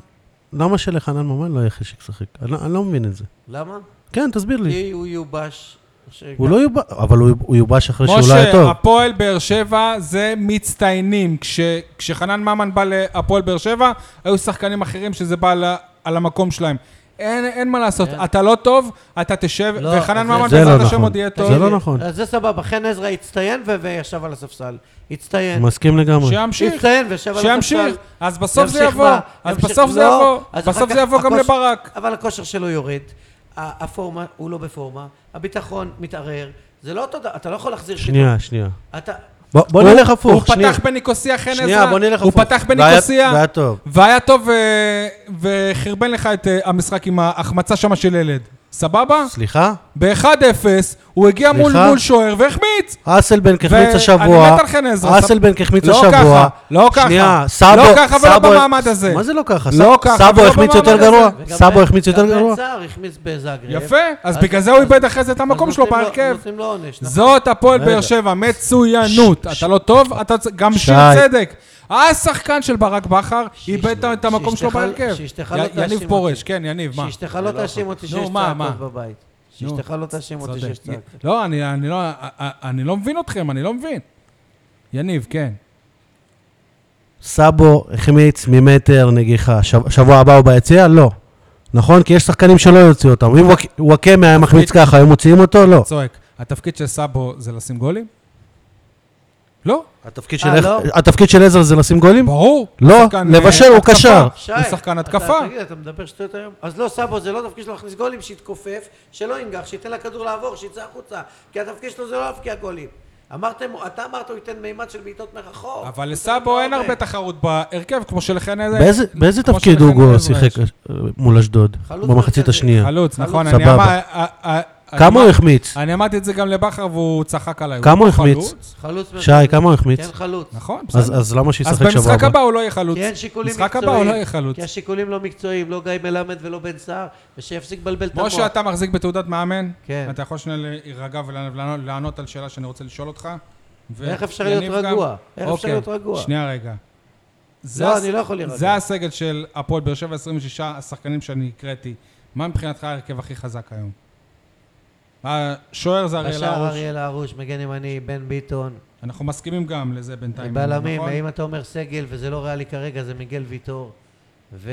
[SPEAKER 3] למה שלחנן ממן לא יהיה חשק לשחק? אני לא- אני לא מבין את זה.
[SPEAKER 2] למה?
[SPEAKER 3] כן, תסביר לי.
[SPEAKER 2] כי הוא יובש. שגם-
[SPEAKER 3] הוא לא יובש, אבל הוא- הוא יובש אחרי שהוא לא היה
[SPEAKER 1] משה,
[SPEAKER 3] טוב.
[SPEAKER 1] הפועל באר שבע זה מצטיינים. כש- כשחנן ממן בא להפועל באר שבע, היו שחקנים אחרים שזה בא על ה- על המקום שלהם. אין, אין מה לעשות,
[SPEAKER 2] כן.
[SPEAKER 1] אתה לא טוב, אתה תשב,
[SPEAKER 2] לא,
[SPEAKER 1] וחנן
[SPEAKER 2] זה-
[SPEAKER 1] ממן
[SPEAKER 3] זה לא
[SPEAKER 1] בעזרת השם
[SPEAKER 3] נכון.
[SPEAKER 1] עוד יהיה
[SPEAKER 3] זה
[SPEAKER 1] טוב.
[SPEAKER 3] לא נכון.
[SPEAKER 2] אז זה סבבה, חן עזרא הצטיין ו- וישב על הספסל. הצטיין.
[SPEAKER 3] מסכים לגמרי.
[SPEAKER 1] שימשיך,
[SPEAKER 2] הצטיין וישב על הספסל.
[SPEAKER 1] שימשיך. אז בסוף זה
[SPEAKER 2] ימשיך
[SPEAKER 1] יבוא,
[SPEAKER 2] מה?
[SPEAKER 1] אז
[SPEAKER 2] ימשיך-
[SPEAKER 1] בסוף זה
[SPEAKER 2] לא,
[SPEAKER 1] יבוא,
[SPEAKER 2] אז אחר
[SPEAKER 1] בסוף
[SPEAKER 2] כך
[SPEAKER 1] זה יבוא גם
[SPEAKER 2] הכושר-
[SPEAKER 1] לברק.
[SPEAKER 2] אבל הכושר שלו יורד, ה- הפורמה, הוא לא בפורמה, הביטחון מתערער, זה לא אותו דבר, אתה לא יכול להחזיר
[SPEAKER 3] שנייה, שנייה.
[SPEAKER 2] פתאום. אתה...
[SPEAKER 3] בוא בוא
[SPEAKER 1] הוא-
[SPEAKER 3] נלך
[SPEAKER 1] הוא
[SPEAKER 3] הפוך, שנייה.
[SPEAKER 1] פתח בניקוסיה חן
[SPEAKER 3] שנייה,
[SPEAKER 1] עזרא,
[SPEAKER 3] בוא נלך
[SPEAKER 1] הוא
[SPEAKER 3] הפוך.
[SPEAKER 1] פתח
[SPEAKER 3] והיה-
[SPEAKER 1] בניקוסיה,
[SPEAKER 3] והיה טוב.
[SPEAKER 1] והיה טוב, אה, וחרבן לך את אה, המשחק עם ההחמצה שמה של ילד. סבבה?
[SPEAKER 3] סליחה?
[SPEAKER 1] ב-1-0, הוא הגיע מול
[SPEAKER 3] סליחה? אה,
[SPEAKER 1] מול שוער והחמיץ.
[SPEAKER 3] אסלבנק החמיץ
[SPEAKER 1] ואני
[SPEAKER 3] השבוע.
[SPEAKER 1] מת על חן עזרא.
[SPEAKER 3] אסלבנק החמיץ
[SPEAKER 1] לא
[SPEAKER 3] השבוע.
[SPEAKER 1] ככה, לא ככה.
[SPEAKER 3] שנייה,
[SPEAKER 1] לא
[SPEAKER 3] סאבו.
[SPEAKER 1] ככה ולא
[SPEAKER 3] סאבו-
[SPEAKER 1] במעמד הזה.
[SPEAKER 3] מה זה לא ככה?
[SPEAKER 1] לא
[SPEAKER 3] סאב-
[SPEAKER 1] ככה
[SPEAKER 3] סאבו
[SPEAKER 1] ולא
[SPEAKER 3] החמיץ יותר
[SPEAKER 1] במעמד
[SPEAKER 3] גרוע?
[SPEAKER 2] וגם
[SPEAKER 3] סאבו
[SPEAKER 2] בן-
[SPEAKER 3] החמיץ יותר
[SPEAKER 2] גם
[SPEAKER 3] גרוע?
[SPEAKER 2] בן סער החמיץ בזאגרב.
[SPEAKER 1] יפה, אז
[SPEAKER 3] אה,
[SPEAKER 2] אז-
[SPEAKER 1] בגלל זה הוא
[SPEAKER 2] אז-
[SPEAKER 1] איבד אחרי זה את המקום
[SPEAKER 2] אז
[SPEAKER 1] שלו
[SPEAKER 2] נותנים לו-
[SPEAKER 1] בהרכב.
[SPEAKER 2] נותנים לו עונש. נכון.
[SPEAKER 1] זאת הפועל
[SPEAKER 3] רגע.
[SPEAKER 1] באר שבע, מצוינות.
[SPEAKER 3] ש-
[SPEAKER 1] אתה לא טוב, אתה צ- גם
[SPEAKER 3] שי.
[SPEAKER 1] שיר צדק. השחקן של ברק בכר איבד את המקום
[SPEAKER 2] שאשתך
[SPEAKER 1] שלו
[SPEAKER 2] לא-
[SPEAKER 1] בהרכב.
[SPEAKER 2] שאשתך לא
[SPEAKER 1] י-
[SPEAKER 2] תאשים
[SPEAKER 1] יניב
[SPEAKER 2] אותי.
[SPEAKER 1] פורש, כן, יניב, מה?
[SPEAKER 2] שאשתך לא תאשים אותי
[SPEAKER 1] נו,
[SPEAKER 2] שיש
[SPEAKER 1] מה, מה?
[SPEAKER 2] צעקות בבית.
[SPEAKER 1] נו.
[SPEAKER 2] שאשתך לא תאשים אותי
[SPEAKER 1] צודק.
[SPEAKER 2] שיש צעקות.
[SPEAKER 1] לא, אני אני לא- אני לא מבין אתכם, אני לא מבין. יניב, כן.
[SPEAKER 3] סאבו החמיץ ממטר נגיחה. שב- שבוע הבא הוא ביציע? לא. נכון? כי יש שחקנים שלא יוציאו אותם. אם ווק- וואקמה היה מחמיץ ככה, היו מוציאים אותו? לא.
[SPEAKER 1] צועק. התפקיד של סאבו זה לשים גולים? לא,
[SPEAKER 3] התפקיד
[SPEAKER 2] אה,
[SPEAKER 3] של-
[SPEAKER 2] לא?
[SPEAKER 3] התפקיד של עזר זה לשים גולים?
[SPEAKER 1] ברור.
[SPEAKER 3] לא,
[SPEAKER 1] שחקן,
[SPEAKER 3] לבשל,
[SPEAKER 1] אה,
[SPEAKER 3] הוא
[SPEAKER 1] התקפה.
[SPEAKER 3] קשר.
[SPEAKER 2] שי,
[SPEAKER 1] הוא שחקן
[SPEAKER 2] אתה-
[SPEAKER 1] התקפה.
[SPEAKER 2] תגיד, אתה מדבר שטויות היום? אז לא, סבו, זה לא תפקיד שלו להכניס גולים, שיתכופף, שלא ינגח, שייתן לכדור לעבור, שיצא החוצה. כי התפקיד שלו זה לא להבקיע גולים. אמרתם, אתה אמרת, הוא ייתן מימד של בעיטות מרחוק.
[SPEAKER 1] אבל
[SPEAKER 2] הוא
[SPEAKER 1] לסאבו
[SPEAKER 2] צריך
[SPEAKER 1] אין הרבה
[SPEAKER 2] לעומק.
[SPEAKER 1] תחרות בהרכב, כמו שלכן איזה...
[SPEAKER 3] באיזה- באיזה
[SPEAKER 1] כמו
[SPEAKER 3] תפקיד
[SPEAKER 1] שלכן
[SPEAKER 3] הוגו
[SPEAKER 1] עזרא
[SPEAKER 3] שיחק
[SPEAKER 1] יש.
[SPEAKER 3] אה, מול אשדוד?
[SPEAKER 2] חלוץ
[SPEAKER 3] במחצית
[SPEAKER 2] מרכזי.
[SPEAKER 3] השנייה.
[SPEAKER 1] חלוץ, נכון.
[SPEAKER 3] סבבה.
[SPEAKER 1] אני אמר- אה, אה, אה,
[SPEAKER 3] כמה הוא
[SPEAKER 1] אני-
[SPEAKER 3] החמיץ?
[SPEAKER 1] אני אמרתי את זה גם לבכר והוא צחק עליי.
[SPEAKER 3] כמה הוא
[SPEAKER 1] לא
[SPEAKER 3] החמיץ?
[SPEAKER 1] חלוץ?
[SPEAKER 2] חלוץ
[SPEAKER 3] שי,
[SPEAKER 2] מרכזי.
[SPEAKER 3] כמה הוא החמיץ?
[SPEAKER 2] כן, חלוץ.
[SPEAKER 1] נכון, בסדר.
[SPEAKER 3] אז אז למה
[SPEAKER 1] אז
[SPEAKER 3] שישחק שבוע
[SPEAKER 1] במשחק
[SPEAKER 3] הבא?
[SPEAKER 1] הבא הוא לא יהיה חלוץ.
[SPEAKER 2] כי אין כן, שיקולים מקצועיים.
[SPEAKER 1] משחק הבא הוא לא יהיה חלוץ.
[SPEAKER 2] כי השיקולים לא מקצועיים, לא גיא מלמד ולא בן סער, ושיפסיק לבלבל את המוח.
[SPEAKER 1] משה, אתה מחזיק בתעודת מאמן?
[SPEAKER 2] כן.
[SPEAKER 1] אתה יכול שנייה להירגע ולענות על שאלה שאני רוצה לשאול אותך? ו-
[SPEAKER 2] איך אפשר להיות
[SPEAKER 1] יניב
[SPEAKER 2] רגוע?
[SPEAKER 1] גם?
[SPEAKER 2] איך אפשר
[SPEAKER 1] אוקיי,
[SPEAKER 2] להיות רגוע?
[SPEAKER 1] שנייה רגע. זה
[SPEAKER 2] לא,
[SPEAKER 1] הס-
[SPEAKER 2] אני לא יכול להירגע.
[SPEAKER 1] זה הסגל של הפועל באר שבע, 26 השחקנים שאני הקראתי. מה מבחינתך ההרכב הכי חזק היום? השוער זה אריאל
[SPEAKER 2] בשער
[SPEAKER 1] הרוש.
[SPEAKER 2] אריאל הרוש, מגן ימני, בן ביטון,
[SPEAKER 1] אנחנו מסכימים גם לזה בינתיים.
[SPEAKER 2] בלמים,
[SPEAKER 1] נכון?
[SPEAKER 2] אם אתה אומר סגל, וזה לא ריאלי כרגע, זה מיגל ויטור. ו...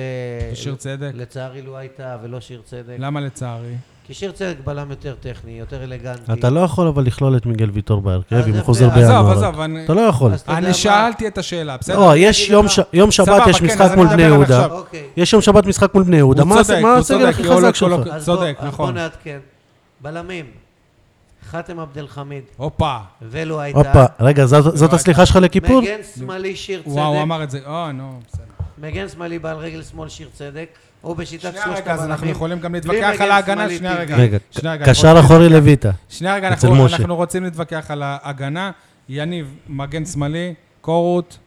[SPEAKER 1] ושיר צדק. לא.
[SPEAKER 2] לצערי לא הייתה, ולא שיר צדק.
[SPEAKER 1] למה לצערי?
[SPEAKER 2] כי שיר צדק בלם יותר טכני, יותר אלגנטי.
[SPEAKER 3] אתה לא יכול אבל לכלול את מיגל ויטור בהרכב
[SPEAKER 2] אז
[SPEAKER 3] אם הוא
[SPEAKER 2] יפה,
[SPEAKER 3] חוזר
[SPEAKER 2] עזוב,
[SPEAKER 1] אה, עזוב,
[SPEAKER 3] בינואר.
[SPEAKER 1] עזוב, אני-
[SPEAKER 3] אתה לא יכול.
[SPEAKER 2] אז אתה יודע
[SPEAKER 1] אני
[SPEAKER 2] מה?
[SPEAKER 1] שאלתי את השאלה, בסדר?
[SPEAKER 3] לא, יש יום
[SPEAKER 2] לך.
[SPEAKER 3] ש- יום שבת,
[SPEAKER 1] סבבה,
[SPEAKER 3] יש
[SPEAKER 1] כן,
[SPEAKER 3] משחק
[SPEAKER 1] אז
[SPEAKER 3] מול
[SPEAKER 1] אני
[SPEAKER 3] בני
[SPEAKER 1] מדבר
[SPEAKER 3] יהודה.
[SPEAKER 1] עכשיו.
[SPEAKER 2] אוקיי.
[SPEAKER 3] יש יום שבת משחק מול בני יהודה.
[SPEAKER 1] הוא
[SPEAKER 3] מה הס-
[SPEAKER 1] צודק,
[SPEAKER 3] מה
[SPEAKER 1] הוא
[SPEAKER 3] הסגל
[SPEAKER 1] צודק,
[SPEAKER 3] הכי
[SPEAKER 1] כי הוא לא-
[SPEAKER 3] חזק
[SPEAKER 1] הוא לא-
[SPEAKER 3] שלך?
[SPEAKER 2] אז
[SPEAKER 1] צודק,
[SPEAKER 2] בוא, אז
[SPEAKER 1] נכון.
[SPEAKER 2] בוא נעדכן. בלמים, חאתם עבד אל חמיד,
[SPEAKER 1] הופה.
[SPEAKER 2] ולו הייתה.
[SPEAKER 3] הופה, רגע, זו- זאת
[SPEAKER 1] הייתה.
[SPEAKER 3] הסליחה שלך לכיפור?
[SPEAKER 2] מגן שמאלי שיר צדק.
[SPEAKER 1] וואו, הוא אמר את זה. אה, נו, בסדר.
[SPEAKER 2] מגן שמאלי בעל רגל שמאל שיר צדק, או בשיטת
[SPEAKER 1] שנייה
[SPEAKER 2] שלושת
[SPEAKER 1] רגע, אז אנחנו
[SPEAKER 2] הבלמים.
[SPEAKER 1] יכולים גם
[SPEAKER 2] בלי
[SPEAKER 1] להתווכח
[SPEAKER 2] מגן
[SPEAKER 1] על ההגנה,
[SPEAKER 2] שמאלי
[SPEAKER 1] שנייה
[SPEAKER 2] טבעי.
[SPEAKER 1] רגע.
[SPEAKER 3] רגע,
[SPEAKER 1] שנייה רגע,
[SPEAKER 3] קשר אחורי לויטה.
[SPEAKER 1] שנייה רגע,
[SPEAKER 3] אצל
[SPEAKER 1] אנחנו,
[SPEAKER 3] משה.
[SPEAKER 1] אנחנו רוצים להתווכח על ההגנה. יניב, מגן שמאלי, קורות,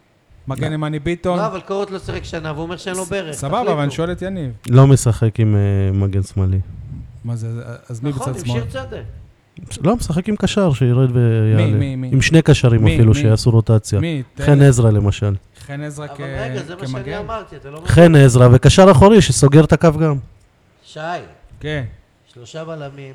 [SPEAKER 1] מגן ימני ביטון.
[SPEAKER 2] לא, אבל קורות לא שיחק שנה, והוא אומר שאין לו ברך.
[SPEAKER 1] סבבה, אבל אני שואל את יניב.
[SPEAKER 3] לא משחק עם אה, מגן שמאלי.
[SPEAKER 1] מה זה, אז מי
[SPEAKER 2] מי נכון,
[SPEAKER 1] בצד
[SPEAKER 2] עם
[SPEAKER 1] שמאל?
[SPEAKER 2] שיר צדק.
[SPEAKER 3] לא, משחק עם קשר שירד ויעלה.
[SPEAKER 1] מי, מי?
[SPEAKER 3] עם שני קשרים
[SPEAKER 1] מי,
[SPEAKER 3] אפילו
[SPEAKER 1] מי?
[SPEAKER 3] שיעשו רוטציה.
[SPEAKER 1] מי? אה, תן
[SPEAKER 3] חן
[SPEAKER 1] לי.
[SPEAKER 3] עזרא למשל.
[SPEAKER 1] חן עזרא
[SPEAKER 2] אבל
[SPEAKER 1] כ-
[SPEAKER 2] רגע, זה מה שאני
[SPEAKER 1] כמגן?
[SPEAKER 2] אמרתי, אתה לא
[SPEAKER 1] אה.
[SPEAKER 2] מבין.
[SPEAKER 3] חן עזרא וקשר אחורי שסוגר את הקו גם.
[SPEAKER 2] שי,
[SPEAKER 1] כן,
[SPEAKER 2] שלושה בלמים,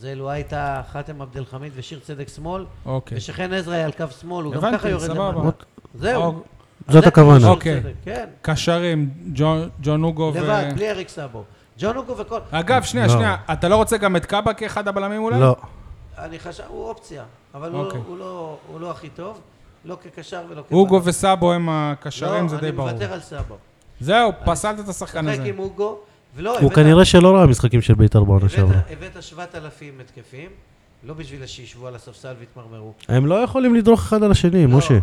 [SPEAKER 2] זה לו הייתה חאתם עבד אל חמיד ושיר צדק שמאל,
[SPEAKER 1] אוקיי.
[SPEAKER 2] ושחן עזרא היה על קו שמאל, הוא גם
[SPEAKER 1] הבנתי,
[SPEAKER 2] ככה יורד
[SPEAKER 1] סבבה.
[SPEAKER 2] למטה. זהו.
[SPEAKER 1] אוקיי.
[SPEAKER 2] אז
[SPEAKER 3] זאת
[SPEAKER 2] זה
[SPEAKER 3] הכוונה.
[SPEAKER 2] שיר
[SPEAKER 1] אוקיי. אה,
[SPEAKER 2] צדק, כן,
[SPEAKER 1] קשרים, ג'ון- ג'ון אוגו ו...
[SPEAKER 2] לבד, בלי אריק סאבו. ג'ון אוגו וכל...
[SPEAKER 1] אגב, שנייה,
[SPEAKER 3] לא.
[SPEAKER 1] שנייה, אתה לא רוצה גם את קאבה כאחד הבלמים אולי?
[SPEAKER 3] לא.
[SPEAKER 2] אני חשב, הוא אופציה, אבל הוא,
[SPEAKER 1] אה. אוקיי.
[SPEAKER 2] הוא, לא, הוא לא הכי טוב. לא כקשר ולא כבלם.
[SPEAKER 1] הוגו וסאבו הם הקשרים,
[SPEAKER 2] לא,
[SPEAKER 1] זה די ברור.
[SPEAKER 2] אני מוותר על סבו.
[SPEAKER 1] זהו, פסלת את השחקן
[SPEAKER 2] שחק
[SPEAKER 1] הזה.
[SPEAKER 2] עם הוגו, ולא,
[SPEAKER 3] הוא
[SPEAKER 1] אה,
[SPEAKER 2] הבאת-
[SPEAKER 3] כנראה שלא ראה משחקים של בית"ר בעונה
[SPEAKER 2] הבאת-
[SPEAKER 3] שעברה.
[SPEAKER 2] הבאת 7,000 התקפים, לא בשביל שישבו על הספסל ויתמרמרו.
[SPEAKER 3] הם לא יכולים לדרוך אחד על השני,
[SPEAKER 2] לא,
[SPEAKER 3] כן, משה.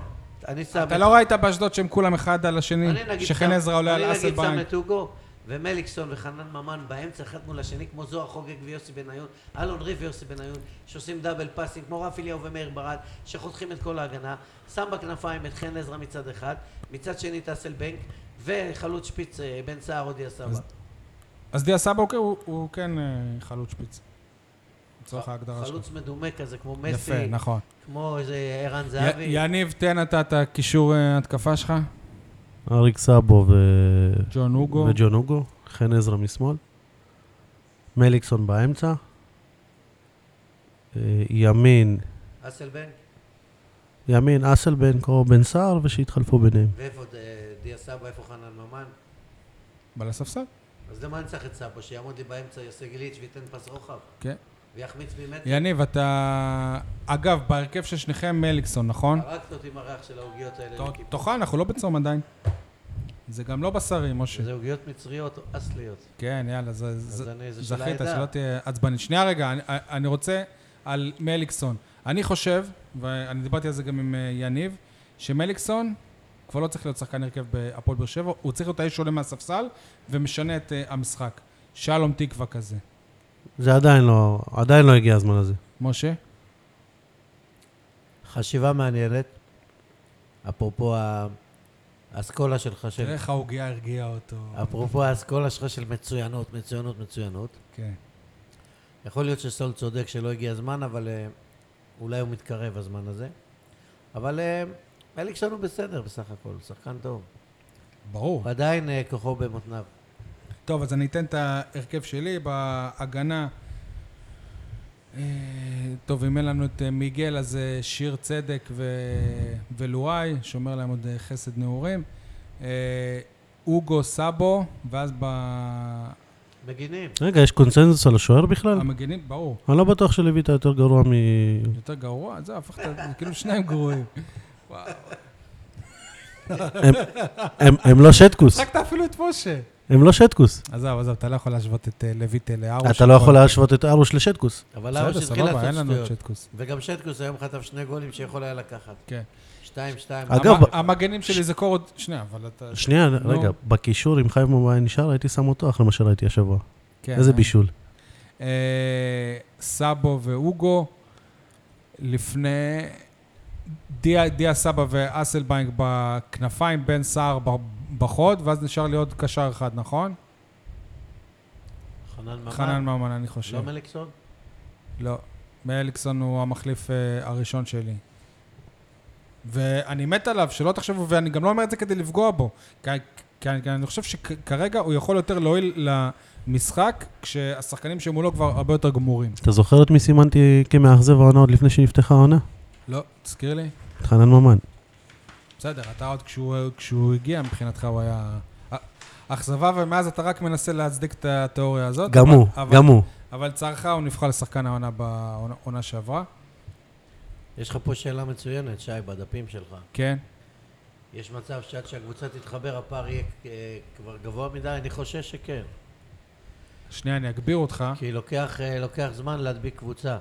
[SPEAKER 2] אני שם...
[SPEAKER 1] אתה
[SPEAKER 2] את-
[SPEAKER 1] לא ראית באשדוד שהם כולם אחד על השני?
[SPEAKER 2] אני נגיד
[SPEAKER 1] שחן
[SPEAKER 2] שם-
[SPEAKER 1] עזרא עולה על אסל
[SPEAKER 2] אני
[SPEAKER 1] ביין.
[SPEAKER 2] נגיד שם את הוגו, ומליקסון וחנן ממן באמצע, אחד מול השני, כמו זוהר חוגג ויוסי בניון, אלון ריב ויוסי בניון, שעושים דאבל פאסים, כמו רפי אליהו ומאיר ברד, שחותכים את כל ההגנה, שם בכנפיים את חן עזרא מצד אחד, מצד שני את אסל בנק, וחלוץ שפיץ אה, בן סער הודיע סבא.
[SPEAKER 1] אז דיה סבא הוא כן- הוא- הוא כן אה, חלוץ שפיץ. לצורך ההגדרה שלך.
[SPEAKER 2] חלוץ מדומה כזה, כמו
[SPEAKER 1] יפה,
[SPEAKER 2] מסי,
[SPEAKER 1] נכון.
[SPEAKER 2] כמו איזה ערן
[SPEAKER 1] י-
[SPEAKER 2] זהבי.
[SPEAKER 1] יניב, תן אתה את הקישור אה, התקפה שלך.
[SPEAKER 3] אריק סאבו ו-
[SPEAKER 1] ג'ון הוגו.
[SPEAKER 3] וג'ון הוגו, חן עזרא משמאל, מליקסון באמצע, אה, ימין,
[SPEAKER 2] אסל בנק,
[SPEAKER 3] ימין אסלבנק או בן סער, ושיתחלפו ביניהם.
[SPEAKER 2] ואיפה אה, דיה סבא, איפה חנן ממן?
[SPEAKER 1] בא לספסל?
[SPEAKER 2] אז למה אני צריך את סבא? שיעמוד לי באמצע, יעשה גליץ' וייתן פס רוחב,
[SPEAKER 1] כן.
[SPEAKER 2] ויחמיץ ממטר.
[SPEAKER 1] יניב, אתה... אגב, בהרכב של שניכם מליקסון, נכון?
[SPEAKER 2] הרגת אותי עם הריח של העוגיות האלה.
[SPEAKER 1] ת-
[SPEAKER 2] לכיפה.
[SPEAKER 1] תאכל, אנחנו לא בצום עדיין. זה גם לא בשרי, משה.
[SPEAKER 2] זה עוגיות מצריות או אסליות.
[SPEAKER 1] כן, יאללה, זה- זה-
[SPEAKER 2] אני- זה של
[SPEAKER 1] זכית,
[SPEAKER 2] העדה.
[SPEAKER 1] שלא תהיה עצבנית. שנייה רגע, אני- אני רוצה על מליקסון. אני חושב, ואני דיברתי על זה גם עם אה, יניב, שמליקסון כבר לא צריך להיות שחקן הרכב בהפועל באר שבע, הוא צריך להיות האיש שעולה מהספסל ומשנה את אה, המשחק. שלום תקווה כזה.
[SPEAKER 3] זה עדיין לא, עדיין לא הגיע הזמן הזה.
[SPEAKER 1] משה?
[SPEAKER 2] חשיבה מעניינת, אפרופו ה- האסכולה שלך
[SPEAKER 1] תראה
[SPEAKER 2] של...
[SPEAKER 1] איך העוגיה הרגיעה אותו.
[SPEAKER 2] אפרופו האסכולה שלך של מצוינות, מצוינות, מצוינות.
[SPEAKER 1] כן.
[SPEAKER 2] יכול להיות שסול צודק שלא הגיע הזמן, אבל אה, אולי הוא מתקרב הזמן הזה. אבל אה, אליקסון הוא בסדר בסך הכל, הוא שחקן טוב.
[SPEAKER 1] ברור.
[SPEAKER 2] הוא עדיין אה, כוחו במותניו.
[SPEAKER 1] טוב, אז אני אתן את ההרכב שלי בהגנה. אה, טוב, אם אין לנו את אה, מיגל, אז אה, שיר צדק ו... ולואי, שומר להם עוד אה, חסד נעורים. אה, אוגו סאבו, ואז במגינים,
[SPEAKER 2] מגינים.
[SPEAKER 3] רגע, יש קונצנזוס על השוער בכלל?
[SPEAKER 1] ברור.
[SPEAKER 3] אני לא בטוח שלויטה יותר גרוע מ...
[SPEAKER 1] יותר גרוע, זה הפכת, זה כאילו שניים גרועים. וואו.
[SPEAKER 3] הם, הם לא שטקוס,
[SPEAKER 1] שחקת אפילו את משה.
[SPEAKER 3] הם לא שטקוס.
[SPEAKER 1] עזוב, עזוב, אתה לא יכול להשוות את אה, לויטה לארוש.
[SPEAKER 3] אתה לא יכול להשוות את ארוש לשטקוס.
[SPEAKER 2] אבל אבא
[SPEAKER 1] בסדר,
[SPEAKER 2] שהתחיל
[SPEAKER 1] סבבה,
[SPEAKER 2] לעשות
[SPEAKER 1] אין לנו את
[SPEAKER 2] שטויות.
[SPEAKER 1] שטקוס.
[SPEAKER 2] וגם שטקוס היום חטף שני גולים שיכול היה לקחת.
[SPEAKER 1] כן.
[SPEAKER 2] שתיים, שתיים.
[SPEAKER 3] אגב,
[SPEAKER 1] המ- המגנים שלי זה קור עוד... שנייה, אבל אתה...
[SPEAKER 3] שנייה,
[SPEAKER 1] נו.
[SPEAKER 3] רגע, בקישור, אם חיים מובאי נשאר, הייתי שם אותו אחרי מה שראיתי השבוע.
[SPEAKER 1] כן,
[SPEAKER 3] איזה
[SPEAKER 1] אה.
[SPEAKER 3] בישול.
[SPEAKER 1] אה, סאבו והוגו, לפני דיה, דיה סבא ואסלבנק בכנפיים, בן סער ב- בחוד, ואז נשאר לי עוד קשר אחד, נכון?
[SPEAKER 2] חנן ממן.
[SPEAKER 1] חנן ממן, אני חושב.
[SPEAKER 2] לא מליקסון?
[SPEAKER 1] לא. מאליקסון הוא המחליף אה, הראשון שלי. ואני מת עליו, שלא תחשבו, ואני גם לא אומר את זה כדי לפגוע בו. כי, כי, כי אני חושב שכרגע הוא יכול יותר להועיל למשחק, כשהשחקנים שמולו כבר הרבה יותר גמורים.
[SPEAKER 3] אתה זוכר את מי סימנתי כמאכזב העונה עוד לפני שנפתחה העונה?
[SPEAKER 1] לא, תזכיר לי.
[SPEAKER 3] את חנן ממן.
[SPEAKER 1] בסדר, אתה עוד כשהוא, כשהוא הגיע, מבחינתך הוא היה... אה, אכזבה, ומאז אתה רק מנסה להצדיק את התיאוריה הזאת.
[SPEAKER 3] גם
[SPEAKER 1] אבל-
[SPEAKER 3] הוא,
[SPEAKER 1] אבל-
[SPEAKER 3] גם הוא.
[SPEAKER 1] אבל צערך, הוא נבחר לשחקן העונה בעונה שעברה.
[SPEAKER 2] יש לך פה שאלה מצוינת, שי, בדפים שלך.
[SPEAKER 1] כן.
[SPEAKER 2] יש מצב שעד שהקבוצה תתחבר הפער יהיה אה, כבר גבוה מדי? אני חושש שכן.
[SPEAKER 1] שנייה, אני אגביר אותך.
[SPEAKER 2] כי לוקח, אה, לוקח זמן להדביק קבוצה.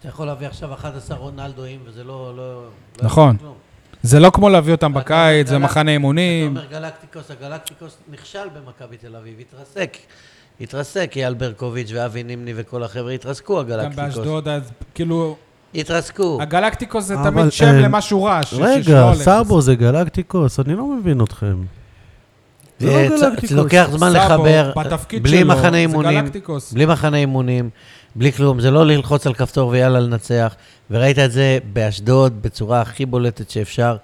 [SPEAKER 2] אתה יכול להביא עכשיו 11 רונלדואים, וזה לא... לא- לא יעזור
[SPEAKER 1] נכון.
[SPEAKER 2] כלום.
[SPEAKER 1] זה לא כמו להביא אותם
[SPEAKER 2] אתה-
[SPEAKER 1] בקיץ,
[SPEAKER 2] אתה-
[SPEAKER 1] זה מחנה
[SPEAKER 2] אתה
[SPEAKER 1] אימונים.
[SPEAKER 2] אומר גלקטיקוס, הגלקטיקוס נכשל במכבי תל אביב, התרסק. התרסק, אייל ברקוביץ' ואבי נימני וכל החבר'ה התרסקו,
[SPEAKER 1] גם
[SPEAKER 2] הגלקטיקוס.
[SPEAKER 1] באשדוד, אז כאילו,
[SPEAKER 2] התרסקו.
[SPEAKER 1] הגלקטיקוס זה
[SPEAKER 3] אבל,
[SPEAKER 1] תמיד שם
[SPEAKER 3] אה,
[SPEAKER 1] למשהו רע. ש- ש- שלא
[SPEAKER 3] רגע,
[SPEAKER 1] הולך.
[SPEAKER 3] סאבו זה גלקטיקוס, אני לא מבין אתכם. זה לא
[SPEAKER 2] אה, צ-
[SPEAKER 3] גלקטיקוס.
[SPEAKER 2] לוקח זמן
[SPEAKER 1] סאבו,
[SPEAKER 2] לחבר,
[SPEAKER 1] בתפקיד
[SPEAKER 2] בלי
[SPEAKER 1] שלו,
[SPEAKER 2] מחנה
[SPEAKER 1] זה
[SPEAKER 2] אימונים,
[SPEAKER 1] גלקטיקוס.
[SPEAKER 2] בלי מחנה אימונים, בלי כלום, זה לא ללחוץ על כפתור ויאללה לנצח, וראית את זה באשדוד בצורה הכי בולטת שאפשר,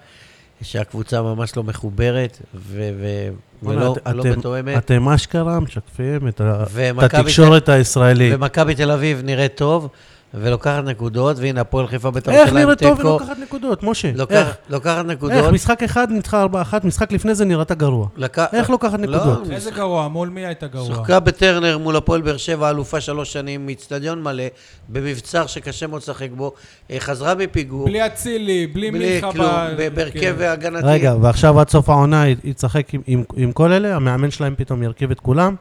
[SPEAKER 2] שהקבוצה ממש לא מחוברת, ו- ו-
[SPEAKER 3] בוא'נה,
[SPEAKER 2] ולא
[SPEAKER 3] את-
[SPEAKER 2] לא
[SPEAKER 3] אתם-
[SPEAKER 2] מתואמת,
[SPEAKER 3] אתם אשכרה משקפים את ה- את
[SPEAKER 2] ומכבי
[SPEAKER 3] התקשורת הישראלית.
[SPEAKER 2] ומכבי תל אביב נראית טוב, ולוקחת נקודות, והנה, הפועל חיפה בית"ר
[SPEAKER 3] איך
[SPEAKER 2] ירושלים
[SPEAKER 3] נראית טוב
[SPEAKER 2] תיקו.
[SPEAKER 3] ולוקחת נקודות, משה?
[SPEAKER 2] לוקח-
[SPEAKER 3] איך?
[SPEAKER 2] לוקחת
[SPEAKER 3] איך?
[SPEAKER 2] נקודות.
[SPEAKER 3] משחק אחד ניצחה 4-1, משחק לפני זה נראתה גרוע.
[SPEAKER 2] לק-
[SPEAKER 3] איך לוקחת
[SPEAKER 2] לא,
[SPEAKER 3] נקודות?
[SPEAKER 1] איזה גרוע, מול מי הייתה גרוע?
[SPEAKER 2] שוחקה בטרנר מול הפועל באר שבע, אלופה שלוש שנים, מאיצטדיון מלא, במבצר שקשה מאוד לשחק בו, אה, חזרה מפיגור,
[SPEAKER 1] בלי אצילי, בלי מיכה.
[SPEAKER 2] כלום,
[SPEAKER 1] ב-
[SPEAKER 2] ב- בהרכב
[SPEAKER 1] כן.
[SPEAKER 2] הגנתי.
[SPEAKER 3] אה, רגע, ועכשיו עד סוף העונה היא היא תשחק עם- עם- עם כל אלה, המאמן שלהם פתאום ירכיב את כולם,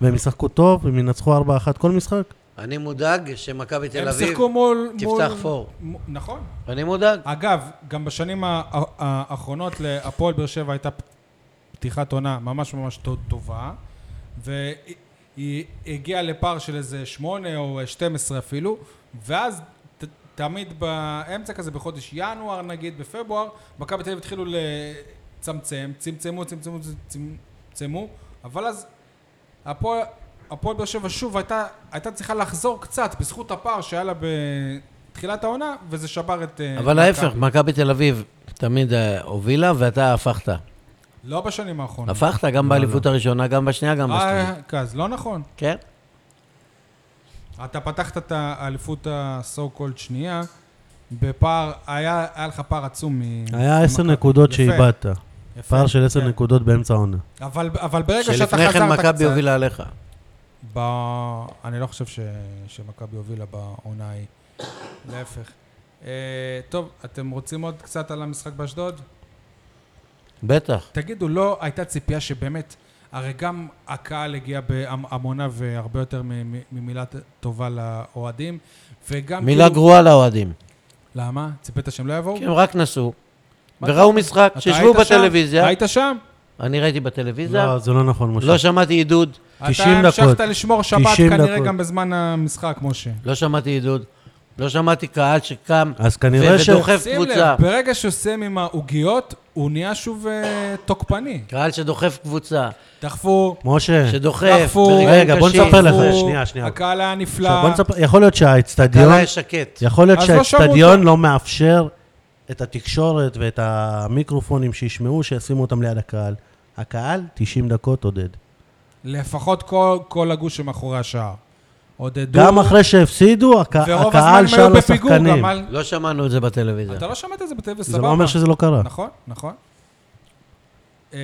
[SPEAKER 3] והם ישחקו טוב, הם ינצחו 4-1 כל משחק?
[SPEAKER 2] אני מודאג שמכבי תל
[SPEAKER 1] הם
[SPEAKER 2] אביב
[SPEAKER 1] שיחקו מול...
[SPEAKER 2] תפתח
[SPEAKER 1] מול-
[SPEAKER 2] פור.
[SPEAKER 1] מ- נכון.
[SPEAKER 2] אני מודאג.
[SPEAKER 3] אה,
[SPEAKER 1] אגב, גם בשנים ה- ה- האחרונות להפועל באר שבע הייתה פ- פתיחת עונה ממש ממש טו- טובה, והיא היא הגיעה לפער של איזה שמונה או 12 אפילו, ואז ת- תמיד באמצע כזה, בחודש ינואר נגיד, בפברואר, מכבי תל אביב התחילו לצמצם, צמצמו, צמצמו, צמצמו, אבל אז הפועל... הפועל באר שבע שוב הייתה, הייתה צריכה לחזור קצת בזכות הפער שהיה לה בתחילת העונה, וזה שבר את... אה,
[SPEAKER 2] אבל
[SPEAKER 1] מכבי.
[SPEAKER 2] ההפך, מכבי תל אביב תמיד אה, הובילה, ואתה הפכת.
[SPEAKER 1] לא בשנים האחרונות.
[SPEAKER 2] הפכת
[SPEAKER 3] לא,
[SPEAKER 2] גם באליפות הראשונה, גם בשנייה, גם בשנייה.
[SPEAKER 1] אה, אז לא נכון.
[SPEAKER 2] כן?
[SPEAKER 1] אתה פתחת את האליפות ה-so called שנייה, בפער, היה היה לך פער עצום מ...
[SPEAKER 3] היה 10
[SPEAKER 1] מכבי.
[SPEAKER 3] נקודות
[SPEAKER 1] יפה,
[SPEAKER 3] שאיבדת.
[SPEAKER 1] יפה.
[SPEAKER 3] פער של 10
[SPEAKER 1] כן.
[SPEAKER 3] נקודות באמצע העונה.
[SPEAKER 1] אבל אבל ברגע שאתה חזרת
[SPEAKER 2] שלפני
[SPEAKER 1] קצת...
[SPEAKER 2] כן מכבי הובילה עליך.
[SPEAKER 1] ב... אני לא חושב ש... שמכבי הובילה בעונה ההיא. להפך. אה, טוב, אתם רוצים עוד קצת על המשחק באשדוד?
[SPEAKER 2] בטח.
[SPEAKER 1] תגידו, לא הייתה ציפייה שבאמת, הרי גם הקהל הגיע בהמונה והרבה יותר מ- מ- ממילה ט- טובה לאוהדים, וגם...
[SPEAKER 2] מילה
[SPEAKER 1] כאילו-
[SPEAKER 2] גרועה לאוהדים.
[SPEAKER 1] למה? ציפית שהם לא יבואו?
[SPEAKER 2] כי הם רק נסעו,
[SPEAKER 1] מה
[SPEAKER 2] וראו משחק,
[SPEAKER 1] אתה
[SPEAKER 2] שישבו
[SPEAKER 1] היית שם?
[SPEAKER 2] בטלוויזיה.
[SPEAKER 1] היית שם?
[SPEAKER 2] אני ראיתי בטלוויזיה,
[SPEAKER 3] לא, זה לא נכון, משה.
[SPEAKER 2] לא שמעתי עידוד,
[SPEAKER 3] 90
[SPEAKER 1] אתה המשכת
[SPEAKER 3] דקות.
[SPEAKER 1] לשמור שבת
[SPEAKER 3] 90
[SPEAKER 1] כנראה
[SPEAKER 3] דקות.
[SPEAKER 1] גם בזמן המשחק, משה.
[SPEAKER 2] לא שמעתי עידוד, לא שמעתי קהל שקם
[SPEAKER 3] אז
[SPEAKER 2] ו-
[SPEAKER 3] כנראה ש...
[SPEAKER 2] ודוחף
[SPEAKER 1] שים
[SPEAKER 2] קבוצה.
[SPEAKER 1] לב, ברגע שהוא סיים עם העוגיות, הוא נהיה שוב אה, תוקפני.
[SPEAKER 2] קהל שדוחף קבוצה,
[SPEAKER 1] דחפו,
[SPEAKER 3] משה,
[SPEAKER 2] שדוחף,
[SPEAKER 1] כן. דחפו.
[SPEAKER 2] ברגעים
[SPEAKER 3] רגע, בוא
[SPEAKER 2] קשים.
[SPEAKER 3] נספר לך.
[SPEAKER 1] דחפו,
[SPEAKER 3] שנייה, שנייה.
[SPEAKER 1] הקהל היה נפלא.
[SPEAKER 3] עכשיו, בוא נספר- יכול להיות
[SPEAKER 2] הקהל
[SPEAKER 3] שהאצטדיון...
[SPEAKER 2] היה שקט.
[SPEAKER 3] יכול להיות
[SPEAKER 1] אז לא שמעו
[SPEAKER 3] שהאצטדיון לא מאפשר את התקשורת ואת המיקרופונים שישמעו, שישימו אותם ליד הקהל. הקהל, 90 דקות, עודד.
[SPEAKER 1] לפחות כל- כל הגוש שמאחורי השער. עודדו,
[SPEAKER 3] גם אחרי שהפסידו, הק-
[SPEAKER 1] ורוב הזמן
[SPEAKER 3] הקהל
[SPEAKER 1] הם היו
[SPEAKER 3] שר
[SPEAKER 1] בפיגור,
[SPEAKER 3] לשחקנים.
[SPEAKER 1] גם על...
[SPEAKER 2] לא שמענו את זה בטלוויזיה.
[SPEAKER 1] אתה לא שמעת את זה בטלוויזיה,
[SPEAKER 3] זה
[SPEAKER 1] סבבה.
[SPEAKER 3] לא אומר שזה לא קרה.
[SPEAKER 1] נכון, נכון. אה,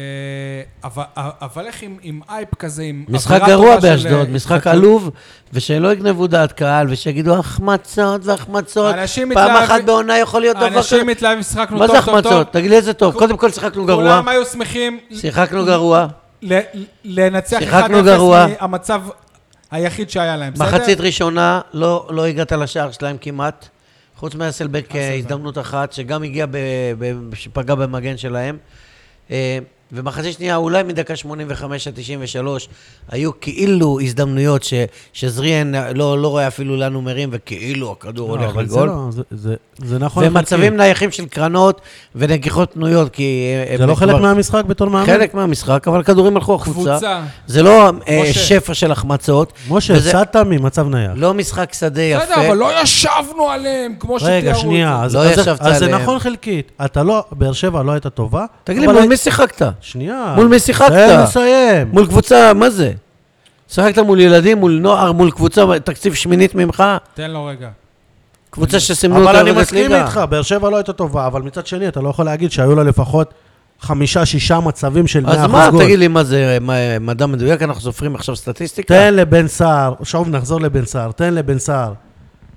[SPEAKER 1] אבל- אבל איך עם- עם אייפ כזה, עם...
[SPEAKER 2] משחק
[SPEAKER 1] אווירה
[SPEAKER 2] גרוע
[SPEAKER 1] טובה של- אה,
[SPEAKER 2] באשדוד, משחק עלוב, ושלא יגנבו דעת קהל, ושיגידו החמצות והחמצות.
[SPEAKER 1] אנשים
[SPEAKER 2] פעם
[SPEAKER 1] מתלהב-
[SPEAKER 2] אחת בעונה יכול להיות דבר כזה.
[SPEAKER 1] אנשים מתלהבים, שחקנו
[SPEAKER 2] מה
[SPEAKER 1] טוב, טוב,
[SPEAKER 2] זה
[SPEAKER 1] טוב.
[SPEAKER 2] החמצות? תגיד לי איזה טוב. קודם כל שיחקנו גרוע,
[SPEAKER 1] כולם היו שמחים
[SPEAKER 2] שיחקנו גרוע,
[SPEAKER 1] ל- לנצח 1-0
[SPEAKER 2] שיחקנו גרוע.
[SPEAKER 1] מהמצב היחיד שהיה להם, בסדר?
[SPEAKER 2] מחצית ראשונה לא לא הגעת לשער שלהם כמעט, חוץ מאסלבק אה, הזדמנות אחת, שגם הגיע, ב- ב- שפגע במגן שלהם. אה, ומחצית שנייה, אולי מדקה 85 עד 93, היו כאילו הזדמנויות ש- שזריאן לא, לא רואה אפילו לאן הוא מרים, וכאילו הכדור
[SPEAKER 3] לא,
[SPEAKER 2] הולך
[SPEAKER 3] אבל זה
[SPEAKER 2] לגול.
[SPEAKER 3] לא, זה- זה- זה נכון.
[SPEAKER 2] ומצבים
[SPEAKER 3] חלקית.
[SPEAKER 2] נייחים של קרנות ונגיחות תנויות, כי... הם
[SPEAKER 3] זה לא
[SPEAKER 2] כבר-
[SPEAKER 3] חלק מהמשחק בתור מאמן.
[SPEAKER 2] חלק מהמשחק, אבל הכדורים הלכו החוצה.
[SPEAKER 1] קבוצה.
[SPEAKER 2] זה לא אה,
[SPEAKER 1] משה.
[SPEAKER 2] שפע של החמצות.
[SPEAKER 3] משה,
[SPEAKER 2] וזה
[SPEAKER 3] הפסדת ממצב נייח.
[SPEAKER 2] לא משחק שדה יפה.
[SPEAKER 1] בסדר, אבל לא ישבנו עליהם כמו שתיארו.
[SPEAKER 3] רגע,
[SPEAKER 1] את זה.
[SPEAKER 3] שנייה, אז
[SPEAKER 2] לא
[SPEAKER 3] אז זה-
[SPEAKER 2] ישבת
[SPEAKER 3] אז זה
[SPEAKER 2] עליהם.
[SPEAKER 3] נכון חלקית. אתה לא, באר שבע לא הייתה טובה.
[SPEAKER 2] תגיד לי,
[SPEAKER 3] אבל
[SPEAKER 2] מול
[SPEAKER 3] היית-
[SPEAKER 2] מי שיחקת?
[SPEAKER 3] שנייה.
[SPEAKER 2] מול מי שיחקת?
[SPEAKER 3] תן לסיים.
[SPEAKER 2] מול קבוצה, מה זה? שיחקת מול ילדים, מול נוער, מול קבוצה, תקציב שמינית ממך?
[SPEAKER 1] תן לו רגע.
[SPEAKER 2] קבוצה שסימנו
[SPEAKER 3] אבל
[SPEAKER 2] אותה
[SPEAKER 3] אני
[SPEAKER 2] לרדת
[SPEAKER 3] מסכים
[SPEAKER 2] ליגה.
[SPEAKER 3] איתך, באר שבע לא הייתה טובה, אבל מצד שני, אתה לא יכול להגיד שהיו לה לפחות חמישה-שישה מצבים של 100% גול.
[SPEAKER 2] אז מה, תגיד לי, מה זה מה, מדע מדויק? אנחנו סופרים עכשיו סטטיסטיקה?
[SPEAKER 3] תן לבן סער, שוב נחזור לבן סער, תן לבן סער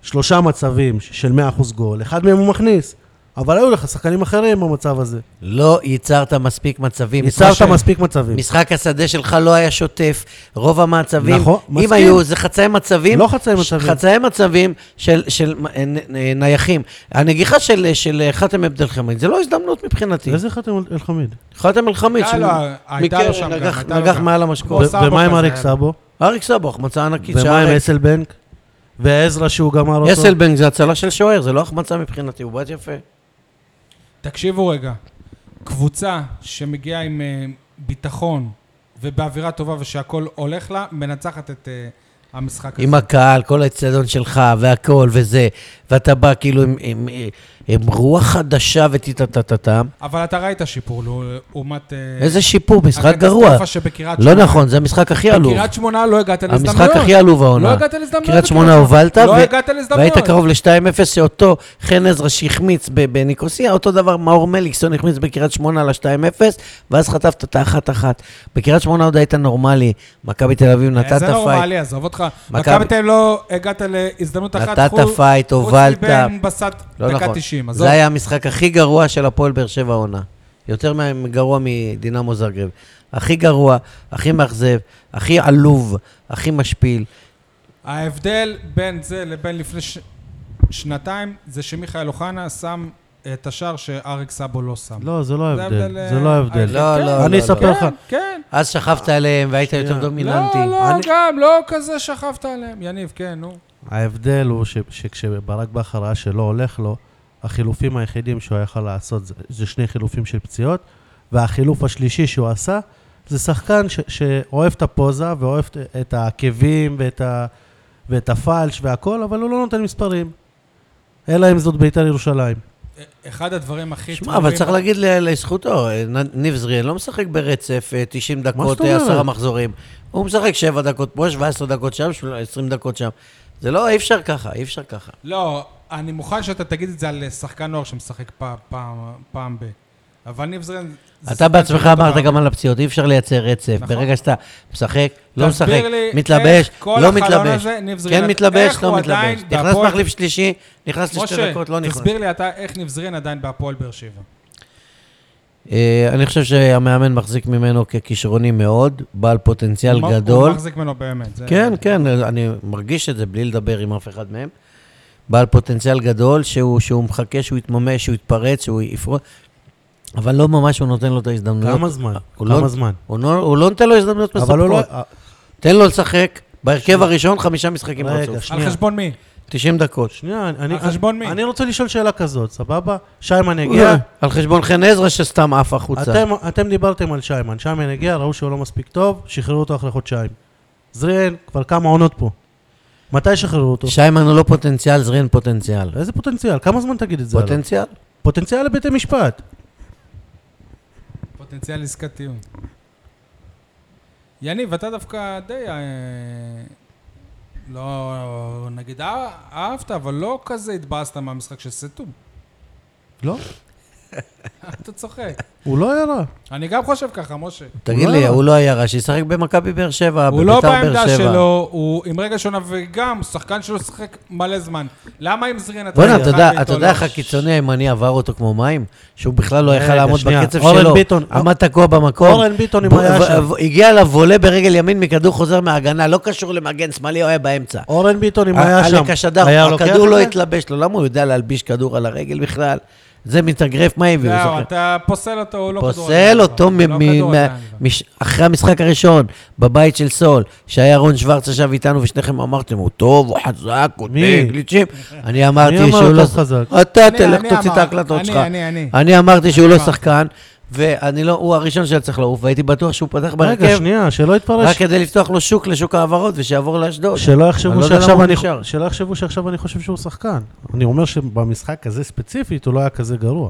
[SPEAKER 3] שלושה מצבים של 100% גול, אחד מהם הוא מכניס. אבל היו לך שחקנים אחרים במצב הזה.
[SPEAKER 2] לא ייצרת מספיק מצבים.
[SPEAKER 3] ניצרת
[SPEAKER 2] משה,
[SPEAKER 3] מספיק מצבים.
[SPEAKER 2] משחק השדה שלך לא היה שוטף, רוב המצבים,
[SPEAKER 3] נכון,
[SPEAKER 2] אם
[SPEAKER 3] מסכים.
[SPEAKER 2] היו, זה חצאי מצבים,
[SPEAKER 3] לא חצאי
[SPEAKER 2] ש-
[SPEAKER 3] מצבים.
[SPEAKER 2] חצאי מצבים של, של אה, נ- אה, נייחים. הנגיחה של, של אה, חתם עבד אל חמיד, זה לא הזדמנות מבחינתי.
[SPEAKER 3] איזה חתם אל- אלחמיד?
[SPEAKER 2] חתם אל חמיד,
[SPEAKER 1] הייתה לו- אה, הייתה לו שם גם,
[SPEAKER 2] נגח-
[SPEAKER 1] הייתה לו
[SPEAKER 2] נגח
[SPEAKER 1] גם.
[SPEAKER 2] מעל
[SPEAKER 1] כמו
[SPEAKER 2] המשקוף.
[SPEAKER 1] סבא
[SPEAKER 3] ומה עם
[SPEAKER 1] כזה.
[SPEAKER 3] אריק סאבו?
[SPEAKER 2] אריק סבו, החמצה ענקית.
[SPEAKER 3] ומה
[SPEAKER 2] שער
[SPEAKER 3] עם
[SPEAKER 2] ריק.
[SPEAKER 3] אסלבנק? ועזרא שהוא גמר אותו?
[SPEAKER 2] אסלבנק זה הצלה של שוער, זה לא החמצה מבחינתי, הוא בעט יפה.
[SPEAKER 1] תקשיבו רגע, קבוצה שמגיעה עם אה, ביטחון ובאווירה טובה ושהכול הולך לה, מנצחת את אה, המשחק הזה.
[SPEAKER 2] עם הקהל, כל האצטדיון שלך, והכל וזה, ואתה בא כאילו עם, עם, אה, הם רוח חדשה וטיטטטטם.
[SPEAKER 1] אבל אתה ראית שיפור לעומת... אה,
[SPEAKER 2] איזה שיפור, משחק גרוע.
[SPEAKER 1] הקטסטרופה שבקריית
[SPEAKER 2] לא נכון, זה המשחק הכי עלוב.
[SPEAKER 1] בקריית שמונה לא הגעת להזדמנויות.
[SPEAKER 2] המשחק הכי עלוב העונה.
[SPEAKER 1] לא הגעת להזדמנויות.
[SPEAKER 2] קריית שמונה הובלת,
[SPEAKER 1] לא
[SPEAKER 2] ו-
[SPEAKER 1] הגעת לא, להזדמנויות.
[SPEAKER 2] והיית קרוב ל-2-0, שאותו חן עזרא שהחמיץ ב- בניקוסיה, אותו דבר מאור מליקסון החמיץ בקריית שמונה ל-2-0, ואז חטפת את האחת-אחת. בקריית שמונה עוד היית נורמלי, מכבי תל אביב נתת
[SPEAKER 1] אה, זה לא
[SPEAKER 2] פייט.
[SPEAKER 1] נורמלי, עזוב אותך.
[SPEAKER 2] מכבי-
[SPEAKER 1] מכבי תל אביב לא הגעת להזדמנות אחת.
[SPEAKER 2] נתת
[SPEAKER 1] חוץ-
[SPEAKER 2] פייט, הובלת.
[SPEAKER 1] חוץ מבן בסט
[SPEAKER 2] לא
[SPEAKER 1] דקה
[SPEAKER 2] נכון.
[SPEAKER 1] 90. עזוב.
[SPEAKER 2] זה היה המשחק הכי גרוע של הפועל באר שבע העונה. יותר מה- גרוע מדינמו זגרב. הכי גרוע, הכי מאכזב, הכי עלוב, הכי משפיל.
[SPEAKER 1] ההבדל בין זה לבין לפני ש... שנתיים, זה שמיכאל אוחנה שם את השער שאריק סאבו לא שם.
[SPEAKER 3] לא, זה לא
[SPEAKER 1] זה
[SPEAKER 3] ההבדל.
[SPEAKER 1] ההבדל,
[SPEAKER 3] זה לא
[SPEAKER 1] אה,
[SPEAKER 3] ההבדל.
[SPEAKER 1] היחיד.
[SPEAKER 2] לא,
[SPEAKER 1] כן,
[SPEAKER 2] לא,
[SPEAKER 3] אני
[SPEAKER 2] לא,
[SPEAKER 3] אספר
[SPEAKER 2] לא.
[SPEAKER 3] לך.
[SPEAKER 1] כן, כן.
[SPEAKER 2] אז שכבת עליהם והיית יותר דומיננטי.
[SPEAKER 1] לא, לא,
[SPEAKER 3] אני-
[SPEAKER 1] גם, לא כזה שכבת עליהם. יניב, כן, נו.
[SPEAKER 3] ההבדל הוא ש, שכשברק בכר ראה שלא הולך לו, החילופים היחידים שהוא יכל לעשות זה, זה שני חילופים של פציעות, והחילוף השלישי שהוא עשה זה שחקן ש, שאוהב את הפוזה ואוהב את- את העקבים ואת, ה, ואת הפלש והכל, אבל הוא לא נותן מספרים. אלא אם זאת בית"ר ירושלים.
[SPEAKER 1] אה, אחד הדברים הכי
[SPEAKER 2] שמע, אבל צריך להגיד ל- לזכותו, אה, נ- ניב זריאן לא משחק ברצף אה, 90 דקות,
[SPEAKER 3] זאת
[SPEAKER 2] אה,
[SPEAKER 3] אומרת?
[SPEAKER 2] 10 מחזורים. הוא משחק 7 דקות פה, 17 דקות שם, של- 20 דקות שם. זה לא, אי אפשר ככה, אי אפשר ככה.
[SPEAKER 1] לא, אני מוכן שאתה תגיד את זה על אה, שחקן נוער שמשחק פ- פעם- פעם ב... אבל ניב זרין... זה
[SPEAKER 2] אתה
[SPEAKER 1] שחקן
[SPEAKER 2] בעצמך
[SPEAKER 1] של
[SPEAKER 2] אמרת
[SPEAKER 1] דבר.
[SPEAKER 2] גם על הפציעות, אי אפשר לייצר רצף.
[SPEAKER 1] נכון.
[SPEAKER 2] ברגע שאתה משחק,
[SPEAKER 1] תסביר
[SPEAKER 2] לא משחק,
[SPEAKER 1] לי איך
[SPEAKER 2] מתלבש,
[SPEAKER 1] כל
[SPEAKER 2] לא
[SPEAKER 1] החלון
[SPEAKER 2] מתלבש.
[SPEAKER 1] הזה, ניב זריאן,
[SPEAKER 2] כן מתלבש,
[SPEAKER 1] איך הוא
[SPEAKER 2] לא
[SPEAKER 1] עדיין
[SPEAKER 2] מתלבש. נכנס
[SPEAKER 1] בהפועל-
[SPEAKER 2] מחליף שלישי, נכנס לשתי
[SPEAKER 1] משה,
[SPEAKER 2] דקות, לא נכנס.
[SPEAKER 1] תסביר לי אתה איך ניב זרין עדיין בהפועל באר שבע.
[SPEAKER 2] אה, אני חושב שהמאמן מחזיק ממנו ככישרוני מאוד, בעל פוטנציאל
[SPEAKER 1] הוא-
[SPEAKER 2] גדול.
[SPEAKER 1] הוא מחזיק ממנו באמת. זה-
[SPEAKER 2] כן, כן, אני מרגיש את זה בלי לדבר עם אף אחד מהם. בעל פוטנציאל גדול, שהוא, שהוא מחכה שהוא יתממש, שהוא יתפרץ, שהוא יפרוץ, אבל לא ממש הוא נותן לו את ההזדמנויות.
[SPEAKER 3] כמה זמן?
[SPEAKER 2] הוא לא-
[SPEAKER 3] כמה זמן?
[SPEAKER 2] הוא לא, הוא לא נותן לו הזדמנויות
[SPEAKER 3] אבל הוא לא...
[SPEAKER 2] מספקות. תן לו לשחק, בהרכב הראשון חמישה משחקים
[SPEAKER 3] רגע,
[SPEAKER 2] רצוף.
[SPEAKER 1] על
[SPEAKER 3] שנייה.
[SPEAKER 1] חשבון מי?
[SPEAKER 2] 90 דקות.
[SPEAKER 3] שנייה, אני...
[SPEAKER 1] על חשבון מי?
[SPEAKER 3] אני רוצה לשאול שאלה כזאת, סבבה? שיימן *laughs* יגיע,
[SPEAKER 2] על חשבון חן עזרא שסתם עף החוצה.
[SPEAKER 3] אתם, אתם דיברתם על שיימן, שיימן הגיע, ראו שהוא לא מספיק טוב, שחררו אותו אחרי חודשיים. זריאן כבר כמה עונות פה. מתי שחררו אותו? ש...
[SPEAKER 2] שיימן הוא לא פוטנציאל, זרין פוטנציאל.
[SPEAKER 3] איזה פוטנציאל? כמה זמן תגיד את זה? פוטנ...
[SPEAKER 2] פוטנציאל.
[SPEAKER 3] פוטנציאל לבית המשפט.
[SPEAKER 1] פוטנציאל עסקת טיעון. יניב, אתה דווקא די... אה, לא, נגיד, אה, אהבת, אבל לא כזה התבאסת מהמשחק של סתום.
[SPEAKER 3] לא,
[SPEAKER 1] אתה צוחק.
[SPEAKER 3] הוא לא היה רע.
[SPEAKER 1] אני גם חושב ככה, משה.
[SPEAKER 2] תגיד
[SPEAKER 3] לא.
[SPEAKER 2] לי, הוא לא היה רע, שישחק במכבי באר שבע,
[SPEAKER 1] הוא לא
[SPEAKER 2] בביתר באר
[SPEAKER 1] בעמדה
[SPEAKER 2] שבע.
[SPEAKER 1] שלו, הוא עם רגע שונה, וגם שחקן שלו שיחק מלא זמן. למה עם זרין אתה...
[SPEAKER 2] בוא'נה,
[SPEAKER 1] שיחק
[SPEAKER 2] אתה יודע-
[SPEAKER 1] איתו
[SPEAKER 2] אתה יודע
[SPEAKER 1] לא?
[SPEAKER 2] איך הקיצוני הימני עבר אותו כמו מים? שהוא בכלל לא יכל
[SPEAKER 3] רגע,
[SPEAKER 2] לעמוד
[SPEAKER 3] שנייה.
[SPEAKER 2] בקצב
[SPEAKER 3] אורן
[SPEAKER 2] שלו.
[SPEAKER 3] ביטון-
[SPEAKER 2] עמד תקוע במקום.
[SPEAKER 3] אורן ביטון, אם
[SPEAKER 2] ב-
[SPEAKER 3] היה
[SPEAKER 2] ו-
[SPEAKER 3] שם.
[SPEAKER 2] ו- הגיע אליו וולה ברגל ימין מכדור חוזר מההגנה, לא קשור למגן שמאלי, הוא היה באמצע.
[SPEAKER 3] אורן ביטון, אם היה שם,
[SPEAKER 2] עלק השדר,
[SPEAKER 3] היה לוקח
[SPEAKER 2] הכדור
[SPEAKER 3] את
[SPEAKER 2] לא
[SPEAKER 3] זה?
[SPEAKER 2] התלבש לו, למה הוא יודע להלביש כדור על הרגל בכלל? זה מתאגרף, מה הביא? הוא
[SPEAKER 1] זהו,
[SPEAKER 2] זוכר.
[SPEAKER 1] אתה פוסל אותו, הוא לא כדורגלן.
[SPEAKER 2] פוסל אותו
[SPEAKER 1] הוא לא
[SPEAKER 2] מ- מ-
[SPEAKER 1] כדורגלן.
[SPEAKER 2] מה- מש- אחרי המשחק הראשון, בבית של סול, שהיה רון שוורץ ישב איתנו ושניכם אמרתם, הוא טוב, הוא חזק, הוא
[SPEAKER 3] מי?
[SPEAKER 2] די גליצ'ים. אני
[SPEAKER 3] מי
[SPEAKER 2] אמרתי
[SPEAKER 3] אמר
[SPEAKER 2] שהוא
[SPEAKER 3] אותו
[SPEAKER 2] לא...
[SPEAKER 3] חזק?
[SPEAKER 2] אתה
[SPEAKER 1] אני-
[SPEAKER 2] תלך
[SPEAKER 1] אני
[SPEAKER 2] תוציא את
[SPEAKER 1] אמר-
[SPEAKER 2] ההקלטות
[SPEAKER 1] אני-
[SPEAKER 2] שלך.
[SPEAKER 1] אני- אני.
[SPEAKER 2] אני אמרתי שהוא לא
[SPEAKER 1] אמרתי.
[SPEAKER 2] שחקן, ואני לא, הוא הראשון שהיה צריך לעוף, והייתי בטוח שהוא פתח
[SPEAKER 3] רגע,
[SPEAKER 2] בהרכב,
[SPEAKER 3] שנייה, שלא
[SPEAKER 2] רק
[SPEAKER 3] יתפרש.
[SPEAKER 2] כדי לפתוח לו שוק לשוק ההעברות ושיעבור לאשדוד.
[SPEAKER 3] שלא
[SPEAKER 2] אני
[SPEAKER 3] יחשבו
[SPEAKER 2] לא יודע למה
[SPEAKER 3] שעכשיו
[SPEAKER 2] הוא
[SPEAKER 3] אני...
[SPEAKER 2] נשאר.
[SPEAKER 3] שלא יחשבו שעכשיו אני חושב שהוא שחקן. אני אומר שבמשחק הזה ספציפית הוא לא היה כזה גרוע.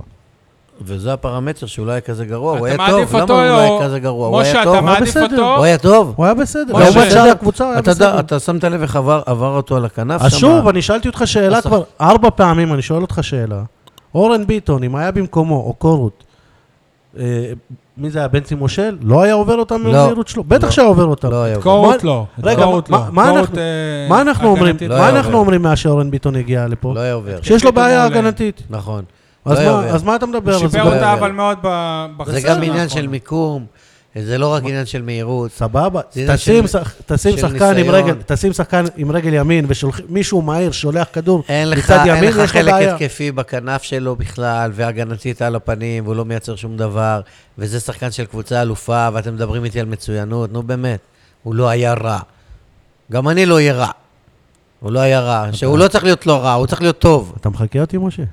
[SPEAKER 2] וזה הפרמטר שהוא לא היה כזה גרוע, הוא היה
[SPEAKER 1] אתה
[SPEAKER 2] טוב,
[SPEAKER 1] מעדיף
[SPEAKER 2] למה
[SPEAKER 1] אותו,
[SPEAKER 2] הוא לא
[SPEAKER 1] או-
[SPEAKER 2] היה כזה גרוע? הוא
[SPEAKER 1] משה,
[SPEAKER 2] היה
[SPEAKER 1] אתה
[SPEAKER 2] טוב,
[SPEAKER 1] מעדיף
[SPEAKER 3] בסדר.
[SPEAKER 1] אותו?
[SPEAKER 2] הוא היה טוב.
[SPEAKER 3] הוא היה בסדר.
[SPEAKER 1] משה,
[SPEAKER 3] לעומת שאר
[SPEAKER 2] אתה-
[SPEAKER 3] לא הקבוצה הוא היה
[SPEAKER 2] אתה
[SPEAKER 3] בסדר.
[SPEAKER 2] יודע, אתה שמת לב איך עבר עבר אותו על הכנף
[SPEAKER 3] אז
[SPEAKER 2] שם?
[SPEAKER 3] שוב, אני שאלתי אותך שאלה
[SPEAKER 2] אז-
[SPEAKER 3] כבר ארבע פעמים, אני שואל אותך שאלה. אורן ביטון, אם היה במקומו, או קורות, אה, מי זה היה, בנצי מושל? לא היה עובר אותם
[SPEAKER 2] לא.
[SPEAKER 3] מהמהירות שלו? בטח
[SPEAKER 2] לא.
[SPEAKER 3] שהיה עובר אותם.
[SPEAKER 2] לא היה עובר.
[SPEAKER 1] קורות לא.
[SPEAKER 3] רגע,
[SPEAKER 1] קורות
[SPEAKER 3] מה-
[SPEAKER 1] לא.
[SPEAKER 3] מה
[SPEAKER 1] קורות,
[SPEAKER 3] אנחנו-
[SPEAKER 1] אה,
[SPEAKER 3] מה אנחנו אומרים?
[SPEAKER 1] הגנתית.
[SPEAKER 2] לא
[SPEAKER 3] מה
[SPEAKER 2] היה
[SPEAKER 3] אנחנו
[SPEAKER 2] עובר.
[SPEAKER 3] אומרים מאז שאורן ביטון הגיע לפה?
[SPEAKER 2] לא היה עובר.
[SPEAKER 3] שיש לו
[SPEAKER 1] פתאום
[SPEAKER 3] בעיה
[SPEAKER 1] מעולה.
[SPEAKER 3] הגנתית.
[SPEAKER 2] נכון.
[SPEAKER 3] אז
[SPEAKER 2] לא
[SPEAKER 3] מה-
[SPEAKER 2] יעוור.
[SPEAKER 3] אז מה אתה מדבר?
[SPEAKER 1] הוא
[SPEAKER 3] אז
[SPEAKER 1] שיפר
[SPEAKER 3] הוא-
[SPEAKER 1] אותה
[SPEAKER 2] בעיה.
[SPEAKER 1] אבל מאוד ב-
[SPEAKER 2] זה
[SPEAKER 1] בחסר.
[SPEAKER 2] גם עניין של
[SPEAKER 1] נכון.
[SPEAKER 2] מיקום, זה לא רק עניין של מהירות.
[SPEAKER 3] נכון. סבבה,
[SPEAKER 2] זה עניין
[SPEAKER 3] תשים
[SPEAKER 2] של-
[SPEAKER 3] שח- תשים
[SPEAKER 2] של
[SPEAKER 3] שחקן עם
[SPEAKER 2] ניסיון.
[SPEAKER 3] רגל, תשים שחקן עם רגל ימין ומישהו מהיר שולח כדור
[SPEAKER 2] אין לך,
[SPEAKER 3] מצד
[SPEAKER 2] אין
[SPEAKER 3] ימין,
[SPEAKER 2] לך
[SPEAKER 3] יש לו
[SPEAKER 2] חלק
[SPEAKER 3] בעיה.
[SPEAKER 2] התקפי בכנף שלו בכלל, והגנתית על הפנים, והוא לא מייצר שום דבר, וזה שחקן של קבוצה אלופה, ואתם מדברים איתי על מצוינות, נו באמת, הוא לא היה רע. גם אני לא אהיה רע. הוא לא היה רע. שהוא לא צריך להיות לא רע, הוא צריך להיות טוב.
[SPEAKER 3] אתה מחקה אותי, משה?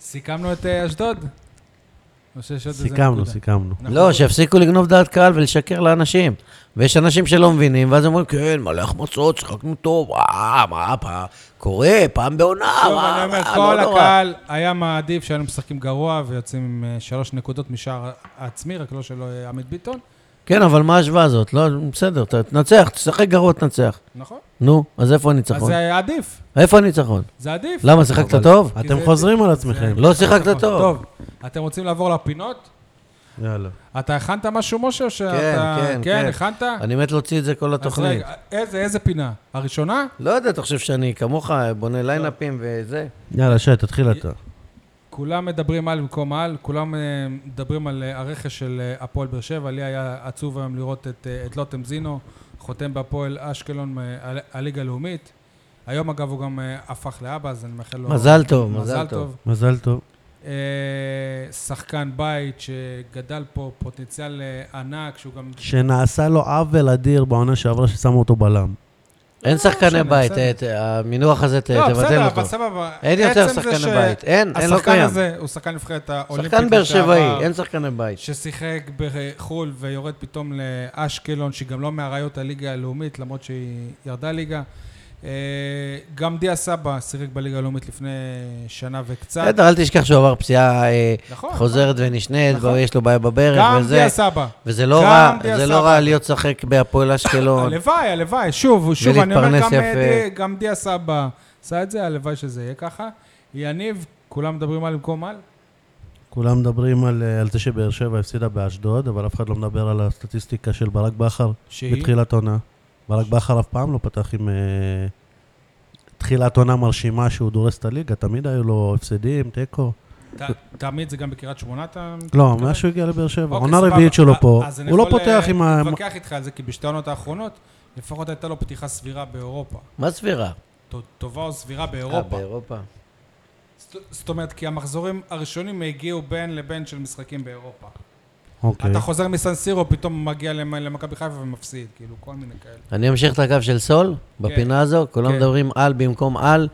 [SPEAKER 1] סיכמנו את אה, אשדוד? אני חושב שיש עוד איזה
[SPEAKER 3] סיכמנו,
[SPEAKER 1] נקודה.
[SPEAKER 3] סיכמנו.
[SPEAKER 1] נכון.
[SPEAKER 2] לא, שיפסיקו לגנוב דעת קהל ולשקר לאנשים. ויש אנשים שלא מבינים, ואז אומרים, כן, מלא החמצות, שיחקנו טוב, אה, מה, פעם, קורה, פעם בעונה,
[SPEAKER 1] שוב,
[SPEAKER 2] מה,
[SPEAKER 1] אני אומר,
[SPEAKER 2] מה,
[SPEAKER 1] כל
[SPEAKER 2] לא נורא.
[SPEAKER 1] הקהל היה מעדיף שהיינו משחקים גרוע ויוצאים עם אה, שלוש נקודות משער עצמי, רק לא של אה, עמית ביטון.
[SPEAKER 2] כן, אבל מה ההשוואה הזאת? לא, בסדר, ת- תנצח, תשחק גרוע, תנצח.
[SPEAKER 1] נכון.
[SPEAKER 2] נו, אז איפה
[SPEAKER 1] אז
[SPEAKER 2] הניצחון?
[SPEAKER 1] זה היה עדיף,
[SPEAKER 2] איפה הניצחון?
[SPEAKER 1] זה עדיף.
[SPEAKER 2] למה, שיחקת טוב?
[SPEAKER 1] כי
[SPEAKER 3] אתם
[SPEAKER 1] זה-
[SPEAKER 3] חוזרים על
[SPEAKER 1] זה- נכון.
[SPEAKER 3] עצמכם.
[SPEAKER 2] לא שיחקת טוב.
[SPEAKER 1] טוב, אתם רוצים לעבור לפינות?
[SPEAKER 3] יאללה.
[SPEAKER 1] אתה הכנת משהו, משה? או שאתה-
[SPEAKER 2] כן,
[SPEAKER 1] כן,
[SPEAKER 2] כן.
[SPEAKER 1] הכנת?
[SPEAKER 2] אני מת להוציא את זה כל
[SPEAKER 1] אז
[SPEAKER 2] התוכנית.
[SPEAKER 1] רגע, איזה, איזה פינה? הראשונה?
[SPEAKER 2] לא יודע, אתה חושב שאני כמוך בונה ליינאפים וזה?
[SPEAKER 3] יאללה, שי,
[SPEAKER 1] אה,
[SPEAKER 3] תתחיל אתה.
[SPEAKER 1] כולם מדברים על במקום על, כולם אה, מדברים על אה, הרכש של אה, הפועל באר שבע. לי היה עצוב היום לראות את, אה, את לוטם זינו, חותם בהפועל אשקלון אה, ה- הליגה הלאומית. היום, אגב, הוא גם אה, הפך לאבא, אז אני מאחל לו...
[SPEAKER 2] מזל טוב, מזל טוב.
[SPEAKER 3] מזל טוב.
[SPEAKER 1] אה, שחקן בית שגדל פה, פוטנציאל אה, ענק, שהוא גם...
[SPEAKER 3] שנעשה לו עוול אדיר בעונה שעברה ששמו אותו בלם.
[SPEAKER 2] אין שחקני
[SPEAKER 1] משנה,
[SPEAKER 2] בית,
[SPEAKER 1] בסדר.
[SPEAKER 2] את- המינוח הזה, ת-
[SPEAKER 1] לא,
[SPEAKER 2] תבטל
[SPEAKER 1] בסדר, אבל
[SPEAKER 2] אותו.
[SPEAKER 1] סבבה.
[SPEAKER 2] אין יותר
[SPEAKER 1] עצם זה
[SPEAKER 2] שחקני
[SPEAKER 1] ש-
[SPEAKER 2] בית, אין, אין, לא
[SPEAKER 1] השחקן
[SPEAKER 2] קיים.
[SPEAKER 1] הזה הוא שחקן נבחרת האולימפית.
[SPEAKER 2] שחקן באר
[SPEAKER 1] לשעבר.
[SPEAKER 2] שבעי, אין שחקני בית.
[SPEAKER 1] ששיחק בחו"ל ויורד פתאום לאשקלון, שהיא גם לא מאריות הליגה הלאומית, למרות שהיא ירדה ליגה. אה, גם דיה סבא שיחק בליגה הלאומית לפני שנה וקצת.
[SPEAKER 2] בסדר, אל תשכח שהוא עבר פציעה אה,
[SPEAKER 1] נכון.
[SPEAKER 2] חוזרת ונשנית,
[SPEAKER 1] נכון.
[SPEAKER 2] ויש לו בעיה בברך
[SPEAKER 1] גם
[SPEAKER 2] וזה,
[SPEAKER 1] דיה סבא.
[SPEAKER 2] וזה לא
[SPEAKER 1] גם
[SPEAKER 2] רע,
[SPEAKER 1] דיה
[SPEAKER 2] זה
[SPEAKER 1] סבא.
[SPEAKER 2] לא רע להיות שחק בהפועל אשקלון.
[SPEAKER 1] הלוואי, הלוואי. שוב, שוב, אני אומר,
[SPEAKER 2] ולהתפרנס
[SPEAKER 1] גם, אה,
[SPEAKER 2] יפה.
[SPEAKER 1] די- גם דיה סבא עשה את זה, הלוואי שזה יהיה ככה. יניב, כולם מדברים על במקום על?
[SPEAKER 3] כולם מדברים על, אה, על זה שבאר שבע הפסידה באשדוד, אבל אף אחד לא מדבר על הסטטיסטיקה של ברק בכר
[SPEAKER 1] שהיא?
[SPEAKER 3] בתחילת עונה. ברק בכר אף פעם לא פתח עם אה, תחילת עונה מרשימה שהוא דורס את הליגה, תמיד היו לו הפסדים, תיקו.
[SPEAKER 1] ת- תמיד זה גם בקריית שמונה אתה...
[SPEAKER 3] לא,
[SPEAKER 1] מתכוון?
[SPEAKER 3] מאז שהוא הגיע לבאר שבע,
[SPEAKER 1] אוקיי,
[SPEAKER 3] עונה
[SPEAKER 1] סבבה.
[SPEAKER 3] רביעית שלו
[SPEAKER 1] א-
[SPEAKER 3] פה,
[SPEAKER 1] אז אני
[SPEAKER 3] הוא לא
[SPEAKER 1] יכול,
[SPEAKER 3] פותח
[SPEAKER 1] אה,
[SPEAKER 3] עם ה...
[SPEAKER 1] להתווכח איתך על זה, כי בשתי העונות האחרונות, לפחות הייתה לו פתיחה סבירה באירופה.
[SPEAKER 2] מה סבירה?
[SPEAKER 1] ט- טובה או סבירה
[SPEAKER 2] אה,
[SPEAKER 1] באירופה.
[SPEAKER 2] באירופה.
[SPEAKER 1] זאת- זאת אומרת, כי המחזורים הראשונים הגיעו בין לבין של משחקים באירופה.
[SPEAKER 3] אוקיי.
[SPEAKER 1] אתה חוזר מסנסירו, פתאום מגיע למ- למכבי חיפה ומפסיד, כאילו, כל מיני כאלה.
[SPEAKER 2] אני אמשיך את הקו של סול, בפינה הזו, כולם
[SPEAKER 1] כן.
[SPEAKER 2] מדברים על במקום על,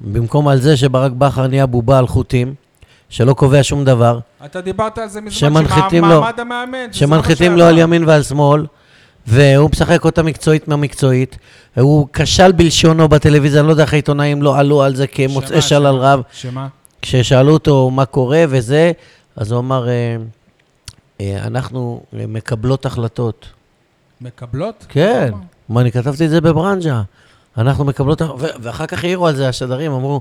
[SPEAKER 2] במקום על זה שברק בכר נהיה בובה על חוטים, שלא קובע שום דבר,
[SPEAKER 1] אתה דיברת על זה מזמן,
[SPEAKER 2] שמנחיתים
[SPEAKER 1] שמע-
[SPEAKER 2] לו-
[SPEAKER 1] מעמד המאמן. שזה
[SPEAKER 2] שמנחיתים
[SPEAKER 1] מה
[SPEAKER 2] לו
[SPEAKER 1] שהיה.
[SPEAKER 2] על ימין ועל שמאל, והוא משחק אותה מקצועית מהמקצועית, הוא כשל בלשונו בטלוויזיה, אני לא יודע איך העיתונאים לא עלו על זה
[SPEAKER 1] שמה,
[SPEAKER 2] כמוצאי שלל
[SPEAKER 1] שמה.
[SPEAKER 2] רב,
[SPEAKER 1] שמה?
[SPEAKER 2] כששאלו אותו מה קורה וזה, אז הוא אמר, "אה, אה, אנחנו אה, מקבלות החלטות.
[SPEAKER 1] מקבלות?
[SPEAKER 2] כן, מה, אני כתבתי את זה בברנז'ה. אנחנו מקבלות, ו- ואחר כך העירו על זה השדרים, אמרו,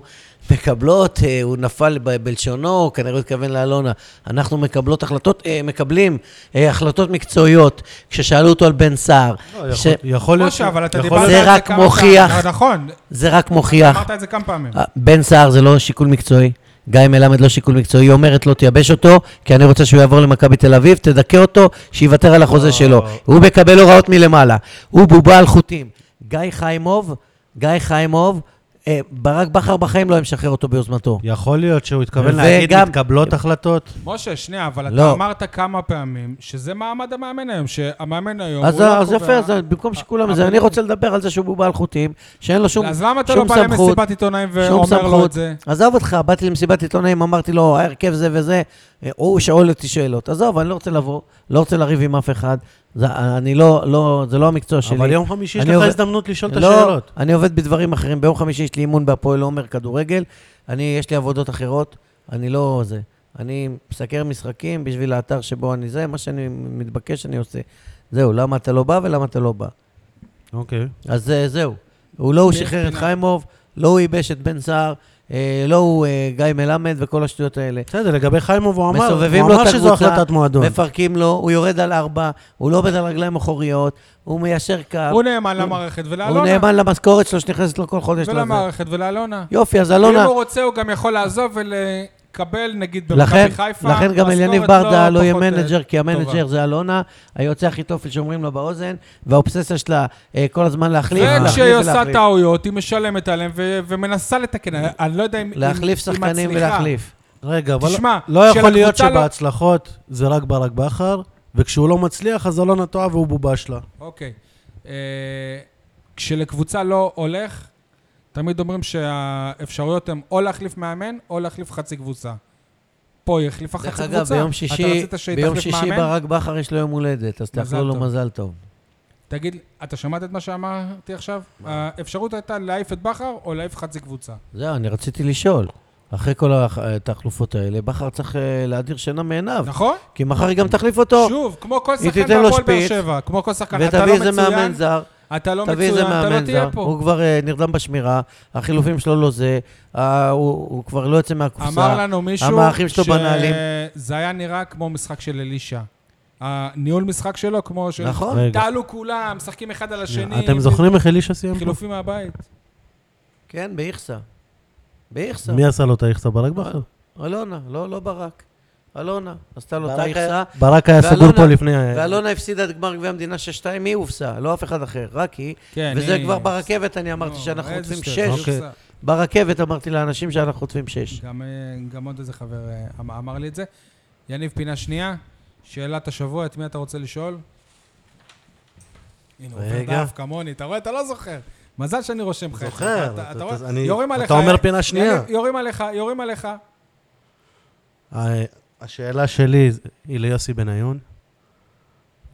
[SPEAKER 2] מקבלות, אה, הוא נפל ב- בלשונו, כנראה הוא התכוון לאלונה. אנחנו מקבלות החלטות, אה, מקבלים אה, החלטות מקצועיות. כששאלו אותו על בן סער,
[SPEAKER 3] לא, יכול-
[SPEAKER 2] ש-
[SPEAKER 3] יכול להיות...
[SPEAKER 1] משה, אבל אתה
[SPEAKER 3] יכול
[SPEAKER 1] דיברת על
[SPEAKER 3] להיות-
[SPEAKER 1] זה
[SPEAKER 2] זה רק
[SPEAKER 1] כמה
[SPEAKER 2] מוכיח-
[SPEAKER 1] פעמים. נכון,
[SPEAKER 2] זה רק מוכיח.
[SPEAKER 1] אמרת את זה כמה פעמים.
[SPEAKER 2] אה, בן סער זה לא שיקול מקצועי. גיא מלמד לא שיקול מקצועי, היא אומרת לא תייבש אותו, כי אני רוצה שהוא יעבור למכבי תל אביב, תדכא אותו, שיוותר על החוזה
[SPEAKER 3] לא.
[SPEAKER 1] אה.
[SPEAKER 2] שלו. הוא מקבל הוראות מלמעלה. הוא בובה על חוטים. גיא חיימוב, גיא חיימוב, אה, ברק בכר בחיים לא היה משחרר אותו ביוזמתו.
[SPEAKER 3] יכול להיות שהוא התכוון
[SPEAKER 2] וגם-
[SPEAKER 3] להגיד, מתקבלות החלטות?
[SPEAKER 1] משה, שנייה, אבל אתה
[SPEAKER 2] לא.
[SPEAKER 1] אמרת כמה פעמים שזה מעמד המאמן היום, שהמאמן היום...
[SPEAKER 2] אז
[SPEAKER 1] הוא לא
[SPEAKER 2] אז
[SPEAKER 1] קובע-
[SPEAKER 2] יפה, אז במקום שכולם זה,
[SPEAKER 1] אבל-
[SPEAKER 2] אני רוצה לדבר על זה שהוא בובה על חוטים, שאין לו שום
[SPEAKER 1] אז למה אתה לא
[SPEAKER 2] שום
[SPEAKER 1] בא
[SPEAKER 2] סמכות,
[SPEAKER 1] למסיבת עיתונאים
[SPEAKER 2] שום
[SPEAKER 1] ואומר לו את
[SPEAKER 2] סמכות.
[SPEAKER 1] זה?
[SPEAKER 2] עזוב אותך, באתי למסיבת עיתונאים, אמרתי לו, ההרכב זה וזה, אה, הוא שאול אותי שאלות. עזוב, אני לא רוצה לבוא, לא רוצה לריב עם אף אחד, זה, אני לא, לא, זה לא המקצוע שלי.
[SPEAKER 3] אבל יום חמישי יש
[SPEAKER 2] אני
[SPEAKER 3] לך
[SPEAKER 2] עובד-
[SPEAKER 3] הזדמנות לשאול את
[SPEAKER 2] לא,
[SPEAKER 3] השאלות.
[SPEAKER 2] אני עובד בדברים אחרים. ביום חמישי יש לי אימון בהפועל עומר כדורגל, אני, יש לי עבודות אחרות, אני לא זה. אני מסקר משחקים בשביל האתר שבו אני זה, מה שאני מתבקש אני עושה. זהו, למה אתה לא בא ולמה אתה לא בא.
[SPEAKER 3] אוקיי.
[SPEAKER 2] אז אה, זהו. הוא לא הוא
[SPEAKER 1] יש
[SPEAKER 2] שחרר את
[SPEAKER 1] פינה.
[SPEAKER 2] חיימוב, לא הוא ייבש את בן סער, אה, לא הוא אה, גיא מלמד וכל השטויות האלה.
[SPEAKER 3] בסדר, לגבי חיימוב הוא אמר, הוא
[SPEAKER 2] מסובבים לו
[SPEAKER 3] אמר
[SPEAKER 2] את
[SPEAKER 3] שזו
[SPEAKER 2] הקבוצה,
[SPEAKER 3] החלטת מועדון.
[SPEAKER 2] מפרקים לו, הוא יורד על ארבע, הוא לא עובד על רגליים אחוריות, הוא מיישר קו,
[SPEAKER 1] הוא נאמן למערכת
[SPEAKER 2] אה, הוא
[SPEAKER 1] ולאלונה.
[SPEAKER 2] נאמן למשכורת שלו שנכנסת לו כל חודש. לזה.
[SPEAKER 1] ולמערכת ולאלונה.
[SPEAKER 2] יופי, אז
[SPEAKER 1] אם
[SPEAKER 2] אלונה,
[SPEAKER 1] כאילו הוא רוצה, הוא גם יכול לעזוב ולקבל, נגיד,
[SPEAKER 2] לכן,
[SPEAKER 1] במכבי חיפה.
[SPEAKER 2] לכן גם אליניב
[SPEAKER 1] משכורת
[SPEAKER 2] ברדה לא יהיה
[SPEAKER 1] פחות, אה,
[SPEAKER 2] מנג'ר, כי
[SPEAKER 1] טובה.
[SPEAKER 2] המנג'ר זה אלונה, היוצא הכי טוב שאומרים לו באוזן, והאובססיה שלה אה, כל הזמן להחליף, להחליף
[SPEAKER 1] וכשהיא כן, עושה
[SPEAKER 2] ולהחליף.
[SPEAKER 1] טעויות, היא משלמת עליהם ו- ומנסה לתקן. אני- אני לא יודע אם אם-
[SPEAKER 2] להחליף
[SPEAKER 1] אם
[SPEAKER 2] שחקנים
[SPEAKER 1] מצליחה.
[SPEAKER 2] ולהחליף.
[SPEAKER 3] רגע, אבל
[SPEAKER 1] תשמע,
[SPEAKER 3] לא יכול
[SPEAKER 1] שלקבוצה
[SPEAKER 3] להיות
[SPEAKER 1] לא-
[SPEAKER 3] שבהצלחות זה רק ברק בכר, וכשהוא לא מצליח אז אלונה טועה והוא בובה שלה.
[SPEAKER 1] אוקיי. אה, כשלקבוצה לא הולך, תמיד אומרים שהאפשרויות הן או להחליף מאמן או להחליף חצי קבוצה. פה היא החליפה חצי
[SPEAKER 2] דרך
[SPEAKER 1] קבוצה.
[SPEAKER 2] אגב, ביום
[SPEAKER 1] אתה
[SPEAKER 2] שישי,
[SPEAKER 1] רצית שהיא
[SPEAKER 2] ביום
[SPEAKER 1] תחליף
[SPEAKER 2] שישי
[SPEAKER 1] מאמן?
[SPEAKER 2] ברק בכר יש לו יום הולדת, אז
[SPEAKER 1] מזל
[SPEAKER 2] תאכלו לו
[SPEAKER 1] טוב.
[SPEAKER 2] מזל טוב.
[SPEAKER 1] תגיד, אתה שמעת את מה שאמרתי עכשיו? האפשרות הייתה להעיף את בכר או להעיף חצי קבוצה.
[SPEAKER 2] זהו, אני רציתי לשאול. אחרי כל הח- התחלופות האלה, בכר צריך אה, להדיר שינה מעיניו.
[SPEAKER 1] נכון?
[SPEAKER 2] כי מחר היא גם תחליף אותו.
[SPEAKER 1] שוב, כמו כל
[SPEAKER 2] היא
[SPEAKER 1] שחקן
[SPEAKER 2] תיתן לו
[SPEAKER 1] בהפועל באר
[SPEAKER 2] שפיץ,
[SPEAKER 1] שבע, כמו כל שחקן, אתה
[SPEAKER 2] ותביא
[SPEAKER 1] לא
[SPEAKER 2] איזה מאמן
[SPEAKER 1] מצוין,
[SPEAKER 2] זר,
[SPEAKER 1] אתה לא
[SPEAKER 2] תביא איזה
[SPEAKER 1] מצוין, אתה לא
[SPEAKER 2] מאמן זר.
[SPEAKER 1] תהיה פה.
[SPEAKER 2] הוא כבר אה, נרדם בשמירה, החילופים שלו לא זה, אה, הוא הוא כבר לא יוצא
[SPEAKER 1] אמר
[SPEAKER 2] מהקופסה.
[SPEAKER 1] לנו מישהו
[SPEAKER 2] המאחים שלו בנהלים.
[SPEAKER 1] שזה היה נראה כמו משחק של אלישע. הניהול משחק שלו כמו של...
[SPEAKER 2] נכון.
[SPEAKER 3] רגע.
[SPEAKER 1] תעלו כולם, משחקים אחד על השני.
[SPEAKER 3] אתם זוכרים איך אלישע סיים? פה?
[SPEAKER 1] חילופים מהבית.
[SPEAKER 2] כן, באיכסה. באיכסה.
[SPEAKER 3] מי עשה לו את האיכסה? ברק בכר?
[SPEAKER 2] אלונה, לא, לא ברק. אלונה, לא עשתה לו את
[SPEAKER 3] ברק
[SPEAKER 2] האיכסה,
[SPEAKER 3] ברק היה
[SPEAKER 2] ואלונה-
[SPEAKER 3] סגור פה לפני... ה-
[SPEAKER 2] ואלונה הפסידה את גמר גביע המדינה 6-2, היא הופסה, לא אף אחד אחר, רק היא.
[SPEAKER 1] כן,
[SPEAKER 2] וזה
[SPEAKER 1] אני-
[SPEAKER 2] כבר ברכבת, אני אמרתי
[SPEAKER 1] לא,
[SPEAKER 2] שאנחנו
[SPEAKER 1] איזה
[SPEAKER 2] חוטפים
[SPEAKER 1] שטויות.
[SPEAKER 2] 6.
[SPEAKER 3] אוקיי.
[SPEAKER 2] ברכבת אמרתי לאנשים שאנחנו חוטפים 6.
[SPEAKER 1] גם, אה, גם עוד איזה חבר אה, אמ- אמר לי את זה. יניב, פינה שנייה, שאלת השבוע, את מי אתה רוצה לשאול? הנה, הוא עובר
[SPEAKER 3] רגע.
[SPEAKER 1] דף כמוני, אתה רואה? אתה לא זוכר. מזל שאני רושם לך. את זה.
[SPEAKER 3] זוכר,
[SPEAKER 1] אתה-
[SPEAKER 3] אתה-
[SPEAKER 1] אתה רואה?
[SPEAKER 3] אתה- אני-
[SPEAKER 1] יורים
[SPEAKER 3] אתה
[SPEAKER 1] עליך.
[SPEAKER 3] אומר
[SPEAKER 1] אה,
[SPEAKER 3] פינה שנייה.
[SPEAKER 1] יניב, יורים עליך, יורים עליך.
[SPEAKER 3] ה- אה, השאלה שלי היא ליוסי בניון.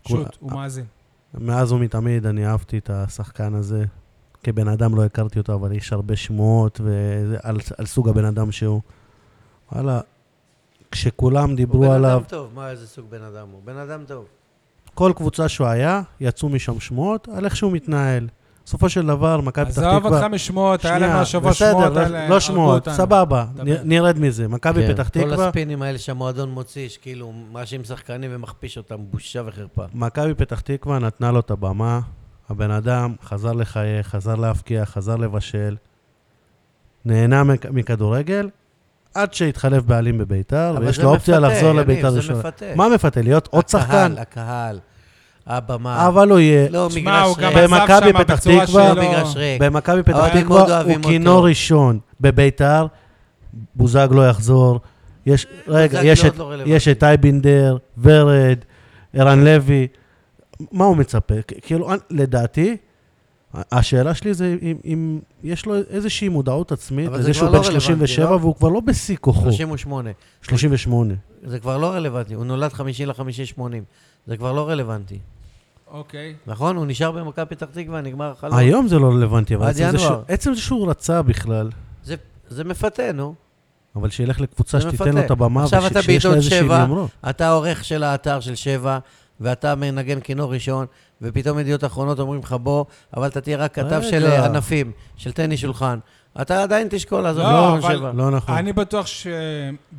[SPEAKER 1] שוט,
[SPEAKER 3] אה,
[SPEAKER 1] הוא מאזין.
[SPEAKER 3] מאז ומתמיד אני אהבתי את השחקן הזה. כבן אדם לא הכרתי אותו, אבל יש הרבה שמועות וזה- על, על סוג הבן אדם שהוא. וואלה, כשכולם דיברו
[SPEAKER 2] הוא בן
[SPEAKER 3] עליו,
[SPEAKER 2] אדם טוב, מה, איזה סוג בן אדם הוא? בן אדם טוב.
[SPEAKER 3] כל קבוצה שהוא היה, יצאו משם שמועות על איך שהוא מתנהל. בסופו של דבר, מכבי פתח תקווה...
[SPEAKER 1] עזוב אותך משמועות, היה לנו השבוע
[SPEAKER 3] בסדר,
[SPEAKER 1] שמועות.
[SPEAKER 3] לא-
[SPEAKER 1] על- אה, הרגו
[SPEAKER 3] לא שמועות,
[SPEAKER 1] אותנו.
[SPEAKER 3] סבבה,
[SPEAKER 1] דבר.
[SPEAKER 3] נ- נרד מזה. מכבי
[SPEAKER 2] כן,
[SPEAKER 3] פתח
[SPEAKER 2] כל
[SPEAKER 3] תקווה,
[SPEAKER 2] הספינים האלה שהמועדון מוציא, שכאילו הוא מאשים שחקנים ומכפיש אותם, בושה וחרפה.
[SPEAKER 3] מכבי פתח תקווה נתנה לו את הבמה, הבן אדם חזר לחייך, חזר להבקיע, חזר לבשל, נהנה מכ- מכדורגל, עד שהתחלף בעלים בביתר,
[SPEAKER 2] אבל
[SPEAKER 3] ויש
[SPEAKER 2] זה
[SPEAKER 3] לו אופציה
[SPEAKER 2] מפתה,
[SPEAKER 3] לחזור
[SPEAKER 2] יניב,
[SPEAKER 3] לביתר
[SPEAKER 2] זה
[SPEAKER 3] ראשונה.
[SPEAKER 2] מפתה.
[SPEAKER 3] מה מפתה? להיות עוד שחקן?
[SPEAKER 2] הקהל, הקהל, הבמה.
[SPEAKER 3] אבל הוא יהיה...
[SPEAKER 2] לא,
[SPEAKER 1] תשמע,
[SPEAKER 2] מגרש
[SPEAKER 1] הוא גם
[SPEAKER 2] ריק.
[SPEAKER 3] עזב במכבי
[SPEAKER 1] עזב שם
[SPEAKER 3] אה, פתח
[SPEAKER 1] בצורה
[SPEAKER 3] תקווה,
[SPEAKER 1] שלא...
[SPEAKER 2] לא מגרש ריק.
[SPEAKER 3] במכבי פתח
[SPEAKER 2] אבל הם מאוד
[SPEAKER 3] תקווה
[SPEAKER 2] אוהבים
[SPEAKER 3] הוא כינור
[SPEAKER 2] אותו.
[SPEAKER 3] ראשון בביתר, בוזגלו יחזור. יש, רגע,
[SPEAKER 2] בוזגלו
[SPEAKER 3] יש
[SPEAKER 2] עוד
[SPEAKER 3] את-
[SPEAKER 2] לא רלוונטי.
[SPEAKER 3] יש את אייבינדר, ורד, ערן לוי. מה הוא מצפה? כ- כאילו, אני- לדעתי, ה- השאלה שלי זה אם, אם יש לו איזושהי מודעות עצמית,
[SPEAKER 2] אבל זה כבר
[SPEAKER 3] לזה שהוא
[SPEAKER 2] לא
[SPEAKER 3] בן
[SPEAKER 2] רלוונטי,
[SPEAKER 3] 37
[SPEAKER 2] לא?
[SPEAKER 3] והוא כבר לא בשיא כוחו,
[SPEAKER 2] 38.
[SPEAKER 3] 38.
[SPEAKER 2] זה כבר לא רלוונטי, הוא נולד חמישי לחמישי 80. זה כבר לא רלוונטי.
[SPEAKER 1] אוקיי.
[SPEAKER 2] נכון? הוא נשאר במכבי פתח תקווה, נגמר החלום.
[SPEAKER 3] היום זה לא רלוונטי, אבל
[SPEAKER 2] עד
[SPEAKER 3] עצם זה
[SPEAKER 2] ינואר.
[SPEAKER 3] שהוא- עצם זה שהוא רצה בכלל,
[SPEAKER 2] זה- זה מפתה, נו.
[SPEAKER 3] אבל שילך לקבוצה
[SPEAKER 2] זה
[SPEAKER 3] שתיתן
[SPEAKER 2] מפתה.
[SPEAKER 3] לו את הבמה,
[SPEAKER 2] עכשיו
[SPEAKER 3] וש-
[SPEAKER 2] אתה
[SPEAKER 3] שיש לה
[SPEAKER 2] בעיתון
[SPEAKER 3] איזושהי
[SPEAKER 2] שבע.
[SPEAKER 3] יומרות.
[SPEAKER 2] אתה העורך של האתר של שבע, ואתה מנגן כינור ראשון, ופתאום ידיעות אחרונות אומרים לך בוא, אבל אתה תהיה רק כתב
[SPEAKER 3] רגע.
[SPEAKER 2] של אה, ענפים, של טניס שולחן. אתה עדיין תשקול לעזוב
[SPEAKER 1] לא,
[SPEAKER 2] לא,
[SPEAKER 1] אבל-
[SPEAKER 2] שבע.
[SPEAKER 3] לא נכון.
[SPEAKER 1] אני בטוח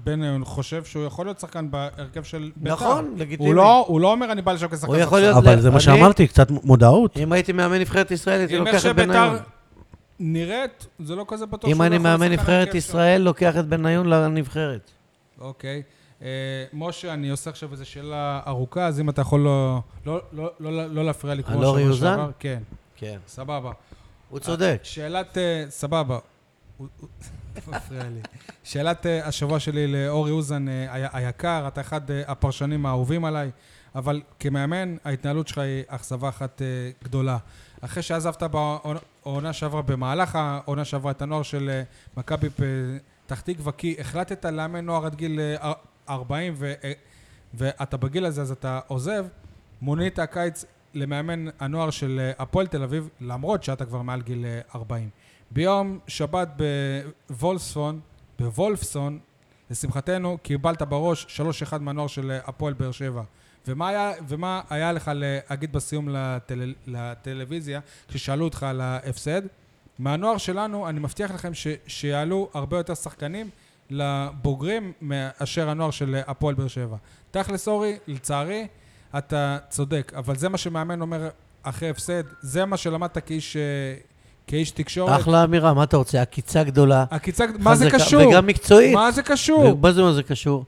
[SPEAKER 1] שבן חושב שהוא יכול להיות שחקן בהרכב של בית"ר.
[SPEAKER 2] נכון, לגיטימי.
[SPEAKER 1] הוא לא, הוא לא אומר, אני בא לשחק כשחקן
[SPEAKER 2] הוא יכול
[SPEAKER 1] ספסל."
[SPEAKER 2] להיות-
[SPEAKER 3] אבל זה מה
[SPEAKER 2] אני-
[SPEAKER 3] שאמרתי, קצת מודעות.
[SPEAKER 2] אם הייתי מאמן נבחרת ישראל, הייתי
[SPEAKER 3] לא
[SPEAKER 1] אם
[SPEAKER 2] לוקח
[SPEAKER 1] איך
[SPEAKER 2] את בניון.
[SPEAKER 1] שביתר נראית, זה לא כזה בטוח שהוא
[SPEAKER 2] אם
[SPEAKER 1] לא
[SPEAKER 2] אני
[SPEAKER 1] יכול
[SPEAKER 2] מאמן
[SPEAKER 1] לשחק על
[SPEAKER 2] נבחרת
[SPEAKER 1] ההרכב
[SPEAKER 2] ישראל, לוקח את בניון לנבחרת.
[SPEAKER 1] שלו. אוקיי. אה, משה, אני עושה עכשיו איזו שאלה ארוכה, אז אם אתה יכול לא- לא- לא- לא לא להפריע לי כמו
[SPEAKER 2] על אורי
[SPEAKER 1] שבוע
[SPEAKER 2] אוזן?
[SPEAKER 1] שעבר. כן,
[SPEAKER 2] כן.
[SPEAKER 1] סבבה.
[SPEAKER 2] הוא צודק.
[SPEAKER 1] שאלת, אה, סבבה. הוא- הוא- *laughs* הוא מפריע לי. שאלת אה, השבוע שלי לאורי אוזן אה, הי- היקר, אתה אחד אה, הפרשנים האהובים עליי, אבל כמאמן ההתנהלות שלך היא אכזבה אחת אה, גדולה. אחרי שעזבת בעונה שעברה, במהלך העונה שעברה את הנוער של אה, מכבי פתח תקווה, כי החלטת לאמן נוער עד גיל אה, 40 ו- אה, ואתה בגיל הזה אז אתה עוזב, מונית הקיץ למאמן הנוער של אה, הפועל תל אביב, למרות שאתה כבר מעל גיל אה, 40. ביום שבת בוולפסון, בוולפסון, לשמחתנו, קיבלת בראש 3-1 מהנוער של אה, הפועל באר שבע. ומה היה, ומה היה לך להגיד בסיום לטל, לטלוויזיה, כששאלו אותך על ההפסד? מהנוער שלנו, אני מבטיח לכם ש, שיעלו הרבה יותר שחקנים לבוגרים מאשר הנוער של אה, הפועל באר שבע. תכלס אורי, לצערי, אתה צודק, אבל זה מה שמאמן אומר אחרי הפסד, זה מה שלמדת כאיש, אה, כאיש תקשורת.
[SPEAKER 2] אחלה אמירה, מה אתה רוצה? עקיצה גדולה.
[SPEAKER 1] עקיצה, מה זה
[SPEAKER 2] חזקה-
[SPEAKER 1] קשור?
[SPEAKER 2] וגם מקצועית.
[SPEAKER 1] מה זה קשור?
[SPEAKER 2] מה זה מה זה קשור?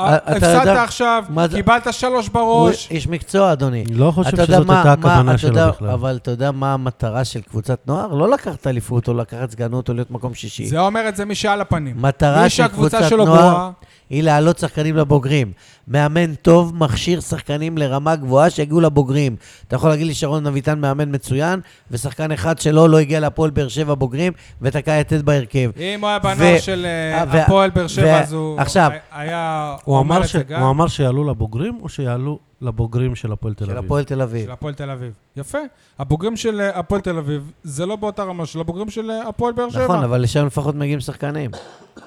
[SPEAKER 1] אה,
[SPEAKER 2] אתה
[SPEAKER 1] הפסדת
[SPEAKER 2] יודע-
[SPEAKER 1] עכשיו,
[SPEAKER 2] מה זה-
[SPEAKER 1] קיבלת שלוש
[SPEAKER 2] הוא
[SPEAKER 1] בראש.
[SPEAKER 2] איש מקצוע, אדוני.
[SPEAKER 3] אני לא חושב
[SPEAKER 2] אתה יודע
[SPEAKER 3] שזאת
[SPEAKER 2] מה-
[SPEAKER 3] הייתה
[SPEAKER 2] מה-
[SPEAKER 3] הכוונה
[SPEAKER 2] אתה
[SPEAKER 3] שלו
[SPEAKER 2] יודע-
[SPEAKER 3] בכלל.
[SPEAKER 2] אבל אתה יודע מה המטרה של קבוצת נוער? לא לקחת אליפות או לקחת סגנות או להיות מקום שישי.
[SPEAKER 1] זה אומר את זה מי שעל הפנים.
[SPEAKER 2] מטרה
[SPEAKER 1] מי
[SPEAKER 2] של
[SPEAKER 1] שהקבוצה
[SPEAKER 2] קבוצת
[SPEAKER 1] שלו
[SPEAKER 2] נוער
[SPEAKER 1] גרועה.
[SPEAKER 2] היא להעלות שחקנים לבוגרים. מאמן טוב מכשיר שחקנים לרמה גבוהה שיגיעו לבוגרים. אתה יכול להגיד לי שרון אביטן מאמן מצוין, ושחקן אחד שלו לא הגיע להפועל באר שבע בוגרים, ותקע יתד בהרכב.
[SPEAKER 1] אם הוא היה בנוער
[SPEAKER 2] ו-
[SPEAKER 1] של
[SPEAKER 2] אה,
[SPEAKER 1] אה,
[SPEAKER 2] ו-
[SPEAKER 1] הפועל באר שבע,
[SPEAKER 2] ו-
[SPEAKER 1] אז הוא
[SPEAKER 2] עכשיו,
[SPEAKER 1] היה
[SPEAKER 3] הוא אמר
[SPEAKER 1] את
[SPEAKER 3] ש-
[SPEAKER 1] זה גם
[SPEAKER 3] הוא אמר שיעלו לבוגרים, או שיעלו לבוגרים של הפועל תל
[SPEAKER 2] של
[SPEAKER 3] אביב?
[SPEAKER 2] הפועל תל אביב.
[SPEAKER 1] של הפועל תל אביב. יפה. הבוגרים של אה, הפועל תל אביב, זה לא באותה רמה של הבוגרים של אה, הפועל באר שבע.
[SPEAKER 2] נכון, אבל לשם לפחות מגיעים שחקנים.
[SPEAKER 3] כן,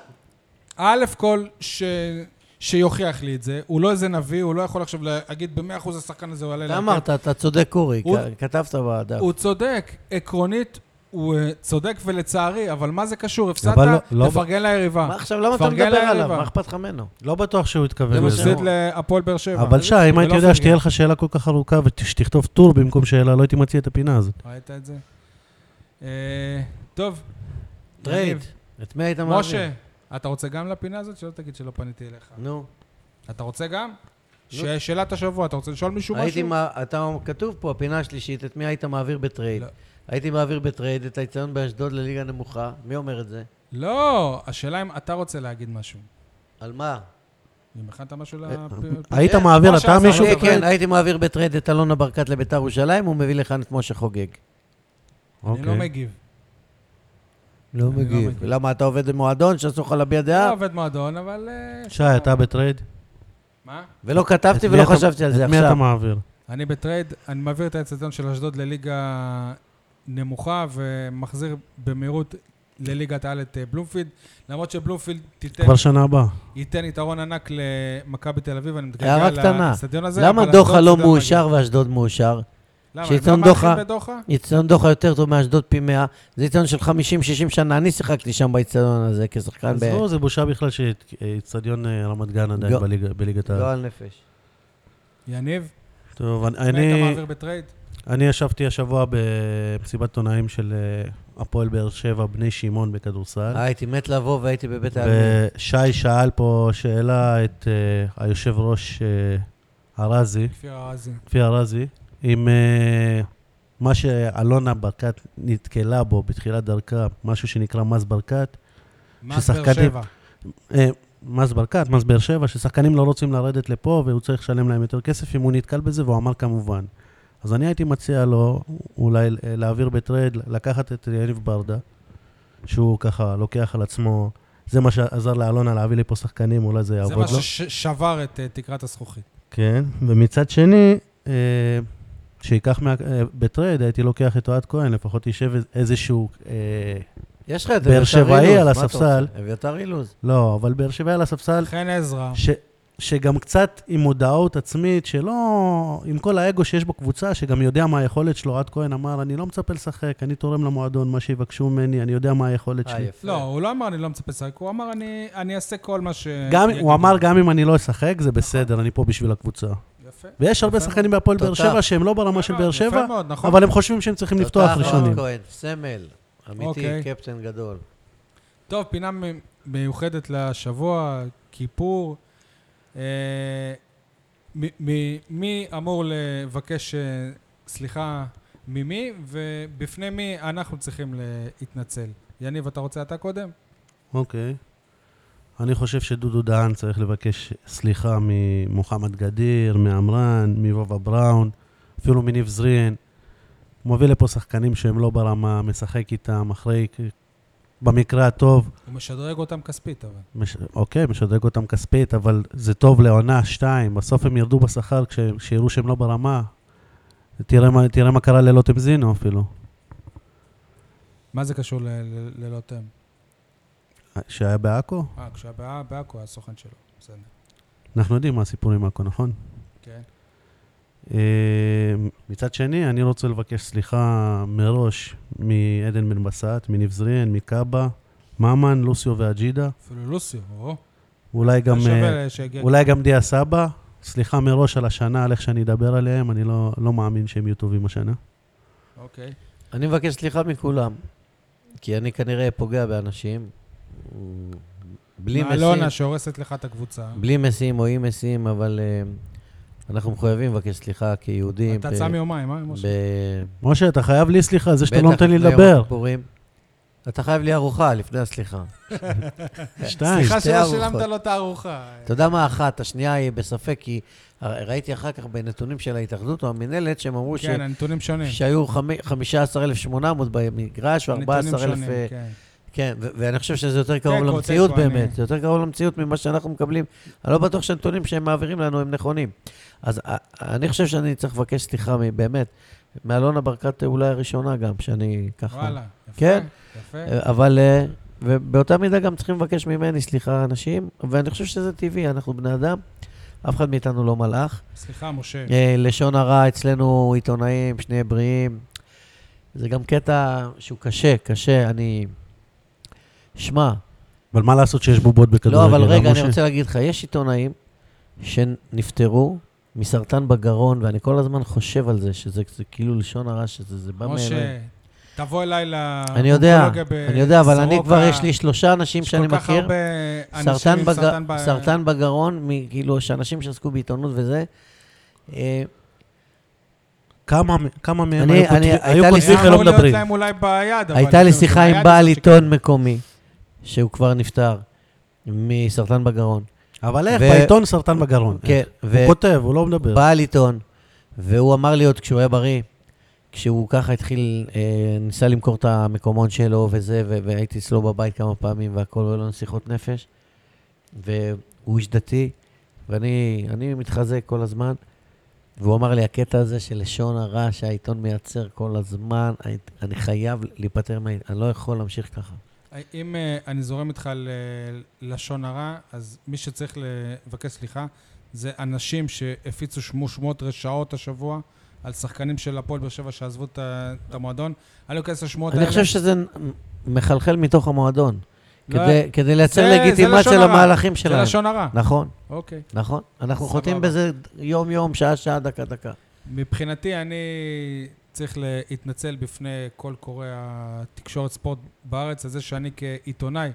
[SPEAKER 1] א' כל, ש... שיוכיח לי את זה, הוא לא איזה נביא, הוא לא יכול עכשיו להגיד במאה אחוז השחקן הזה הוא
[SPEAKER 3] כן.
[SPEAKER 1] יעלה
[SPEAKER 2] אתה
[SPEAKER 1] להרכב.
[SPEAKER 2] אמרת, אתה צודק, אורי,
[SPEAKER 1] הוא-
[SPEAKER 2] כ- כתבת בדף.
[SPEAKER 1] הוא צודק, עקרונית, הוא אה, צודק ולצערי, אבל מה זה קשור? הפסדת,
[SPEAKER 3] אבל לא- לא-
[SPEAKER 1] תפרגן ליריבה.
[SPEAKER 2] מה עכשיו, למה אתה
[SPEAKER 1] תפרגן
[SPEAKER 2] מדבר
[SPEAKER 1] ליריבה.
[SPEAKER 2] עליו? מה אכפת לך ממנו?
[SPEAKER 3] לא בטוח שהוא
[SPEAKER 1] זה
[SPEAKER 3] התכוון לזה.
[SPEAKER 1] מפסיד להפועל באר שבע.
[SPEAKER 3] אבל שי, אם
[SPEAKER 1] ולא
[SPEAKER 3] הייתי יודע
[SPEAKER 1] פרגן.
[SPEAKER 3] שתהיה לך שאלה כל כך ארוכה ושתכתוב טור במקום שאלה, לא הייתי מציע את הפינה הזאת.
[SPEAKER 1] ראית את זה? אה, טוב.
[SPEAKER 2] טרייד.
[SPEAKER 1] יניב,
[SPEAKER 2] את מי היית מעביר?
[SPEAKER 1] משה, אתה רוצה גם לפינה הזאת? שלא תגיד שלא פניתי אליך.
[SPEAKER 2] נו.
[SPEAKER 1] אתה רוצה גם? ש- שאלת השבוע, אתה רוצה לשאול מישהו
[SPEAKER 2] הייתי,
[SPEAKER 1] משהו?
[SPEAKER 2] לא. מה, אתה כתוב פה, הפינה השלישית, את מי היית מעביר בטרייד?
[SPEAKER 1] לא.
[SPEAKER 2] הייתי מעביר בטרייד את היציון באשדוד לליגה נמוכה. מי אומר את זה?
[SPEAKER 1] לא, השאלה אם אתה רוצה להגיד משהו.
[SPEAKER 2] על מה?
[SPEAKER 1] אם הכנת משהו
[SPEAKER 3] אה,
[SPEAKER 1] לפ-
[SPEAKER 3] היית
[SPEAKER 2] אה,
[SPEAKER 3] מעביר
[SPEAKER 1] מה
[SPEAKER 3] אתה
[SPEAKER 1] שעשה
[SPEAKER 3] מישהו?
[SPEAKER 1] לו-
[SPEAKER 2] אה,
[SPEAKER 1] אבל-
[SPEAKER 2] כן, הייתי מעביר בטרייד את אלונה ברקת לביתר ירושלים, הוא מביא לכאן את
[SPEAKER 3] לא
[SPEAKER 2] משה חוגג.
[SPEAKER 1] אני לא
[SPEAKER 3] אוקיי.
[SPEAKER 1] מגיב.
[SPEAKER 2] לא
[SPEAKER 1] אני לא מגיב. מגיב.
[SPEAKER 2] למה, אתה עובד במועדון שאסור לך להביע
[SPEAKER 1] לא
[SPEAKER 2] דעה?
[SPEAKER 1] עובד מועדון, אבל... אה,
[SPEAKER 3] שי, אתה בטרייד?
[SPEAKER 1] מה?
[SPEAKER 2] ולא
[SPEAKER 3] את
[SPEAKER 2] כתבתי
[SPEAKER 3] מי
[SPEAKER 2] ולא
[SPEAKER 3] אתה-
[SPEAKER 2] חשבתי על זה
[SPEAKER 3] את מי אתה
[SPEAKER 2] עכשיו.
[SPEAKER 3] מעביר?
[SPEAKER 1] אני בטרייד, אני מעביר את האצטדיון של אשדוד לליגה נמוכה ומחזיר במהירות לליגת העל את אה, בלומפילד, למרות שבלומפילד תיתן,
[SPEAKER 3] כבר שנה הבאה.
[SPEAKER 1] ייתן יתרון ענק למכבי תל אביב, אני מתגעגע
[SPEAKER 2] הערה קטנה.
[SPEAKER 1] לאצטדיון הזה.
[SPEAKER 2] למה
[SPEAKER 1] אבל
[SPEAKER 2] דוחה
[SPEAKER 1] אשדוד
[SPEAKER 2] לא
[SPEAKER 1] תדע מה
[SPEAKER 2] מאושר ואשדוד מאושר?
[SPEAKER 1] להגיד. למה?
[SPEAKER 2] שיצאן
[SPEAKER 1] הם לא מארחים
[SPEAKER 2] דוחה-
[SPEAKER 1] בדוחה?
[SPEAKER 2] יצטיון דוחה יותר טוב מאשדוד פי 100, זה יצטיון של 50-60 שנה, אני שיחקתי שם ביצטיון הזה כשחקן ב...
[SPEAKER 3] עזבו, זה בושה בכלל שאיצטדיון אה, רמת גן עדיין
[SPEAKER 2] לא.
[SPEAKER 3] בליגה- בליגת העל.
[SPEAKER 2] לא על נפש.
[SPEAKER 1] יניב,
[SPEAKER 3] טוב, אני-
[SPEAKER 1] אני... אתה
[SPEAKER 3] אני...
[SPEAKER 1] מעביר בטרייד?
[SPEAKER 3] אני ישבתי השבוע במסיבת עונאים של אה, הפועל באר שבע, בני שמעון בכדורסל.
[SPEAKER 2] אה, הייתי מת לבוא והייתי בבית העלמין.
[SPEAKER 3] ושי שאל פה שאלה את אה, היושב ראש אה, ארזי,
[SPEAKER 1] כפיר ארזי.
[SPEAKER 3] כפיר ארזי, אם אה, מה שאלונה ברקת נתקלה בו בתחילת דרכה, משהו שנקרא מס ברקת,
[SPEAKER 1] מס באר
[SPEAKER 3] ששחקנים-
[SPEAKER 1] שבע.
[SPEAKER 3] אה, מס ברקת, מס באר שבע, ששחקנים לא רוצים לרדת לפה והוא צריך לשלם להם יותר כסף אם הוא נתקל בזה, והוא אמר כמובן. אז אני הייתי מציע לו אולי אה, להעביר בטרייד, לקחת את יניב ברדה, שהוא ככה לוקח על עצמו, זה מה שעזר לאלונה להביא לפה שחקנים, אולי זה יעבוד
[SPEAKER 1] זה
[SPEAKER 3] לו.
[SPEAKER 1] מה ששבר את אה, תקרת הזכוכית.
[SPEAKER 3] כן, ומצד שני, אה, שייקח מה... אה, בטרייד, הייתי לוקח את אוהד כהן, לפחות יישב איז- איזשהו... אה,
[SPEAKER 2] יש לך את
[SPEAKER 3] באר
[SPEAKER 2] אביתר
[SPEAKER 3] שבעי
[SPEAKER 2] אילוז,
[SPEAKER 3] על
[SPEAKER 2] מה אתה
[SPEAKER 3] הספסל.
[SPEAKER 2] רוצה? אביתר אילוז.
[SPEAKER 3] לא, אבל באר שבע על הספסל,
[SPEAKER 1] חן עזרא.
[SPEAKER 3] ש, שגם קצת עם מודעות עצמית, שלא... עם כל האגו שיש בקבוצה, שגם יודע מה היכולת שלו. אוהד כהן אמר, אני לא מצפה לשחק, אני תורם למועדון, מה שיבקשו ממני, אני יודע מה היכולת
[SPEAKER 2] אה,
[SPEAKER 3] שלי.
[SPEAKER 2] יפה.
[SPEAKER 1] לא, הוא לא אמר אני לא מצפה לשחק, הוא אמר אני, אני אעשה כל מה ש...
[SPEAKER 3] גם, הוא
[SPEAKER 1] יגידו."
[SPEAKER 3] אמר, גם אם אני לא אשחק, זה בסדר, אני פה בשביל הקבוצה.
[SPEAKER 1] יפה.
[SPEAKER 3] ויש הרבה
[SPEAKER 1] יפה.
[SPEAKER 3] שחקנים בהפועל באר
[SPEAKER 2] תותח.
[SPEAKER 3] שבע שהם לא ברמה של באר
[SPEAKER 1] יפה
[SPEAKER 3] שבע,
[SPEAKER 1] מאוד, נכון.
[SPEAKER 3] אבל הם חושבים שהם צריכים לפתוח
[SPEAKER 2] תותח,
[SPEAKER 3] ראשונים.
[SPEAKER 2] רון כהן, סמל. אמיתי,
[SPEAKER 1] אוקיי.
[SPEAKER 2] קפטן גדול.
[SPEAKER 1] טוב, פינה מ- מיוחדת לשבוע, כיפור. אה, מ- מ- מי אמור לבקש אה, סליחה ממי, ובפני מי אנחנו צריכים להתנצל. יניב, אתה רוצה אתה קודם?
[SPEAKER 3] אוקיי. אני חושב שדודו דהן צריך לבקש סליחה ממוחמד גדיר, מעמרן, מבובה בראון, אפילו מניב זרין. הוא מביא לפה שחקנים שהם לא ברמה, משחק איתם אחרי, במקרה הטוב,
[SPEAKER 1] הוא משדרג אותם כספית, אבל.
[SPEAKER 3] מש, אוקיי, משדרג אותם כספית, אבל זה טוב לעונה, שתיים, בסוף הם ירדו בשכר כש- כשיראו שהם לא ברמה. תראה מה, תראה מה קרה ללוטם זינו אפילו.
[SPEAKER 1] מה זה קשור ל- ל- ללוטם?
[SPEAKER 3] שהיה בעכו?
[SPEAKER 1] אה, כשהיה בע- בעכו, הסוכן שלו. בסדר.
[SPEAKER 3] אנחנו יודעים מה הסיפור עם עכו, נכון?
[SPEAKER 1] כן.
[SPEAKER 3] אה, מצד שני, אני רוצה לבקש סליחה מראש מעדן בן בסט, מניב זריאן, מקאבה, ממן, לוסיו ואג'ידה,
[SPEAKER 1] אפילו לוסיו, או.
[SPEAKER 3] אולי גם, אה,
[SPEAKER 1] שווה שיגיע.
[SPEAKER 3] אולי גם דיה סבא. סליחה מראש על השנה, על איך שאני אדבר עליהם, אני לא, לא מאמין שהם יהיו טובים השנה.
[SPEAKER 1] אוקיי.
[SPEAKER 2] אני מבקש סליחה מכולם, כי אני כנראה פוגע באנשים. בלי מסים,
[SPEAKER 1] אלונה שהורסת לך את הקבוצה.
[SPEAKER 2] בלי מסים או עם מסים, אבל אה, אנחנו מחויבים לבקש סליחה כיהודים.
[SPEAKER 1] אתה
[SPEAKER 2] ב-
[SPEAKER 1] צם יומיים, אה, משה?
[SPEAKER 2] ב-
[SPEAKER 3] משה, אתה חייב לי סליחה על זה שאתה
[SPEAKER 2] בטח
[SPEAKER 3] לא נותן לי
[SPEAKER 2] לפני
[SPEAKER 3] לדבר.
[SPEAKER 2] יום הכיפורים. אתה חייב לי ארוחה לפני הסליחה.
[SPEAKER 3] שתיים.
[SPEAKER 1] סליחה
[SPEAKER 2] שתי
[SPEAKER 1] שלא
[SPEAKER 2] ארוחות.
[SPEAKER 1] שילמת לו את הארוחה.
[SPEAKER 2] אתה יודע מה אחת, השנייה היא בספק, כי ראיתי אחר כך בנתונים של ההתאחדות או המינהלת, שהם אמרו ש-
[SPEAKER 1] כן, הנתונים שונים.
[SPEAKER 2] שהיו חמי- 15,800 במגרש
[SPEAKER 1] הנתונים
[SPEAKER 2] ו-14,000...
[SPEAKER 1] שונים, כן.
[SPEAKER 2] כן, ו- ואני חושב שזה יותר קרוב
[SPEAKER 1] תיקו,
[SPEAKER 2] למציאות
[SPEAKER 1] תיקו,
[SPEAKER 2] באמת.
[SPEAKER 1] אני-
[SPEAKER 2] זה יותר קרוב למציאות ממה שאנחנו מקבלים. אני לא בטוח שהנתונים שהם מעבירים לנו הם נכונים. אז א- אני חושב שאני צריך לבקש סליחה מ- באמת, מאלונה ברקת אולי הראשונה גם, שאני ככה...
[SPEAKER 1] וואלה, יפה.
[SPEAKER 2] כן.
[SPEAKER 1] יפה.
[SPEAKER 2] אבל, אה, ובאותה מידה גם צריכים לבקש ממני סליחה, אנשים, ואני חושב שזה טבעי, אנחנו בני אדם, אף אחד מאיתנו לא מלאך.
[SPEAKER 1] סליחה, משה.
[SPEAKER 2] אה, לשון הרע אצלנו עיתונאים, שני בריאים. זה גם קטע שהוא קשה, קשה, אני... שמע,
[SPEAKER 3] אבל מה לעשות שיש בובות בכדורגל? אה,
[SPEAKER 2] לא, אבל רגע, אני
[SPEAKER 3] משה?
[SPEAKER 2] רוצה להגיד לך, יש עיתונאים שנפטרו מסרטן בגרון, ואני כל הזמן חושב על זה, שזה זה כאילו לשון הרע, שזה זה בא מאליו.
[SPEAKER 1] משה, תבוא אליי לאונקולוגיה
[SPEAKER 2] אני יודע,
[SPEAKER 1] בסורוקה.
[SPEAKER 2] אני יודע, אבל אני כבר, יש לי שלושה אנשים שאני
[SPEAKER 1] יש כל כך
[SPEAKER 2] מכיר.
[SPEAKER 1] הרבה אנשים
[SPEAKER 2] סרטן,
[SPEAKER 1] עם
[SPEAKER 2] בג...
[SPEAKER 1] סרטן ב...
[SPEAKER 2] סרטן בגרון, מ- כאילו, שאנשים שעסקו בעיתונות וזה. אה,
[SPEAKER 3] כמה, כמה מהם
[SPEAKER 2] אני-
[SPEAKER 3] היו
[SPEAKER 2] אני-
[SPEAKER 3] כותבים-
[SPEAKER 2] הייתה
[SPEAKER 3] היו
[SPEAKER 2] לי
[SPEAKER 3] כותבים
[SPEAKER 2] שיחה-
[SPEAKER 1] אמור
[SPEAKER 3] ולא
[SPEAKER 1] להיות
[SPEAKER 3] מדברים?
[SPEAKER 1] להם אולי ביד, אבל... כאילו,
[SPEAKER 2] הייתה לי
[SPEAKER 1] זה-
[SPEAKER 2] שיחה
[SPEAKER 1] ביד
[SPEAKER 2] עם בעל
[SPEAKER 1] זה
[SPEAKER 2] עיתון מקומי, שהוא כבר נפטר מסרטן בגרון.
[SPEAKER 3] אבל איך,
[SPEAKER 2] ו-
[SPEAKER 3] בעיתון סרטן בגרון.
[SPEAKER 2] כן,
[SPEAKER 3] אה, הוא כותב, הוא לא מדבר.
[SPEAKER 2] ובעל עיתון, והוא אמר לי עוד כשהוא היה בריא, כשהוא ככה התחיל, אה, ניסה למכור את המקומון שלו וזה, ו- והייתי אצלו בבית כמה פעמים והכל, היו לנו שיחות נפש. והוא איש דתי, ואני אני מתחזק כל הזמן. והוא אמר לי, הקטע הזה של לשון הרע שהעיתון מייצר כל הזמן, אני- אני חייב להיפטר מה... אני לא יכול להמשיך ככה.
[SPEAKER 1] אם אה, אני זורם איתך ללשון הרע, אז מי שצריך לבקש סליחה זה אנשים שהפיצו שמו שמות רשעות השבוע על שחקנים של הפועל באר שבע שעזבו את ה- את המועדון. אני לא אכנס לשמות האלה.
[SPEAKER 2] אני חושב שזה מחלחל מתוך המועדון,
[SPEAKER 1] לא,
[SPEAKER 2] כדי- כדי לייצר
[SPEAKER 1] זה- זה לשון
[SPEAKER 2] לגיטימציה
[SPEAKER 1] הרע.
[SPEAKER 2] למהלכים
[SPEAKER 1] זה
[SPEAKER 2] שלהם.
[SPEAKER 1] לשון הרע.
[SPEAKER 2] נכון.
[SPEAKER 1] אוקיי.
[SPEAKER 2] נכון, אנחנו
[SPEAKER 1] סבבה.
[SPEAKER 2] חוטאים בזה יום-יום, שעה-שעה, דקה-דקה.
[SPEAKER 1] מבחינתי, אני צריך להתנצל בפני כל קוראי התקשורת ספורט בארץ, על זה שאני כעיתונאי,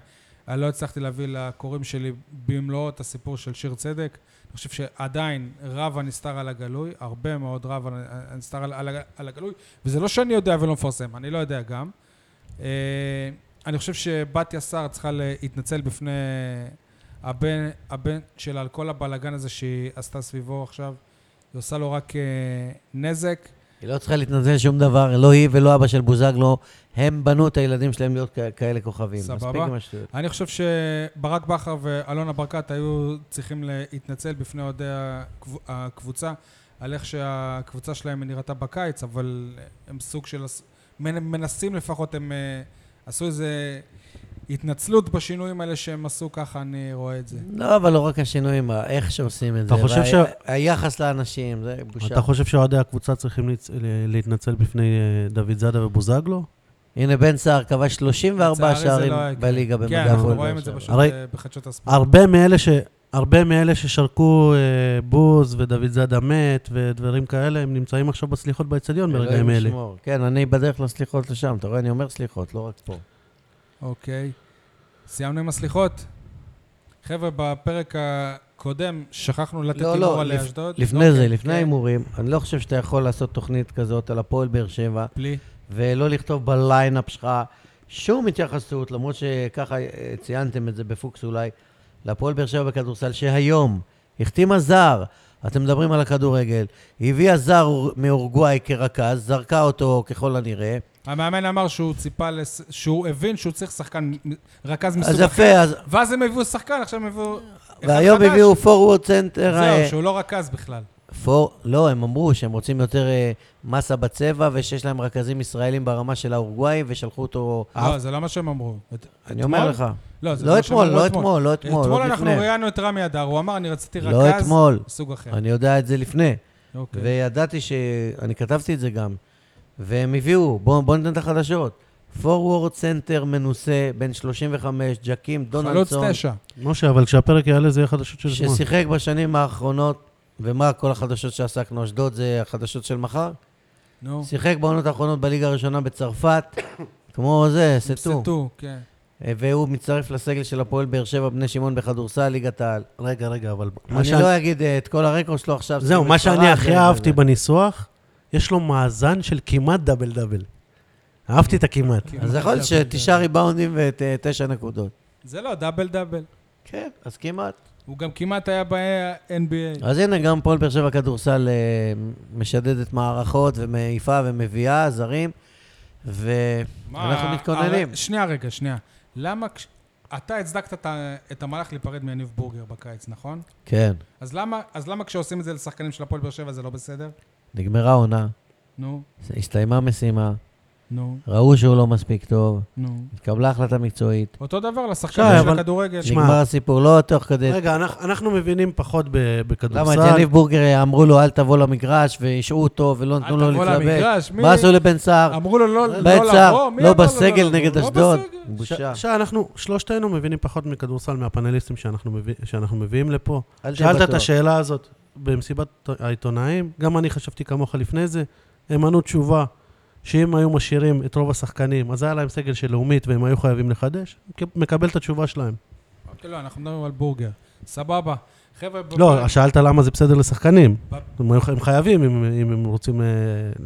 [SPEAKER 1] אני לא הצלחתי להביא לקוראים שלי במלואו את הסיפור של שיר צדק. אני חושב שעדיין רב הנסתר על הגלוי, הרבה מאוד רב הנסתר על, על, על הגלוי, וזה לא שאני יודע ולא מפרסם, אני לא יודע גם. אה, אני חושב שבת יסר צריכה להתנצל בפני הבן, הבן שלה על כל הבלגן הזה שהיא עשתה סביבו עכשיו. היא עושה לו רק אה, נזק.
[SPEAKER 2] היא לא צריכה להתנצל שום דבר, לא היא ולא אבא של בוזגלו, הם בנו את הילדים שלהם להיות כ- כאלה כוכבים.
[SPEAKER 1] סבבה.
[SPEAKER 2] מספיק עם השטויות.
[SPEAKER 1] אני חושב שברק בכר ואלונה ברקת היו צריכים להתנצל בפני אוהדי הקב- הקבוצה על איך שהקבוצה שלהם נראתה בקיץ, אבל הם סוג של... עש- מנ- מנסים לפחות, הם אה, עשו איזה התנצלות בשינויים האלה שהם עשו, ככה אני רואה את זה.
[SPEAKER 2] לא, אבל לא רק השינויים, ה- איך שעושים את זה.
[SPEAKER 3] אתה חושב
[SPEAKER 2] וה-
[SPEAKER 3] ש-
[SPEAKER 2] היחס לאנשים, זה בושה.
[SPEAKER 3] אתה חושב שאוהדי הקבוצה צריכים להצ- ל- להתנצל בפני אה, דוד זאדה ובוזגלו?
[SPEAKER 2] הנה, בן סער כבש 34
[SPEAKER 1] לצערי זה
[SPEAKER 2] שערים
[SPEAKER 1] לא יקרה.
[SPEAKER 2] בליגה במדע.
[SPEAKER 1] כן, אנחנו
[SPEAKER 2] הפועל
[SPEAKER 1] רואים את זה
[SPEAKER 2] באר
[SPEAKER 1] פשוט
[SPEAKER 2] שבע.
[SPEAKER 3] הרי-
[SPEAKER 1] אה, בחדשות הספורט.
[SPEAKER 3] הרבה מאלה ש... הרבה מאלה ששרקו אה, בוז ודוד זאדה מת ודברים כאלה, הם נמצאים עכשיו בסליחות באצטדיון ברגעים
[SPEAKER 2] אלוהים
[SPEAKER 3] אלה.
[SPEAKER 2] ישמור. כן, אני בדרך לסליחות לשם, אתה רואה? אני אומר סליחות, לא רק פה.
[SPEAKER 1] אוקיי. סיימנו עם הסליחות. חבר'ה, בפרק הקודם שכחנו לתת
[SPEAKER 2] לא,
[SPEAKER 1] הימור
[SPEAKER 2] לא,
[SPEAKER 1] על
[SPEAKER 2] לפ-
[SPEAKER 1] אשדוד.
[SPEAKER 2] לפני זה,
[SPEAKER 1] אוקיי,
[SPEAKER 2] לפני
[SPEAKER 1] כן.
[SPEAKER 2] ההימורים, אני לא חושב שאתה יכול לעשות תוכנית כזאת על הפועל באר שבע,
[SPEAKER 1] בלי.
[SPEAKER 2] ולא לכתוב בליינאפ שלך שום התייחסות, למרות שככה אה, ציינתם את זה בפוקס אולי, להפועל באר שבע בכדורסל, שהיום החתימה זר, אתם מדברים על הכדורגל, הביאה זר אור- מאורוגוואי כרכז, זרקה אותו ככל הנראה,
[SPEAKER 1] המאמן אמר שהוא ציפה, לס... שהוא הבין שהוא צריך שחקן, מ- רכז מסוג
[SPEAKER 2] אז
[SPEAKER 1] אחר.
[SPEAKER 2] יפה, אז...
[SPEAKER 1] ואז הם הביאו שחקן, עכשיו הם הביאו... אחד
[SPEAKER 2] והיום
[SPEAKER 1] חדש.
[SPEAKER 2] הביאו forward center... אה,
[SPEAKER 1] זהו, שהוא לא רכז בכלל.
[SPEAKER 2] פור, לא, הם אמרו שהם רוצים יותר אה, מסה בצבע ושיש להם רכזים ישראלים ברמה של האורוגוואי ושלחו אותו...
[SPEAKER 1] לא, זה לא מה שהם אמרו. את-
[SPEAKER 2] אה? אני אומר
[SPEAKER 1] אתמול?
[SPEAKER 2] לך.
[SPEAKER 1] לא, זה
[SPEAKER 2] לא
[SPEAKER 1] לא מה שהם
[SPEAKER 2] אתמול,
[SPEAKER 1] אמרו
[SPEAKER 2] לא אתמול, לא אתמול,
[SPEAKER 1] אתמול
[SPEAKER 2] עוד
[SPEAKER 1] אנחנו
[SPEAKER 2] לפני.
[SPEAKER 1] ראיינו את רמי אדר, הוא אמר, אני רציתי רכז
[SPEAKER 2] לא אתמול.
[SPEAKER 1] מסוג אחר.
[SPEAKER 2] אני יודע את זה לפני.
[SPEAKER 3] כן.
[SPEAKER 1] אוקיי.
[SPEAKER 2] וידעתי ש... אני כתבתי את זה גם. והם הביאו, בואו בוא ניתן את החדשות. forward center מנוסה, בן 35, ג'קים
[SPEAKER 1] חלוץ
[SPEAKER 2] דונלדסון,
[SPEAKER 1] תשע.
[SPEAKER 3] משה, אבל כשהפרק יעלה זה יהיה חדשות של אתמול.
[SPEAKER 2] ששיחק בשנים האחרונות, ומה כל החדשות שעסקנו? אשדוד זה החדשות של מחר?
[SPEAKER 1] נו,
[SPEAKER 3] *coughs*
[SPEAKER 2] שיחק בעונות האחרונות בליגה הראשונה בצרפת, כמו זה, סטו.
[SPEAKER 1] סטו, כן.
[SPEAKER 2] אה, אה, והוא מצטרף לסגל של הפועל באר שבע, בני שמעון בכדורסל, ליגת העל.
[SPEAKER 3] רגע, רגע, אבל... מה
[SPEAKER 2] אני
[SPEAKER 3] שאני-
[SPEAKER 2] לא אגיד אה, את כל הרקורד שלו עכשיו.
[SPEAKER 3] זהו,
[SPEAKER 2] סביב
[SPEAKER 3] מה
[SPEAKER 2] ספרד,
[SPEAKER 3] שאני הכי
[SPEAKER 2] זה-
[SPEAKER 3] אהבתי
[SPEAKER 2] זה-
[SPEAKER 3] בניסוח, יש לו מאזן של כמעט דאבל דאבל. אהבתי את הכמעט.
[SPEAKER 2] אז יכול להיות שתשעה ריבאונדים ותשע נקודות.
[SPEAKER 1] זה לא, דאבל דאבל.
[SPEAKER 2] כן, אז כמעט.
[SPEAKER 1] הוא גם כמעט היה ב-NBA.
[SPEAKER 2] אז הנה, גם פועל באר שבע כדורסל אה, משדדת מערכות ומעיפה ומביאה זרים, ואנחנו מתכוננים.
[SPEAKER 1] שנייה רגע, שנייה. למה... כש- אתה הצדקת את ה- את המהלך להיפרד מיניב בורגר בקיץ, נכון?
[SPEAKER 2] כן,
[SPEAKER 1] אז למה- אז למה כשעושים את זה לשחקנים של הפועל באר שבע זה לא בסדר?
[SPEAKER 2] נגמרה עונה,
[SPEAKER 1] נו,
[SPEAKER 2] הסתיימה משימה,
[SPEAKER 1] נו,
[SPEAKER 2] ראו שהוא לא מספיק טוב,
[SPEAKER 1] נו.
[SPEAKER 2] התקבלה החלטה מקצועית,
[SPEAKER 1] אותו דבר לשחקנים
[SPEAKER 2] לא,
[SPEAKER 3] שי,
[SPEAKER 1] של
[SPEAKER 3] אבל-
[SPEAKER 1] הכדורגל.
[SPEAKER 3] שמע,
[SPEAKER 2] נגמר הסיפור, לא תוך כדי...
[SPEAKER 3] רגע, אנחנו- אנחנו מבינים פחות ב-
[SPEAKER 2] למה את
[SPEAKER 3] בכדורסל.
[SPEAKER 2] יניב בורגר אמרו לו, אל תבוא למגרש, והשעו אותו, ולא נתנו לו
[SPEAKER 1] תבוא
[SPEAKER 2] להתלבט.
[SPEAKER 1] למגרש, מי-
[SPEAKER 2] מה עשו לבן סער?
[SPEAKER 1] אמרו לו לא לא
[SPEAKER 2] בן סער,
[SPEAKER 1] לבוא, מי
[SPEAKER 2] לא
[SPEAKER 1] אמר לו
[SPEAKER 2] בסגל
[SPEAKER 1] לבוא?
[SPEAKER 2] נגד
[SPEAKER 1] לא
[SPEAKER 2] אשדוד.
[SPEAKER 1] בסגל.
[SPEAKER 2] בושה.
[SPEAKER 3] שאנחנו, שלושתנו מבינים פחות מכדורסל מהפאנליסטים שאנחנו מביא- שאנחנו מביאים לפה.
[SPEAKER 2] אל תהיה
[SPEAKER 3] שאלת את
[SPEAKER 2] בטוח.
[SPEAKER 3] השאלה הזאת במסיבת העיתונאים, גם אני חשבתי כמוך לפני זה, הם ענו תשובה שאם היו משאירים את רוב השחקנים, אז היה להם סגל של לאומית והם היו חייבים לחדש, מקבל את התשובה שלהם.
[SPEAKER 1] אוקיי, לא, אנחנו מדברים על בורגר. סבבה. חבר'ה, ב-
[SPEAKER 3] לא, שאלת למה זה בסדר לשחקנים.
[SPEAKER 1] אוקיי. ב-
[SPEAKER 3] הם היו- הם חייבים, אם אם הם רוצים אה,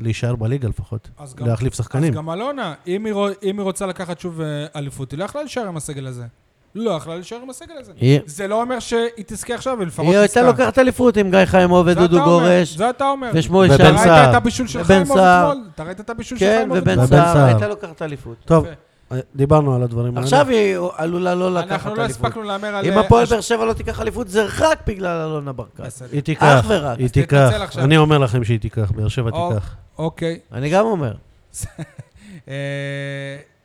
[SPEAKER 3] להישאר בליגה לפחות,
[SPEAKER 1] אז
[SPEAKER 2] לא,
[SPEAKER 1] גם-
[SPEAKER 3] להחליף
[SPEAKER 1] אז
[SPEAKER 3] שחקנים.
[SPEAKER 1] גם אלונה, אם היא רו- אם היא רוצה לקחת שוב אה, אליפות, היא לא יכלה להישאר עם הסגל הזה. לא יכלה להישאר עם הסגל הזה.
[SPEAKER 2] היא
[SPEAKER 1] זה לא אומר שהיא תזכה עכשיו, היא לפחות
[SPEAKER 2] היא הייתה לוקחת אליפות עם גיא חיימוב
[SPEAKER 1] זה אתה
[SPEAKER 2] ודודו
[SPEAKER 1] אומר,
[SPEAKER 2] גורש,
[SPEAKER 1] זה אתה אומר.
[SPEAKER 2] ושמואל
[SPEAKER 3] ובן
[SPEAKER 1] אתה
[SPEAKER 2] שרן.
[SPEAKER 3] סער.
[SPEAKER 1] ראית את הבישול של
[SPEAKER 2] ובן
[SPEAKER 1] חיימוב
[SPEAKER 2] סער.
[SPEAKER 1] אתמול? אתה ראית את הבישול של
[SPEAKER 2] כן,
[SPEAKER 1] חיימוב
[SPEAKER 2] ובן
[SPEAKER 3] ובן
[SPEAKER 2] סער
[SPEAKER 3] סער.
[SPEAKER 2] הייתה לוקחת אליפות.
[SPEAKER 3] טוב,
[SPEAKER 1] יפה.
[SPEAKER 3] אה, דיברנו על הדברים האלה.
[SPEAKER 2] עכשיו היא עלולה לא לקחת
[SPEAKER 1] אנחנו לא
[SPEAKER 2] אליפות.
[SPEAKER 1] הספקנו להמר על...
[SPEAKER 2] אם הפועל באר שבע לא תיקח אליפות, זה רק בגלל אלונה ברקת.
[SPEAKER 1] בסדר.
[SPEAKER 3] היא תיקח,
[SPEAKER 2] אך ורק.
[SPEAKER 3] היא
[SPEAKER 1] אז תתנצל
[SPEAKER 3] תיקח.
[SPEAKER 1] עכשיו.
[SPEAKER 3] אני אומר לכם שהיא תיקח, באר שבע
[SPEAKER 1] או.
[SPEAKER 3] תיקח.
[SPEAKER 1] אוקיי.
[SPEAKER 2] אני גם אומר.
[SPEAKER 1] אה,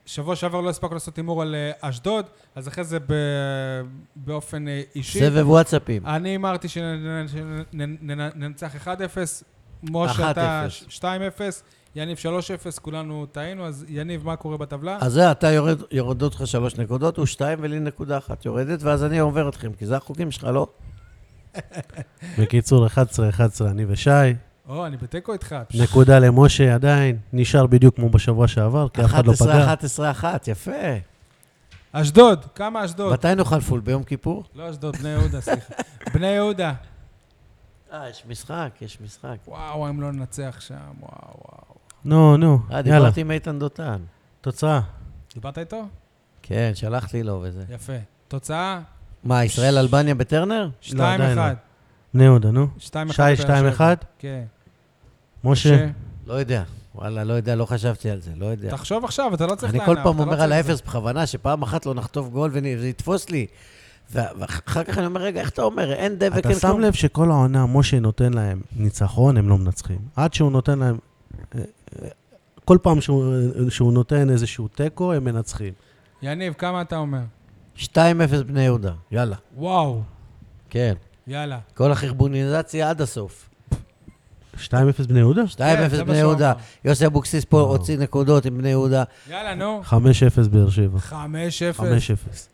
[SPEAKER 1] שבוע שעבר לא הספקנו לעשות הימור על אה, אשדוד, אז אחרי זה ב- באופן אה, אישי.
[SPEAKER 2] סבב וואטסאפים.
[SPEAKER 1] אני אמרתי שננצח 1-0, משה
[SPEAKER 2] 1-0.
[SPEAKER 1] אתה 2-0, יניב 3-0, כולנו טעינו, אז יניב, מה קורה בטבלה?
[SPEAKER 2] אז זה, אתה יורד, יורדות לך שלוש נקודות, הוא שתיים ולי נקודה אחת יורדת, ואז אני עובר אתכם, כי זה החוקים שלך, לא?
[SPEAKER 3] בקיצור, 11-11, אני ושי.
[SPEAKER 1] או, אני בתיקו איתך. פש.
[SPEAKER 3] נקודה למשה עדיין. נשאר בדיוק כמו בשבוע שעבר, כי אף אחד לא פגע.
[SPEAKER 2] 11-11, יפה.
[SPEAKER 1] אשדוד, כמה אשדוד?
[SPEAKER 2] מתי נאכל פול? ביום כיפור?
[SPEAKER 1] לא אשדוד, בני יהודה, סליחה. בני יהודה.
[SPEAKER 2] אה, יש משחק, יש משחק.
[SPEAKER 1] וואו, אם לא ננצח שם, וואו, וואו.
[SPEAKER 3] נו, נו,
[SPEAKER 2] אה,
[SPEAKER 3] יאללה.
[SPEAKER 2] דיברתי עם איתן דותן.
[SPEAKER 3] תוצאה.
[SPEAKER 1] דיברת איתו?
[SPEAKER 2] כן, שלחתי לו וזה.
[SPEAKER 1] יפה.
[SPEAKER 2] לא,
[SPEAKER 1] תוצאה?
[SPEAKER 2] מה, ישראל-אלבניה בטרנר?
[SPEAKER 1] 2-1. 2-1.
[SPEAKER 3] עדיין לא. בני יהודה, נו.
[SPEAKER 2] לא.
[SPEAKER 3] שי,
[SPEAKER 1] לבאר שבע.
[SPEAKER 3] 2-1?
[SPEAKER 1] כן.
[SPEAKER 3] משה,
[SPEAKER 2] לא יודע. וואלה, לא יודע, לא חשבתי על זה, לא יודע.
[SPEAKER 1] תחשוב עכשיו, אתה לא צריך
[SPEAKER 2] אני
[SPEAKER 1] לענות.
[SPEAKER 2] כל פעם
[SPEAKER 1] אתה לא
[SPEAKER 2] אומר
[SPEAKER 1] צריך
[SPEAKER 2] על
[SPEAKER 1] זה.
[SPEAKER 2] האפס בכוונה, שפעם אחת לא נחטוף גול ונ- וזה יתפוס לי. וה- ואחר כך אני אומר, רגע, איך אתה אומר? אין דבק, אין
[SPEAKER 3] אתה שם לב שכל העונה משה נותן להם ניצחון, הם לא מנצחים. עד שהוא נותן להם... אה, אה, כל פעם שהוא אה, שהוא נותן איזשהו תיקו, הם מנצחים.
[SPEAKER 1] יניב, כמה אתה אומר?
[SPEAKER 2] 2-0 בני יהודה, יאללה.
[SPEAKER 1] וואו,
[SPEAKER 2] כן.
[SPEAKER 1] יאללה.
[SPEAKER 2] כל החרבוניזציה עד הסוף.
[SPEAKER 3] 2-0 בני יהודה?
[SPEAKER 2] 2-0
[SPEAKER 1] כן, זה כן, מה שהוא
[SPEAKER 2] בני יהודה.
[SPEAKER 1] אמר.
[SPEAKER 2] יוסי אבוקסיס פה הוציא נקודות עם בני יהודה.
[SPEAKER 1] יאללה, נו.
[SPEAKER 3] 5-0 באר שבע.
[SPEAKER 1] 5-0.
[SPEAKER 3] 5-0.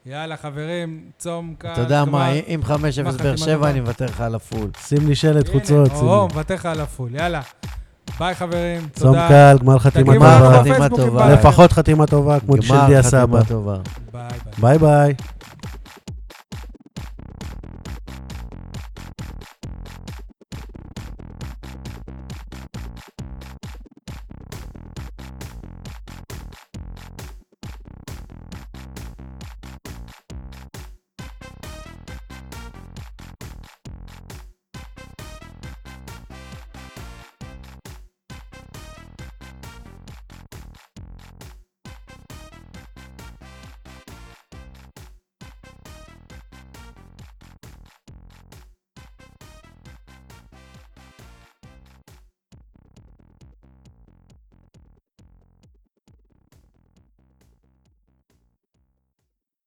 [SPEAKER 1] יאללה, חברים, צום כאן.
[SPEAKER 2] אתה יודע
[SPEAKER 1] גמר.
[SPEAKER 2] מה, אם 5-0
[SPEAKER 1] גמר
[SPEAKER 2] באר
[SPEAKER 1] חתימה
[SPEAKER 2] שבע,
[SPEAKER 1] טובה.
[SPEAKER 2] אני מוותר לך על הפול.
[SPEAKER 3] שים לי שלט
[SPEAKER 1] הנה,
[SPEAKER 3] חוצות. שים
[SPEAKER 1] או,
[SPEAKER 3] לי.
[SPEAKER 1] מוותר לך על הפול. יאללה. ביי, חברים.
[SPEAKER 3] צום
[SPEAKER 1] תודה.
[SPEAKER 3] קל, גמר חתימה
[SPEAKER 1] תגיבו
[SPEAKER 2] גמר
[SPEAKER 3] טובה.
[SPEAKER 1] לנו בפייסבוק אם
[SPEAKER 2] טובה.
[SPEAKER 1] בא לכם.
[SPEAKER 3] לפחות חתימה טובה כמו של
[SPEAKER 2] גמר
[SPEAKER 3] דיה
[SPEAKER 2] חתימה
[SPEAKER 3] סבא.
[SPEAKER 2] טובה.
[SPEAKER 1] ביי, ביי.
[SPEAKER 3] ביי ביי.